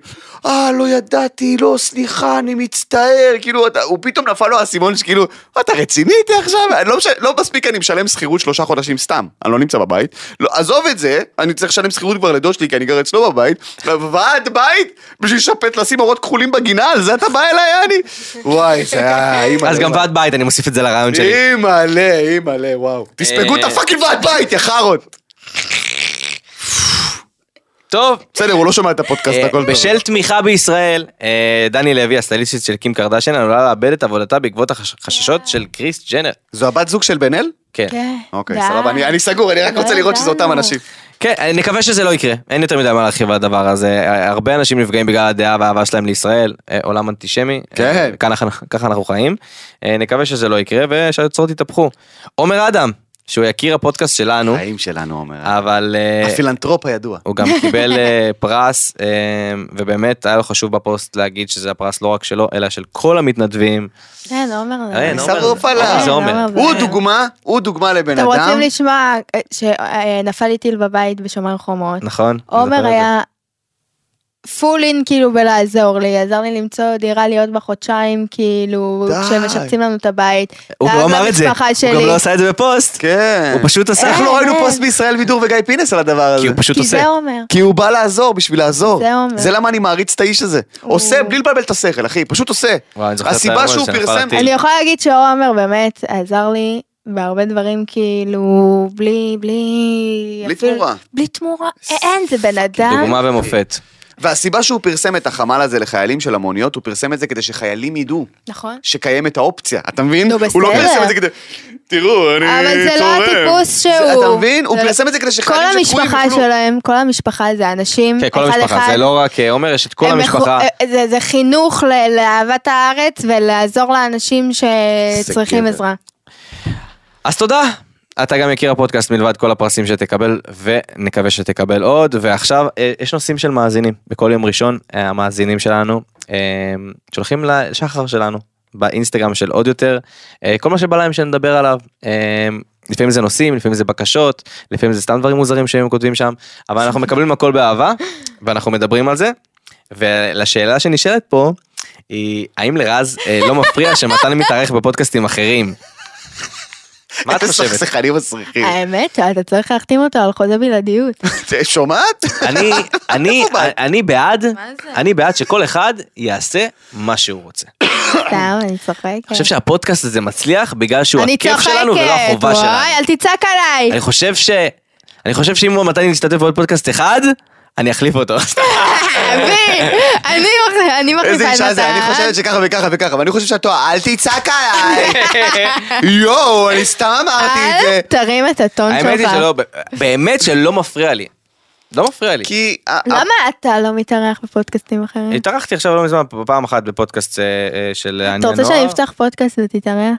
Speaker 3: אה, לא ידעתי, לא, סליחה, אני מצטער, כאילו, אתה, הוא פתאום נפל לו האסימון שכאילו, "מה, אתה רציני איתי עכשיו? אני לא, מש... לא מספיק אני משלם שכירות שלושה חודשים סתם, אני לא נמצא בבית, לא, עזוב את זה, אני צריך לשלם שכירות כבר לדוד שלי, כי אני גר אצלו בבית, ועד בית, בשביל לשפט, לשים אורות כחולים בגינה, על זה אתה בא אליי, יעני? וואי, זה אה, היה, אימא.
Speaker 2: אז גם ועד בית, אני מוסיף את זה לרעיון שלי.
Speaker 3: אימא'לה, אימא'לה, וואו. תספגו את
Speaker 2: אה.
Speaker 3: הפאקינג ועד בית, יא חארות.
Speaker 2: טוב,
Speaker 3: בסדר, הוא לא שומע את הפודקאסט,
Speaker 2: אה,
Speaker 3: הכל טוב.
Speaker 2: בשל תמיכה בישראל, אה, דני לוי, הסטייליסטית של קים קרדשן, עלולה לאבד את עבודתה בעקבות החששות של קריס ג'נר.
Speaker 3: זו הבת זוג של בן אל?
Speaker 2: כן.
Speaker 4: כן.
Speaker 3: אוקיי,
Speaker 4: די.
Speaker 3: סבבה, אני אני סגור, אני רק
Speaker 4: לא
Speaker 3: רוצה לראות שזה אותם
Speaker 4: ידענו.
Speaker 3: אנשים.
Speaker 2: כן, אה, נקווה שזה לא יקרה, אין יותר מדי מה להרחיב על הדבר הזה. אה, הרבה אנשים נפגעים בגלל הדעה והאהבה שלהם לישראל, אה, עולם אנטישמי.
Speaker 3: כן.
Speaker 2: אה, ככה אנחנו- ככה אנחנו חיים. אה, נקווה שזה לא יקרה ושהיוצרות יתהפכו. עומר אדם, שהוא יכיר הפודקאסט שלנו,
Speaker 3: חיים שלנו, אומר.
Speaker 2: אבל אה,
Speaker 3: הפילנטרופ הידוע.
Speaker 2: הוא גם קיבל אה, פרס, אה, ובאמת היה לו חשוב בפוסט להגיד שזה הפרס לא רק שלו, אלא של כל המתנדבים.
Speaker 4: אין, עומר זה.
Speaker 2: אין, עומר
Speaker 3: שרוף
Speaker 2: זה-
Speaker 3: עליו.
Speaker 2: עומר זה עומר.
Speaker 4: עומר זה-
Speaker 3: הוא דוגמה, הוא דוגמה לבן
Speaker 4: אתם
Speaker 3: אדם.
Speaker 4: רוצים לשמוע אה, שנפל לי טיל בבית בשומר חומות.
Speaker 2: נכון? זוכר את
Speaker 4: עומר
Speaker 2: זה.
Speaker 4: היה פול אין כאילו בלעזור לי, עזר לי למצוא דירה להיות בה חודשיים כאילו,
Speaker 3: די.
Speaker 4: כשמשפצים לנו את הבית.
Speaker 2: הוא
Speaker 4: דאג
Speaker 2: לא אמר את זה,
Speaker 4: למשפחה
Speaker 2: הוא גם
Speaker 4: שלי.
Speaker 2: לא עשה את זה בפוסט,
Speaker 3: כן.
Speaker 2: הוא פשוט עשה,
Speaker 3: אנחנו לא
Speaker 4: אה,
Speaker 3: ראינו
Speaker 4: אה.
Speaker 3: פוסט בישראל בידור וגיא פינס על הדבר הזה.
Speaker 2: כי הוא פשוט
Speaker 4: כי
Speaker 2: עושה.
Speaker 4: זה עומר.
Speaker 3: כי הוא בא לעזור, בשביל לעזור.
Speaker 4: זה אומר.
Speaker 3: זה למה אני מעריץ את האיש הזה. עושה בלי לבלבל את השכל, אחי, פשוט עושה.
Speaker 2: וואי, אני זוכר את
Speaker 3: הסיבה
Speaker 2: האירוע
Speaker 3: שהוא
Speaker 2: שנפל
Speaker 3: פרסם...
Speaker 2: הטיל.
Speaker 4: אני יכולה להגיד שעומר באמת עזר לי בהרבה דברים כאילו בלי בלי
Speaker 3: בלי
Speaker 4: אפילו-
Speaker 3: תמורה.
Speaker 4: בלי תמורה אין זה בן אדם
Speaker 2: דוגמה ומופת.
Speaker 3: והסיבה שהוא פרסם את החמ"ל הזה לחיילים של המוניות, הוא פרסם את זה כדי שחיילים ידעו
Speaker 4: נכון
Speaker 3: שקיימת האופציה, אתה מבין?
Speaker 4: נו,
Speaker 3: הוא לא
Speaker 4: בסדר.
Speaker 3: פרסם את זה כדי... תראו, אני צורם.
Speaker 4: אבל זה לא הטיפוס
Speaker 3: זה-
Speaker 4: שהוא.
Speaker 3: אתה מבין? הוא
Speaker 4: זה- לא-
Speaker 3: פרסם את זה כדי
Speaker 4: כל
Speaker 3: שחיילים שתקועים
Speaker 4: המשפחה שלהם כל המשפחה זה אנשים
Speaker 2: כן, כל
Speaker 4: אחד
Speaker 2: המשפחה,
Speaker 4: אחד.
Speaker 2: זה לא רק אה, עומר, יש את כל
Speaker 4: הם
Speaker 2: המשפחה.
Speaker 4: מחו- אה, זה- זה חינוך ל- לאהבת הארץ ולעזור לאנשים שצריכים
Speaker 3: גבר.
Speaker 4: עזרה.
Speaker 2: אז תודה. אתה גם מכיר הפודקאסט מלבד כל הפרסים שתקבל, ונקווה שתקבל עוד. ועכשיו, אה, יש נושאים של מאזינים. בכל יום ראשון, אה, המאזינים שלנו אה, שולחים לשחר שלנו, באינסטגרם של עוד יותר, אה, כל מה שבא להם שנדבר עליו. אה, לפעמים זה נושאים, לפעמים זה בקשות, לפעמים זה סתם דברים מוזרים שהם כותבים שם, אבל אנחנו מקבלים הכל באהבה, ואנחנו מדברים על זה. ולשאלה שנשאלת פה, היא האם לרז אה, לא מפריע שמתן מתארח בפודקאסטים אחרים? מה את חושבת?
Speaker 3: הסכסכנים מסריחים.
Speaker 4: האמת אתה צריך להחתים אותו על
Speaker 3: (laughs)
Speaker 4: חוזה בלעדיות.
Speaker 3: זה- שומעת?
Speaker 4: לא
Speaker 2: אני, אני,
Speaker 3: איפה באת?
Speaker 2: אני בעד,
Speaker 4: מה זה? אוקיי.
Speaker 2: אני בעד שכל אחד יעשה מה שהוא רוצה.
Speaker 4: סתם אני צוחקת.
Speaker 2: אני חושב שהפודקאסט הזה מצליח בגלל שהוא
Speaker 4: אני
Speaker 2: הכיף שלנו ולא
Speaker 4: צוחקת,
Speaker 2: החובה
Speaker 4: וואי,
Speaker 2: שלנו.
Speaker 4: אל תצעק עליי.
Speaker 2: אני חושב ש... אני חושב שאם מתן ישתתף בעוד פודקאסט אחד, אני אחליף אותו.
Speaker 4: אבי, אני מחליפה- אני מחליפה את
Speaker 3: איזה אישה זה,
Speaker 4: מתן.
Speaker 3: אני חושבת שככה וככה וככה, ואני חושב שאת טועה, אל תצעק
Speaker 2: (laughs)
Speaker 3: עליי. יואו, אני סתם אמרתי את
Speaker 4: אל
Speaker 3: זה.
Speaker 4: תרים את הטון
Speaker 2: (laughs)
Speaker 4: שלך.
Speaker 2: האמת היא שלא, באמת שלא מפריע לי. לא מפריע לי.
Speaker 3: כי... אה, ה- ה-
Speaker 2: (laughs)
Speaker 4: למה אתה לא מתארח בפודקאסטים אחרים?
Speaker 2: התארחתי עכשיו לא מזמן פעם אחת בפודקאסט אה, אה, של אני
Speaker 4: אתה רוצה שאני אפתח פודקאסט ותתארח?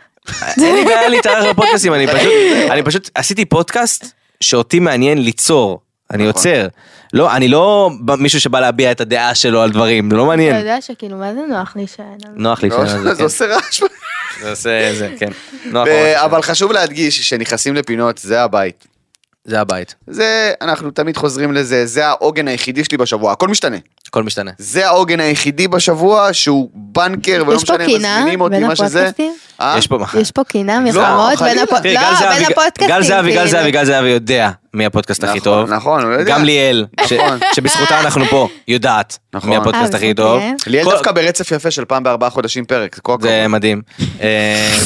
Speaker 2: אין לי בעיה להתארח בפודקאסטים, אני פשוט, אני פשוט עשיתי פודקאסט שאותי מעניין ליצור, אני
Speaker 3: נכון.
Speaker 2: יוצר. לא, אני לא ב- מישהו שבא להביע את הדעה שלו על דברים, זה לא
Speaker 4: אתה
Speaker 2: מעניין.
Speaker 4: יודע שכאילו מה זה נוח להישען על
Speaker 2: נוח לי שאני
Speaker 3: לא, (laughs) זה
Speaker 2: כן.
Speaker 3: עושה רעש.
Speaker 2: זה עושה זה, כן. נוח
Speaker 3: ו-
Speaker 2: ממש.
Speaker 3: אבל חשוב להדגיש שנכנסים לפינות, זה הבית.
Speaker 2: זה הבית,
Speaker 3: זה, אנחנו תמיד חוזרים לזה, זה העוגן היחידי שלי בשבוע, הכל משתנה.
Speaker 2: הכל משתנה.
Speaker 3: זה העוגן היחידי בשבוע שהוא בנקר,
Speaker 2: לא
Speaker 3: ולא
Speaker 4: יש פה
Speaker 3: משנה אם
Speaker 4: קינה
Speaker 3: מזמינים אותי,
Speaker 4: בין
Speaker 3: מה שזה.
Speaker 4: הפודקאסטים?
Speaker 3: אה?
Speaker 2: יש פה מה.
Speaker 4: יש פה קינה
Speaker 3: לא,
Speaker 4: מלחמות בין
Speaker 3: חלילה.
Speaker 2: תראי,
Speaker 4: הפודקאסטים? לא,
Speaker 2: גל זהבי-
Speaker 4: בין הפודקאסטים.
Speaker 2: גל זהבי, גל
Speaker 4: כאילו.
Speaker 2: זהבי, גל זהבי יודע מי הפודקאסט הכי
Speaker 3: נכון,
Speaker 2: טוב.
Speaker 3: נכון, הוא יודע.
Speaker 2: גם ליאל, ש-
Speaker 3: נכון.
Speaker 2: שבזכותה אנחנו פה, יודעת
Speaker 3: נכון.
Speaker 2: מי הפודקאסט
Speaker 4: אה,
Speaker 2: הכי
Speaker 4: בזכות
Speaker 2: טוב.
Speaker 4: ליאל?
Speaker 3: ליאל
Speaker 2: כל-
Speaker 3: דווקא ברצף יפה של פעם בארבעה חודשים פרק, זה כל
Speaker 2: זה
Speaker 3: הכבוד.
Speaker 2: מדהים. אה,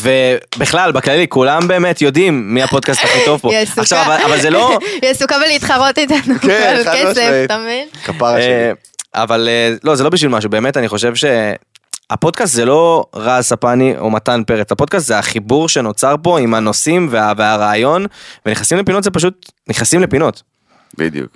Speaker 2: ובכלל, בכללי, כולם באמת יודעים מי הפודקאסט הכי טוב פה.
Speaker 4: היא עסוקה-
Speaker 2: עכשיו, אבל- אבל זה
Speaker 4: (laughs)
Speaker 2: לא...
Speaker 4: היא עסוקה בלהתחרות איתנו
Speaker 3: כן,
Speaker 4: על
Speaker 3: חד
Speaker 4: כסף,
Speaker 3: משמעית.
Speaker 4: אתה מבין?
Speaker 3: כפרה שלי.
Speaker 2: אה, אבל אה, לא, זה לא בשביל משהו, באמת, אני חושב ש... הפודקאסט זה לא רז ספני או מתן פרץ, הפודקאסט זה החיבור שנוצר פה עם הנושאים וה, והרעיון, ונכנסים לפינות זה פשוט, נכנסים לפינות.
Speaker 3: בדיוק.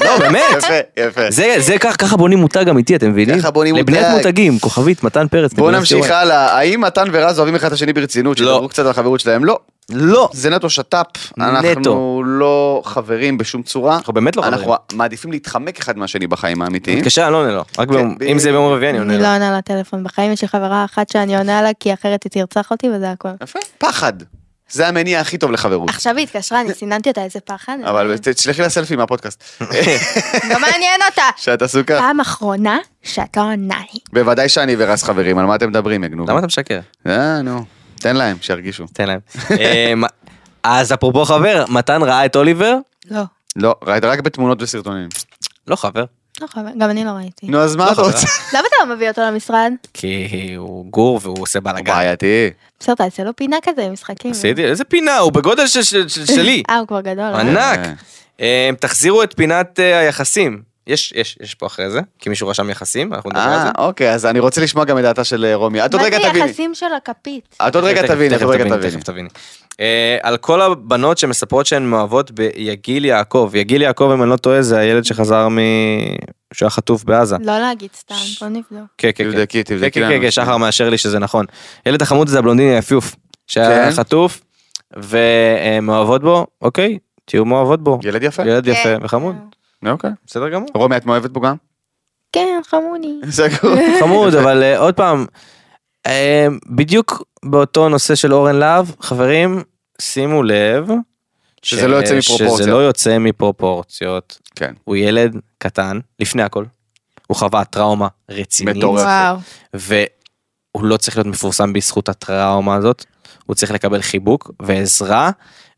Speaker 2: לא, באמת.
Speaker 3: יפה, יפה.
Speaker 2: זה, זה כך, ככה בונים מותג אמיתי, אתם מבינים?
Speaker 3: ככה בונים
Speaker 2: לבניית
Speaker 3: מותג.
Speaker 2: מותגים, כוכבית, מתן פרץ.
Speaker 3: בואו
Speaker 2: נקודה
Speaker 3: נמשיך
Speaker 2: סיומת.
Speaker 3: הלאה, האם מתן ורז אוהבים אחד את השני ברצינות?
Speaker 2: לא.
Speaker 3: שדברו קצת על החברות שלהם? לא.
Speaker 2: לא.
Speaker 3: זה נטו שת"פ,
Speaker 2: נטו.
Speaker 3: אנחנו לא חברים בשום צורה.
Speaker 2: אנחנו באמת לא חברים.
Speaker 3: אנחנו מעדיפים להתחמק אחד מהשני בחיים האמיתיים.
Speaker 2: מתקשר, אני לא עונה לו. רק ביום-
Speaker 3: כן. ב-
Speaker 2: אם זה ביום רביעי כן, אני עונה
Speaker 4: אני
Speaker 2: לו.
Speaker 4: לא עונה לטלפון בחיים, יש לי חברה אחת שאני עונה לה כי אחרת היא תרצח אותי וזה הכל.
Speaker 3: יפה. פחד. זה המניע הכי טוב לחברות.
Speaker 4: עכשיו היא התקשרה, אני סיננתי אותה, איזה פחד.
Speaker 3: (laughs) אבל תשלחי לה סלפי
Speaker 2: (laughs)
Speaker 3: מהפודקאסט. (laughs)
Speaker 4: לא מעניין אותה.
Speaker 3: שאת עסוקה.
Speaker 4: פעם אחרונה שאתה עונה לי.
Speaker 3: בוודאי שאני ורז חברים, על מה אתם מדברים, יגנוב?
Speaker 2: למה אתה משקר?
Speaker 3: אה, נו. תן להם, שירגישו.
Speaker 2: תן להם. אמ, אז אפרופו חבר, מתן ראה את אוליבר?
Speaker 4: לא.
Speaker 3: לא, ראית רק בתמונות
Speaker 4: (laughs)
Speaker 3: וסרטונים.
Speaker 2: לא חבר.
Speaker 4: לא חבל, גם אני לא ראיתי.
Speaker 3: נו, אז מה אתה רוצה?
Speaker 4: למה אתה לא מביא אותו למשרד?
Speaker 2: כי הוא גור והוא עושה
Speaker 3: הוא
Speaker 2: בלאגן.
Speaker 3: בעייתי.
Speaker 4: בסדר, תעשה לו פינה כזה עם משחקים.
Speaker 2: עשיתי, איזה פינה, הוא בגודל של- של- של-
Speaker 3: (laughs)
Speaker 2: שלי.
Speaker 4: אה, הוא כבר גדול. אה?
Speaker 2: ענק.
Speaker 3: אה.
Speaker 2: אמ, תחזירו את פינת אה, היחסים. יש, יש, יש פה אחרי זה, כי מישהו רשם יחסים, אנחנו נדבר על זה.
Speaker 3: אה, אוקיי, אז אני רוצה לשמוע גם את דעתה של אה, רומי. את עוד רגע
Speaker 4: מה זה
Speaker 3: תביני. אה.
Speaker 4: יחסים של הכפית?
Speaker 3: את עוד רגע
Speaker 2: תכף,
Speaker 3: תביני, את
Speaker 2: תכף
Speaker 3: עוד רגע
Speaker 2: תביני,
Speaker 3: תביני.
Speaker 2: תכף תביני. אה, על כל הבנות שמספרות שהן מאוהבות ביגיל יעקב. יגיל יעקב, אם אני לא טועה, זה הילד שחזר מ... שהיה חטוף בעזה.
Speaker 4: לא להגיד סתם, בוא נבדוק.
Speaker 2: כן, כן, כן.
Speaker 3: תבדקי,
Speaker 2: כן,
Speaker 3: תבדקי
Speaker 2: כן,
Speaker 3: לנו.
Speaker 2: כן, שחר מאשר לי שזה נכון. ילד החמוד הזה הבלונדיני היפיוף. שהיה
Speaker 3: כן.
Speaker 2: חטוף, ומאוהבות בו, אוקיי, תהיו מאוהבות בו.
Speaker 3: ילד יפה.
Speaker 2: ילד
Speaker 4: כן.
Speaker 2: יפה וחמוד,
Speaker 3: אוקיי.
Speaker 2: בסדר גמור.
Speaker 3: רומי, את מאוהבת בו גם?
Speaker 4: כן, חמוני.
Speaker 3: סגור.
Speaker 2: (laughs) חמוד, אבל אה, עוד פעם, אה, בדיוק באותו נושא של אורן להב, חברים, שימו לב.
Speaker 3: שזה
Speaker 2: ש-
Speaker 3: לא יוצא מפרופורציות.
Speaker 2: שזה לא יוצא מפרופורציות.
Speaker 3: כן.
Speaker 2: הוא ילד קטן, לפני הכל. הוא חווה טראומה רצינית.
Speaker 3: מטורף.
Speaker 4: וואו.
Speaker 2: והוא לא צריך להיות מפורסם בזכות הטראומה הזאת. הוא צריך לקבל חיבוק ועזרה,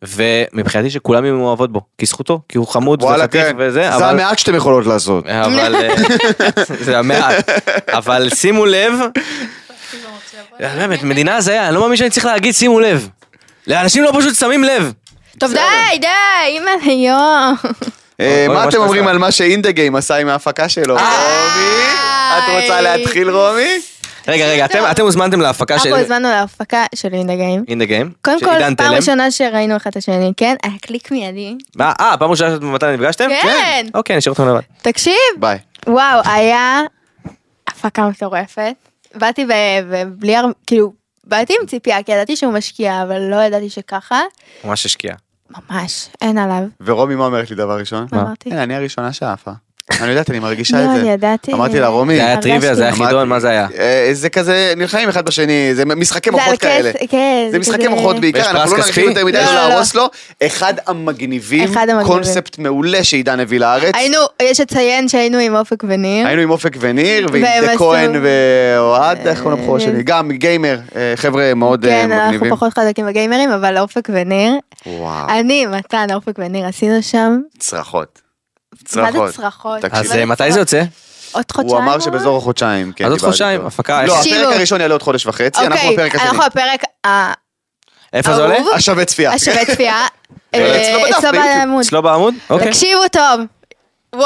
Speaker 2: ומבחינתי שכולם יהיו מאוהבות בו, כי זכותו, כי הוא
Speaker 3: (laughs)
Speaker 2: חמוד
Speaker 3: וואלה,
Speaker 2: וחתיך
Speaker 3: כן.
Speaker 2: וזה,
Speaker 3: זה
Speaker 2: אבל...
Speaker 3: המעט שאתם יכולות לעשות.
Speaker 2: אבל אה, (laughs) זה המעט. אבל שימו לב, אה, באמת, מדינה הזיה, אני לא מאמין שאני צריך להגיד שימו לב. לאנשים לא פשוט שמים לב.
Speaker 4: טוב, די, די, אימא, יואו.
Speaker 3: אה,
Speaker 2: אוי,
Speaker 3: מה
Speaker 2: מה
Speaker 3: אתם
Speaker 2: שאתה
Speaker 3: אומרים
Speaker 2: עושה. אה,
Speaker 3: על מה שאינדגיים עשה עם ההפקה שלו? רומי, את רוצה להתחיל רומי?
Speaker 2: רגע, רגע,
Speaker 4: לא.
Speaker 2: אתם- אתם הוזמנתם
Speaker 3: אה,
Speaker 2: להפקה של
Speaker 4: אנחנו אוקיי, הזמנו להפקה של אינדה גיים.
Speaker 2: In the Game?
Speaker 4: קודם
Speaker 2: של
Speaker 4: כל,
Speaker 2: עידן
Speaker 4: פעם
Speaker 2: תלם.
Speaker 4: ראשונה שראינו אחד את השני, כן? היה קליק מיידי.
Speaker 2: מה, אה, פעם ראשונה שאתם מתי נפגשתם?
Speaker 4: כן.
Speaker 2: אוקיי, נשאיר אתכם לבד.
Speaker 4: תקשיב,
Speaker 3: ביי.
Speaker 4: וואו, היה הפקה מטורפת. באתי ו- ובלי הרבה, כאילו, באתי עם ציפייה, כי ידעתי שהוא משקיע, אבל לא ידעתי שככה.
Speaker 2: ממש
Speaker 4: כן.
Speaker 2: השקיע.
Speaker 4: ממש, אין עליו.
Speaker 3: ורומי, מה אומרת לי דבר ראשון?
Speaker 4: מה אמרתי?
Speaker 3: הנה, אני הראשונה שעפה. אני יודעת, אני מרגישה
Speaker 4: לא,
Speaker 3: את זה.
Speaker 4: אני ידעתי.
Speaker 3: אמרתי לה, רומי,
Speaker 2: זה היה טריוויה, זה היה
Speaker 3: אמרתי-
Speaker 2: חידון, מה זה היה?
Speaker 3: אה, זה כזה, נלחמים אחד בשני, זה משחקי
Speaker 4: זה על
Speaker 3: מוחות כאלה.
Speaker 4: כס- כן,
Speaker 3: זה משחקי מוחות בעיקר,
Speaker 2: ויש
Speaker 3: אנחנו
Speaker 2: פרס
Speaker 3: לא נרחיב
Speaker 2: כספי?
Speaker 3: יותר מדי
Speaker 4: לא,
Speaker 3: לא
Speaker 4: לא, לא.
Speaker 3: להרוס לו. אחד המגניבים,
Speaker 4: אחד המגניבים.
Speaker 3: קונספט מעולה שעידן הביא לארץ.
Speaker 4: היינו, יש לציין שהיינו עם אופק וניר.
Speaker 3: היינו עם אופק וניר, ועם
Speaker 4: כן. והם
Speaker 3: דה
Speaker 4: עשו- אה,
Speaker 3: כהן ואוהד, איך קוראים לבחור שלי? גם גיימר, אה, חבר'ה מאוד אה,
Speaker 4: כן, אנחנו
Speaker 3: מגניבים. אה.
Speaker 4: פחות אה, חזקים בגיימרים, אבל אופק וניר.
Speaker 3: וואו,
Speaker 4: אני, מתן, אופק וניר, עשינו שם.
Speaker 3: צרחות.
Speaker 4: מה
Speaker 3: צרחות.
Speaker 4: זה צרחות?
Speaker 3: תקשיב.
Speaker 2: אז אה, מתי זה יוצא?
Speaker 4: עוד חודשיים?
Speaker 3: הוא אמר
Speaker 4: הוא
Speaker 3: שבאזור החודשיים. כן,
Speaker 2: אז עוד
Speaker 3: דיברתי
Speaker 2: חודשיים,
Speaker 3: איתו.
Speaker 2: הפקה,
Speaker 3: לא,
Speaker 4: תקשיבו.
Speaker 3: הפרק הראשון יעלה עוד חודש וחצי, אנחנו
Speaker 4: אוקיי,
Speaker 3: בפרק השני.
Speaker 4: אנחנו בפרק ה-
Speaker 2: איפה זה עולה?
Speaker 4: אהוב.
Speaker 3: השווה צפייה.
Speaker 4: השווה
Speaker 3: (laughs)
Speaker 4: צפייה.
Speaker 3: אצלו
Speaker 4: אה,
Speaker 3: בדף,
Speaker 4: אצלו
Speaker 3: ביוטיוב.
Speaker 4: בעמוד. לא,
Speaker 2: אצלו בעמוד? אוקיי.
Speaker 4: תקשיבו טוב. וואו,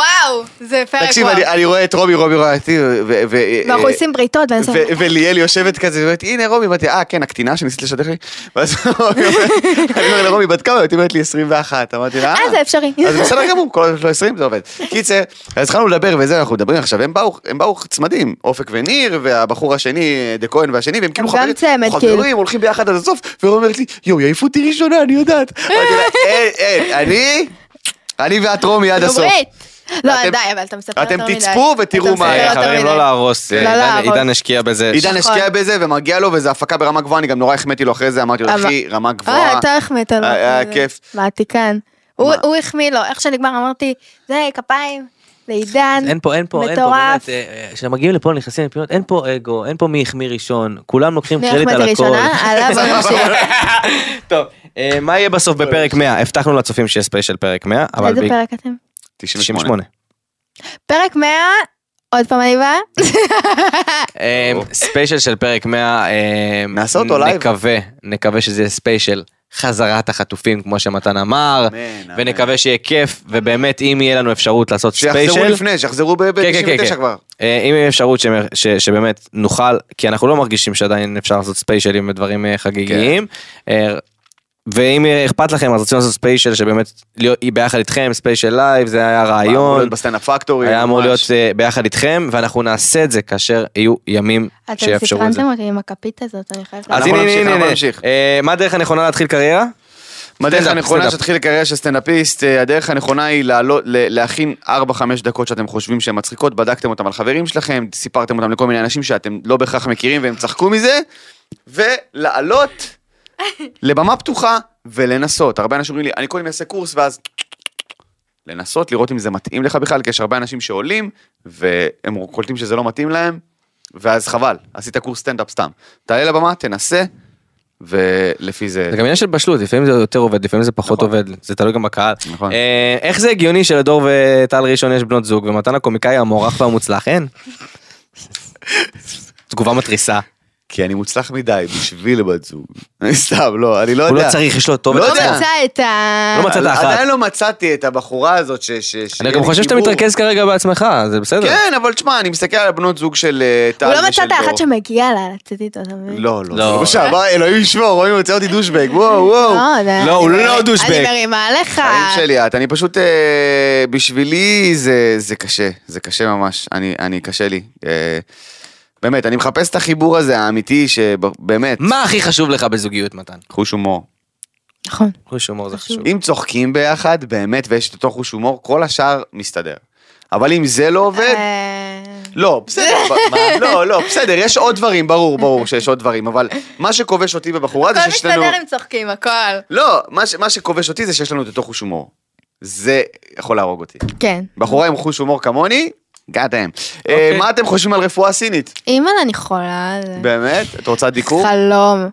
Speaker 4: זה פרק וואו.
Speaker 3: תקשיב, אני- אני רואה את רומי, רומי רואה אותי, ו- ו- ו-
Speaker 4: ואנחנו עושים בריתות, ואני
Speaker 3: ו-
Speaker 4: עושה-
Speaker 3: וליאל יושבת כזה, ואומרת, הנה רומי, אמרתי, אה, כן, הקטינה שניסית לשדך לי? ואז (laughs) רומי אומרת, אני אומר לרומי, בת כמה? היא אומרת לי 21. אמרתי לה,
Speaker 4: אה, זה אפשרי.
Speaker 3: אז בסדר גמור, כל עוד יש לו 20 זה עובד. קיצר, אז התחלנו לדבר וזה, אנחנו מדברים עכשיו, הם באו, הם באו צמדים, אופק וניר, והבחור השני, דה כהן והשני, והם כאילו
Speaker 4: הם גם
Speaker 3: חברים,
Speaker 4: צמד,
Speaker 3: חברים,
Speaker 4: כאילו.
Speaker 3: הולכים ביחד עד הסוף, והוא אומרת לי, יואו, יעיפו אותי ראשונה, אני יודעת. אמרתי לה, אין, אין, אני, אני ואת רומי
Speaker 4: (laughs)
Speaker 3: עד הסוף.
Speaker 4: דוברית. לא,
Speaker 3: אתם-
Speaker 4: די, אבל אתה מספר
Speaker 3: אתם
Speaker 4: יותר מדי.
Speaker 3: תצפו ותראו
Speaker 4: אתה
Speaker 3: מה
Speaker 4: מספר
Speaker 2: אה,
Speaker 3: היה.
Speaker 4: יותר
Speaker 2: חברים,
Speaker 4: מדי.
Speaker 2: לא להרוס. אה,
Speaker 4: לא
Speaker 2: עידן-
Speaker 4: להרוס.
Speaker 2: עידן השקיע בזה.
Speaker 3: עידן
Speaker 4: נכון.
Speaker 3: השקיע בזה ומגיע לו, וזו הפקה ברמה גבוהה, אני גם נורא החמאתי לו אחרי זה, אמרתי לו,
Speaker 4: אבל-
Speaker 3: אחי, רמה
Speaker 4: אה,
Speaker 3: גבוהה.
Speaker 4: אתה החמאת לו.
Speaker 3: היה
Speaker 4: זה-
Speaker 3: אה, כיף.
Speaker 4: מה, תיקן. הוא הוא החמיא לו, איך שנגמר אמרתי, זה כפיים, לעידן.
Speaker 2: אין פה, אין פה, אין פה,
Speaker 4: מטורף.
Speaker 2: באמת, אה, אה, כשמגיעים לפה נכנסים לפינות, אין פה אגו, אין פה מי החמיא ראשון, כולם לוקחים
Speaker 4: אני
Speaker 2: קרדיט על
Speaker 4: החמאתי
Speaker 2: הכל.
Speaker 4: ראשונה,
Speaker 2: (laughs)
Speaker 4: עליו ממשיך.
Speaker 2: טוב, אה, מה יהיה בסוף בפרק 100? הבטחנו לצופים שיהיה ספיישל פרק 100, אבל...
Speaker 4: איזה
Speaker 2: ב-
Speaker 4: פרק אתם?
Speaker 2: 98.
Speaker 4: פרק 100, עוד פעם אני באה.
Speaker 2: (laughs) אה, ספיישל של פרק 100, אה,
Speaker 3: נעשה אותו לייב.
Speaker 2: נקווה, נקווה שזה יהיה ספיישל חזרת החטופים, כמו שמתן אמר,
Speaker 3: אמן, אמן.
Speaker 2: ונקווה שיהיה כיף, ובאמת, אם יהיה לנו אפשרות לעשות
Speaker 3: שיחזרו
Speaker 2: ספיישל,
Speaker 3: לפני, שיחזרו
Speaker 2: כן, כן, כן,
Speaker 3: ב-99
Speaker 2: כן.
Speaker 3: כבר.
Speaker 2: אה, אם יש אפשרות ש- ש- שבאמת נוכל, כי אנחנו לא מרגישים שעדיין אפשר לעשות ספיישלים ודברים אה, חגיגיים. אה, ואם אה, אכפת לכם אז רצינו לעשות ספיישל שבאמת להיות- היא ביחד איתכם ספיישל לייב זה היה
Speaker 3: אמור
Speaker 2: רעיון
Speaker 3: להיות בסטנדאפ פקטורי.
Speaker 2: היה אמור להיות
Speaker 3: ממש.
Speaker 2: אה, ביחד איתכם ואנחנו נעשה את זה כאשר יהיו ימים
Speaker 4: אתם
Speaker 2: שיאפשרו את זה.
Speaker 4: סקרנתם אותי עם הכפית הזאת, אני חייבת
Speaker 2: אז
Speaker 3: אנחנו
Speaker 2: הנה
Speaker 3: נמשיך,
Speaker 2: הנה
Speaker 3: אנחנו
Speaker 2: הנה
Speaker 3: נמשיך.
Speaker 2: אה, מה הדרך הנכונה להתחיל קריירה?
Speaker 3: הדרך
Speaker 2: סטנדאפ,
Speaker 3: הנכונה
Speaker 2: סטנדאפ.
Speaker 3: שתתחיל קריירה של סטנדאפיסט, אה, הדרך הנכונה היא לעלות, ל- להכין 4-5 דקות שאתם חושבים שהן מצחיקות, בדקתם אותם על חברים שלכם, סיפרתם אותם לכל מיני אנשים שאתם לא בהכרח מכירים והם צחקו מזה, ולעלות לבמה פתוחה ולנסות. הרבה אנשים אומרים לי, אני קודם אעשה קורס ואז לנסות, לראות אם זה מתאים לך בכלל, כי יש הרבה אנשים שעולים והם קולטים שזה לא מתאים להם, ואז חבל, עשית קורס סטנדאפ סתם. תעלה לבמה, תנסה, ולפי זה...
Speaker 2: זה גם עניין של בשלות לפעמים זה יותר עובד לפעמים זה פחות
Speaker 3: נכון.
Speaker 2: עובד זה תלוי גם בקהל.
Speaker 3: נכון.
Speaker 2: אה, איך זה הגיוני שלדור וטל ראשון יש בנות זוג ומתן הקומיקאי המוערך והמוצלח אין? (laughs) תגובה מתריסה.
Speaker 3: כי אני מוצלח מדי בשביל בת זוג. (laughs) סתם, לא, אני לא יודע.
Speaker 2: הוא לא צריך יש לו טוב.
Speaker 3: לא
Speaker 2: את
Speaker 4: לא
Speaker 2: עצמו.
Speaker 3: יודע.
Speaker 4: מצא את ה...
Speaker 2: לא מצאת
Speaker 3: אבל
Speaker 2: אחת.
Speaker 3: עדיין לא מצאתי את הבחורה הזאת ש... ש-
Speaker 2: אני
Speaker 3: שיהיה
Speaker 2: גם
Speaker 3: לי
Speaker 2: חושב שאתה
Speaker 3: חיבור.
Speaker 2: מתרכז כרגע בעצמך זה בסדר.
Speaker 3: אה, כן, אבל תשמע, אני מסתכל על הבנות זוג של אה, טל
Speaker 4: הוא לא
Speaker 3: ושל
Speaker 4: מצא את האחת
Speaker 3: דור.
Speaker 4: שמגיעה לה לצאת איתו, אתה מבין?
Speaker 3: לא, לא,
Speaker 2: לא.
Speaker 3: לא שם, אה, אלוהים ישמור, רואים, הוא יוצא אותי דושבג, וואו, וואו.
Speaker 4: זה-
Speaker 2: לא, הוא
Speaker 4: אני
Speaker 2: לא
Speaker 4: מרימה-
Speaker 2: דושבג.
Speaker 4: אני מרימה לך.
Speaker 3: חיים שלי את, אני פשוט, אה, בשבילי זה, זה קשה, זה קשה ממש, אני, אני קשה לי. אה, באמת, אני מחפש את החיבור הזה האמיתי שבאמת,
Speaker 2: מה הכי חשוב לך בזוגיות, מתן?
Speaker 3: חוש הומור.
Speaker 4: נכון.
Speaker 2: חוש הומור זה חשוב.
Speaker 3: אם צוחקים ביחד, באמת, ויש את אותו חוש הומור, כל השאר מסתדר. אבל אם זה לא עובד,
Speaker 4: אה,
Speaker 3: לא,
Speaker 4: (laughs)
Speaker 3: בסדר, ב- מה? לא, לא, בסדר, יש עוד דברים, ברור, ברור שיש עוד דרים, אבל מה שכובש אותי בבחורה זה
Speaker 4: הכל
Speaker 3: שיש לנו...
Speaker 4: מסתדר עם צוחקים, הכל.
Speaker 3: לא, מה ש- מה שכובש אותי זה שיש לנו את אותו חוש הומור. זה יכול להרוג אותי.
Speaker 4: כן.
Speaker 3: בחורה עם חוש הומור כמוני, גאד האם. מה אתם חושבים על רפואה סינית?
Speaker 4: אימא'לה, אני חולה על זה.
Speaker 3: באמת? את רוצה דיקור?
Speaker 4: חלום.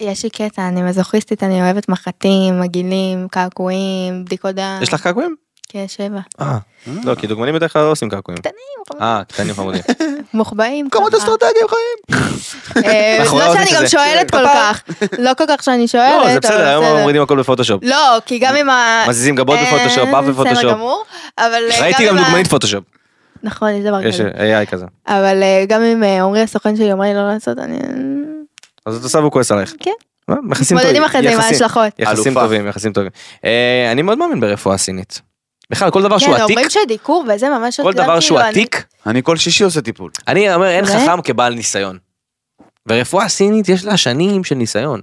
Speaker 4: יש לי קטע, אני מזוכיסטית, אני אוהבת מחטים, עגילים, קעקועים, בדיקות דם.
Speaker 2: יש לך קעקועים?
Speaker 4: כן, שבע.
Speaker 2: אה. לא, כי דוגמנים בדרך כלל לא עושים קעקועים. אה, קטנים חמודים.
Speaker 4: מוחבאים.
Speaker 3: מקומות
Speaker 4: ככה.
Speaker 3: אסטרטגיים חיים.
Speaker 4: אה,
Speaker 2: אנחנו
Speaker 4: לא
Speaker 2: אוהבים
Speaker 4: שאני
Speaker 2: את
Speaker 4: גם
Speaker 2: זה.
Speaker 4: שואלת
Speaker 3: כן.
Speaker 4: כל כך. לא כל כך שאני שואלת.
Speaker 2: (laughs) לא, זה
Speaker 4: אבל
Speaker 2: בסדר, היום מורידים הכל בפוטושופ.
Speaker 4: לא, כי גם עם ה...
Speaker 2: מזיזים גבות
Speaker 4: אה,
Speaker 2: בפוטושופ, אף
Speaker 4: בסדר
Speaker 2: בפוטושופ.
Speaker 4: גמור, אבל... אה,
Speaker 2: ראיתי גם
Speaker 4: עם ה-
Speaker 2: דוגמנית פוטושופ.
Speaker 4: נכון, יש דבר
Speaker 2: יש
Speaker 4: כזה.
Speaker 2: AI כזה.
Speaker 4: אבל אה, גם אם אה, עמרי הסוכן שלי אמר לי לא לעשות, אני...
Speaker 2: אז את עושה והוא כועס עלייך.
Speaker 4: כן.
Speaker 2: מה? יחסים טובים.
Speaker 4: מתמודדים אחרי זה עם
Speaker 2: יחסים-
Speaker 4: ההשלכות.
Speaker 2: יחסים
Speaker 3: אלופה.
Speaker 2: טובים, יחסים טובים. אה, אני מאוד מאמין ברפואה סינית. בכלל, כל דבר שהוא
Speaker 4: כן,
Speaker 2: עתיק,
Speaker 4: אומרים שדיקור וזה ממש...
Speaker 2: כל
Speaker 4: גם
Speaker 2: דבר שהוא
Speaker 4: כאילו, אני-
Speaker 2: עתיק,
Speaker 3: אני כל שישי עושה טיפול.
Speaker 2: אני אומר אין
Speaker 4: ו-
Speaker 2: חכם כבעל ניסיון. ורפואה סינית יש לה שנים של ניסיון.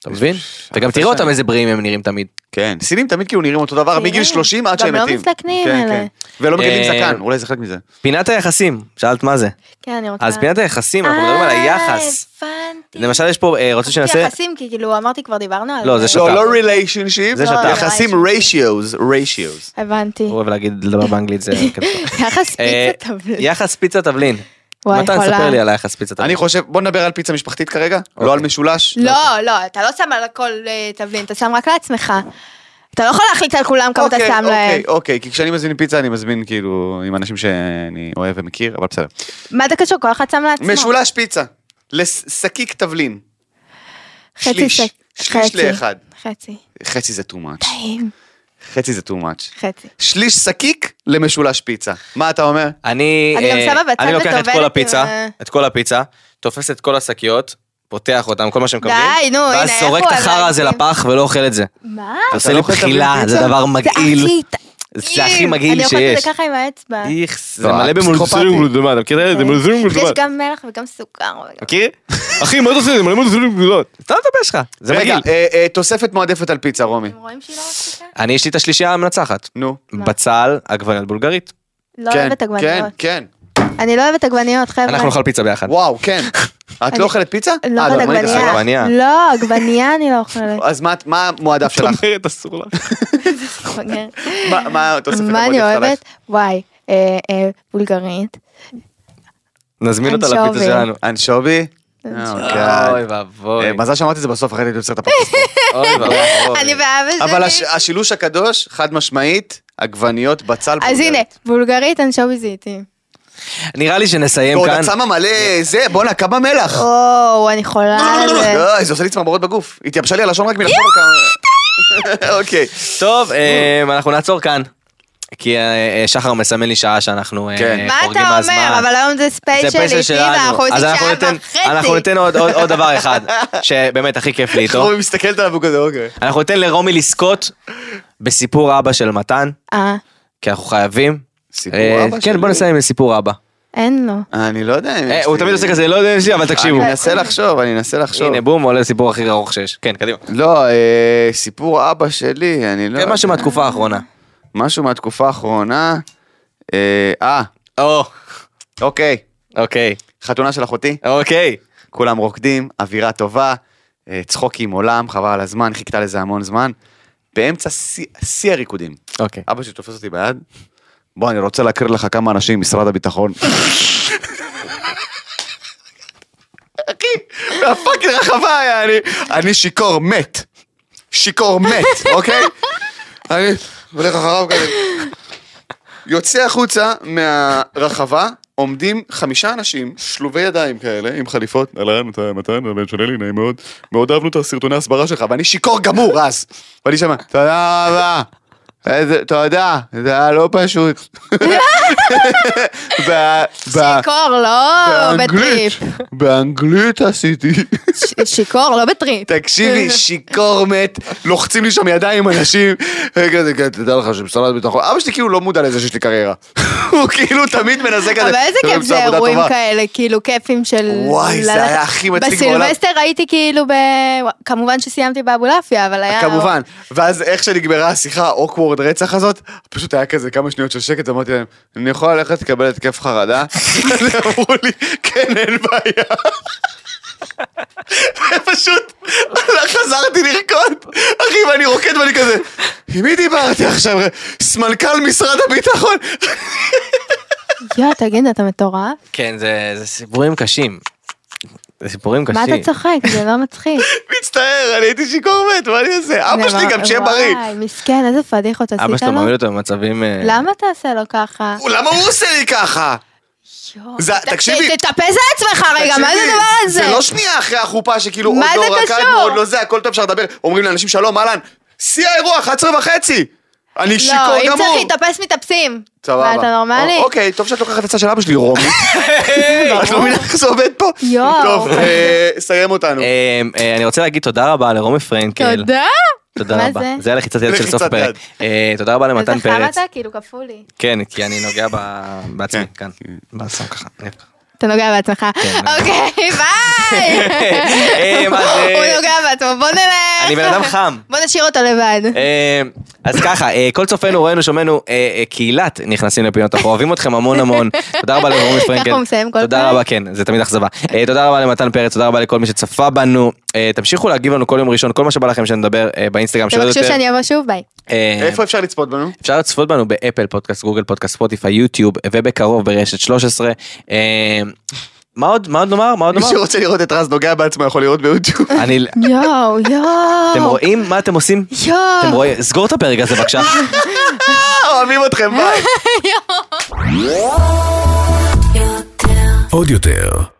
Speaker 2: אתה מבין? וגם תראה אותם
Speaker 3: שנים.
Speaker 2: איזה בריאים הם נראים תמיד.
Speaker 3: כן. סינים תמיד כאילו נראים אותו דבר
Speaker 4: כן.
Speaker 3: מגיל 30 עד
Speaker 4: גם
Speaker 3: שהם
Speaker 4: לא
Speaker 3: מתים.
Speaker 4: מזדקנים,
Speaker 3: כן,
Speaker 4: אלה.
Speaker 3: כן. ולא מגדלים
Speaker 2: אה,
Speaker 3: זקן, אולי זה חלק מזה.
Speaker 2: פינת היחסים, שאלת מה זה.
Speaker 4: כן, אני רוצה...
Speaker 2: אז פינת היחסים, אנחנו מדברים על היחס.
Speaker 4: אה, הבנתי.
Speaker 2: למשל יש פה, אה, רוצה שנעשה?
Speaker 4: יחסים, כי כאילו אמרתי כבר דיברנו על
Speaker 2: לא, זה
Speaker 3: לא,
Speaker 2: שת"פ.
Speaker 3: לא ריליישנשיפ,
Speaker 2: זה שת"פ.
Speaker 3: יחסים ריישיוז, ריישיוז.
Speaker 4: הבנתי.
Speaker 2: הוא אוהב להגיד, לדבר באנגלית
Speaker 4: (laughs)
Speaker 2: זה... כיף.
Speaker 4: יחס
Speaker 2: אה,
Speaker 4: פיצה טבלית.
Speaker 2: יחס פיצה תבלין.
Speaker 4: וואי,
Speaker 2: מתן,
Speaker 4: חולה.
Speaker 2: ספר לי על היחס פיצה תבלין.
Speaker 3: אני חושב, בוא נדבר על פיצה משפחתית כרגע,
Speaker 2: אוקיי.
Speaker 3: לא על משולש.
Speaker 4: לא, לא, אתה לא שם על הכל אה, תבלין, אתה שם רק לעצמך. אתה לא יכול להחליט על כולם כמה אתה
Speaker 3: אוקיי,
Speaker 4: שם אה, להם.
Speaker 3: אוקיי, אוקיי, כי כשאני מזמין פיצה אני מזמין כאילו עם אנשים שאני אוהב ומכיר, אבל בסדר.
Speaker 4: מה זה קשור? כל אחד שם לעצמו.
Speaker 3: משולש פיצה, לשקיק תבלין.
Speaker 4: חצי
Speaker 3: שליש.
Speaker 4: שק-
Speaker 3: שליש
Speaker 4: חצי.
Speaker 3: לאחד.
Speaker 4: חצי.
Speaker 3: חצי זה too much.
Speaker 4: טעים.
Speaker 3: חצי זה too much.
Speaker 4: חצי.
Speaker 3: שליש שקיק למשולש פיצה. מה אתה אומר?
Speaker 2: אני,
Speaker 4: אני גם
Speaker 2: אה,
Speaker 4: שמה בצד
Speaker 2: אני לוקח את
Speaker 4: וטובלת
Speaker 2: כל
Speaker 4: עם
Speaker 2: הפיצה,
Speaker 4: ה-
Speaker 2: את כל הפיצה, תופס את כל השקיות, פותח אותם, כל מה שהם
Speaker 4: די,
Speaker 2: מקבלים,
Speaker 4: נו,
Speaker 2: ואז
Speaker 4: הנה,
Speaker 2: זורק
Speaker 4: איפה
Speaker 2: את החרא הזה
Speaker 4: הבנקים?
Speaker 2: לפח ולא אוכל את זה.
Speaker 4: מה?
Speaker 2: זה עושה
Speaker 3: לא
Speaker 2: לי
Speaker 3: אוכל תבלין
Speaker 2: בחילה,
Speaker 3: פיצה?
Speaker 2: זה דבר
Speaker 4: זה
Speaker 2: מגעיל.
Speaker 4: הכי טעים.
Speaker 2: זה הכי מגעיל
Speaker 4: אני אוכלת את
Speaker 2: שיש.
Speaker 4: זה ככה עם האצבע. אה,
Speaker 2: איכס, זה
Speaker 3: לא,
Speaker 2: מלא
Speaker 3: את
Speaker 2: במולסולים
Speaker 3: פסיכופתי.
Speaker 2: גלוטמט, אתה מכיר את אה, זה? מולסולים
Speaker 4: יש
Speaker 2: גלוטמט.
Speaker 4: גם מלח וגם סוכר. וגם-
Speaker 2: מכיר? אחי, מה אתה עושה? זה מלא מולסולים גלוטמט. אתה לא מדבר שלך, זה
Speaker 3: רגע,
Speaker 2: מגעיל.
Speaker 3: אה, אה, תוספת מועדפת על פיצה, רומי.
Speaker 4: אתם רואים שהיא לא מצחיקה?
Speaker 2: אני יש לי את השלישייה המנצחת.
Speaker 3: נו.
Speaker 4: מה?
Speaker 2: בצל, עגבניות בולגרית.
Speaker 4: לא
Speaker 3: כן,
Speaker 4: אוהבת
Speaker 3: כן,
Speaker 4: עגבניות.
Speaker 3: כן.
Speaker 4: אני לא אוהבת עגבניות, חבר'ה.
Speaker 2: אנחנו נאכל פיצה ביחד.
Speaker 3: וואו, כן. את
Speaker 4: אני-
Speaker 3: לא אוכלת פיצה?
Speaker 4: לא
Speaker 3: אה,
Speaker 4: אוכלת
Speaker 3: עגבנית אסורה.
Speaker 2: עגבניה.
Speaker 4: עגבניה. לא, עגבניה אני לא אוכלת.
Speaker 3: (laughs) אז מה- מה המועדף
Speaker 4: (laughs)
Speaker 3: שלך?
Speaker 2: אומרת, אסור לך.
Speaker 3: מה- מה התוספת המועדפת
Speaker 4: אוקיי. מה אני
Speaker 3: עלייך?
Speaker 4: אוהבת? וואי, אה, אה, בולגרית.
Speaker 2: נזמין אותה
Speaker 4: אנשובי.
Speaker 2: לפיצה שלנו. אה,
Speaker 3: אנשובי?
Speaker 2: אוי
Speaker 3: אוי
Speaker 2: ואבוי.
Speaker 3: Oh, אה, מזל שאמרתי את זה בסוף, אחרת הייתי עוצר את הפרקסט.
Speaker 4: (laughs)
Speaker 2: אוי ואבוי.
Speaker 4: אני ואבא
Speaker 3: אוקיי. אבל הש-
Speaker 4: שלי.
Speaker 3: השילוש הקדוש, חד משמעית, עגבניות, בצל,
Speaker 4: אז
Speaker 3: בולגרית.
Speaker 4: הנה, בולגרית אנשובי זיתי.
Speaker 2: נראה לי שנסיים
Speaker 3: ועוד
Speaker 2: כאן.
Speaker 3: את שמה מלא זה, בואנה, כמה
Speaker 4: (laughs)
Speaker 3: מלח. לא,
Speaker 4: או, אני חולה על אה, זה.
Speaker 3: אוי, זה עושה לי צמרמורות בגוף. התייבשה לי הלשון רק מלחשוב על כמה... (laughs) אוקיי.
Speaker 2: טוב, אה, אנחנו נעצור כאן. כי אה, אה, שחר מסמן לי שעה שאנחנו אה,
Speaker 3: כן.
Speaker 2: חורגים
Speaker 4: מה
Speaker 2: מהזמן.
Speaker 4: אתה אומר? אבל היום זה
Speaker 2: זה
Speaker 4: ספייס
Speaker 2: פסל
Speaker 4: שלי, פיבה,
Speaker 2: שלנו.
Speaker 4: אנחנו עושים
Speaker 2: אז אנחנו
Speaker 4: שעה
Speaker 2: ניתן- אנחנו
Speaker 4: וחצי.
Speaker 2: ניתן עוד- עוד עוד דבר אחד, שבאמת הכי כיף לי איתו.
Speaker 3: רומי מסתכלת עליו כזה, אוקיי.
Speaker 2: אנחנו ניתן לרומי לזכות בסיפור אבא של מתן,
Speaker 4: אה,
Speaker 2: כי אנחנו חייבים.
Speaker 3: סיפור
Speaker 2: אה,
Speaker 3: אבא
Speaker 2: כן,
Speaker 3: שלי?
Speaker 2: בוא נסיים עם סיפור אבא.
Speaker 4: אין לו.
Speaker 3: אני לא יודע אם...
Speaker 2: אה,
Speaker 3: יש
Speaker 2: הוא
Speaker 3: לי-
Speaker 2: תמיד עושה כזה, לא יודע אם יש לי, אבל תקשיבו.
Speaker 3: אני אנסה לחשוב, אני אנסה לחשוב.
Speaker 2: הנה, בום, עולה הסיפור הכי ארוך שיש. כן, קדימה.
Speaker 3: לא, אה, סיפור אבא שלי, אני לא...
Speaker 2: כן, משהו מהתקופה האחרונה.
Speaker 3: משהו מהתקופה האחרונה. אה, אה,
Speaker 2: או,
Speaker 3: אוקיי.
Speaker 2: אוקיי.
Speaker 3: חתונה של אחותי.
Speaker 2: אוקיי.
Speaker 3: כולם רוקדים, אווירה טובה, אה, צחוקים עולם, חבל על הזמן, חיכתה לזה המון זמן. באמצע שיא- שיא הריקודים,
Speaker 2: אוקיי.
Speaker 3: אבא שלי תופס אותי ביד, בוא אני רוצה להקריא לך כמה אנשים ממשרד הביטחון. אחי, מהפאקינג רחבה היה אני, אני שיכור מת, שיכור מת, אוקיי? אני הולך אחריו כזה. יוצא החוצה מהרחבה, עומדים חמישה אנשים, שלובי ידיים כאלה, עם חליפות. אהלן, אתה מתן, הבן של אלי, נעים מאוד. מאוד אהבנו את הסרטוני הסברה שלך, ואני שיכור גמור אז.
Speaker 4: (laughs)
Speaker 3: ואני שם, תודה רבה. איזה- תודה, זה היה לא פשוט. ב- ב-
Speaker 4: שיכור, לא
Speaker 3: אה. באנגלית,
Speaker 4: בטריפ.
Speaker 3: באנגלית עשיתי.
Speaker 4: ש- שיכור, לא בטריפ. (laughs)
Speaker 3: תקשיבי, שיכור מת, לוחצים לי שם ידיים אנשים. רגע, זה כזה, תדע לך שבסלט ביטחון, אבא שלי כאילו לא מודע לזה שיש לי קריירה. (laughs) הוא כאילו תמיד מנסה כזה.
Speaker 4: אבל איזה
Speaker 3: "טוב,
Speaker 4: כיף
Speaker 3: למצוא
Speaker 4: זה
Speaker 3: עבודה
Speaker 4: אירועים
Speaker 3: טובה."
Speaker 4: כאלה, כאילו כיפים של...
Speaker 3: וואי, זה
Speaker 4: ללכת-
Speaker 3: היה הכי מצחיק בעולם.
Speaker 4: בסילבסטר הייתי כאילו ב... כמובן שסיימתי באבולעפיה, אבל היה...
Speaker 3: אה, כמובן. ואז איך שנגמרה השיחה, אוקוורד רצח הזאת, פשוט היה כזה כמה שניות של שקט, אמרתי להם, אני יכול ללכת לקבל התקף חרדה? (laughs) אמרו לי, כן, אין בעיה. (laughs) ופשוט (laughs) חזרתי לרקוד, אחי, ואני רוקד ואני כזה, עם מי דיברתי עכשיו? סמנכ"ל משרד הביטחון? (laughs)
Speaker 4: יואו, תגיד, אתה מטורף?
Speaker 2: כן, זה זה סיפורים קשים. זה סיפורים קשים.
Speaker 4: מה אתה צוחק? זה לא מצחיק.
Speaker 3: מצטער, אני הייתי שיכור מת, מה אני אעשה? אבא
Speaker 4: זה
Speaker 3: שלי
Speaker 4: ממש-
Speaker 3: גם שיהיה בריא.
Speaker 4: וואי, מסכן, איזה פדיחות עשית לו.
Speaker 2: אבא שלו מעמיד אותו במצבים... אה,
Speaker 4: למה תעשה לו ככה?
Speaker 3: למה הוא עושה לי ככה?
Speaker 4: יואו,
Speaker 3: זה-
Speaker 4: ת-
Speaker 3: תקשיבי.
Speaker 4: ת- תטפס לעצמך רגע, מה זה
Speaker 3: תקשיבי,
Speaker 4: הדבר הזה?
Speaker 3: זה לא שנייה אחרי החופה שכאילו עוד
Speaker 4: מה זה
Speaker 3: לא רקדנו,
Speaker 4: קשור?
Speaker 3: עוד לא זה, הכל טוב אפשר לדבר. אומרים לאנשים שלום, אהלן, שיא האירוע, 11 וחצי. אני שיכור
Speaker 4: לא, אם צריך
Speaker 3: גמור.
Speaker 4: להתאפס מתאפסים.
Speaker 3: סבבה.
Speaker 4: מה, אתה נורמלי?
Speaker 3: א- אוקיי, טוב שאת לוקחת עצה של אבא שלי, רומי. את לא מבינה איך זה עובד פה?
Speaker 4: יואו.
Speaker 3: טוב, אה, סיים אותנו.
Speaker 2: אה, אה, אני רוצה להגיד תודה רבה לרומי פרנקל.
Speaker 4: תודה.
Speaker 2: כן. תודה
Speaker 4: מה
Speaker 2: רבה.
Speaker 4: זה?
Speaker 2: זה היה לחיצת יד של סוף
Speaker 3: לחיצת
Speaker 2: פרק.
Speaker 3: יד.
Speaker 2: אה, תודה רבה למתן
Speaker 4: איזה חרא
Speaker 2: פרץ.
Speaker 4: אתה? כאילו כפו לי.
Speaker 2: כן, כי אני נוגע ב- בעצמי,
Speaker 3: כן.
Speaker 2: כאן. בסוף ככה.
Speaker 4: אתה נוגע בעצמך.
Speaker 2: (laughs)
Speaker 4: אוקיי, ביי.
Speaker 2: כן, אה, מה זה?
Speaker 4: הוא נוגע בעצמו, בוא נלך.
Speaker 2: אני בן אדם חם.
Speaker 4: בוא נשאיר אותו לבד.
Speaker 2: אה, אז ככה, אה, כל צופינו, רואינו, שומענו, אה, אה, קהילת נכנסים לפינות, אנחנו אוהבים אתכם המון המון. תודה רבה לרומי פרנקל.
Speaker 4: ככה הוא מסיים כל
Speaker 2: תודה
Speaker 4: פרק?
Speaker 2: רבה, כן, זה תמיד אכזבה. אה, תודה רבה למתן פרץ, תודה רבה לכל מי שצפה בנו. אה, תמשיכו להגיב לנו כל יום ראשון, כל מה שבא לכם שנדבר אה, באינסטגרם של עוד
Speaker 4: תבקשו
Speaker 2: יותר.
Speaker 4: שאני אבוא שוב,
Speaker 2: (laughs)
Speaker 4: ביי.
Speaker 2: אה,
Speaker 3: איפה אפשר לצפות בנו?
Speaker 2: אפשר לצפות בנו באפל פודקאסט, גוגל פודקאסט, ספוטיפיי, יוטיוב, ובקרוב ברשת 13. אה, מה עוד, מה עוד נאמר? מה עוד
Speaker 3: מי
Speaker 2: נאמר?
Speaker 3: שרוצה לראות את רז נוגע בעצמו יכול לראות ביוטיוב.
Speaker 2: אני,
Speaker 4: יואו, יואו.
Speaker 2: אתם רואים מה אתם עושים?
Speaker 4: יואו.
Speaker 2: אתם רואים? סגור את הפרק הזה בבקשה.
Speaker 3: אה, אוהבים אתכם, ביי.
Speaker 1: עוד יותר,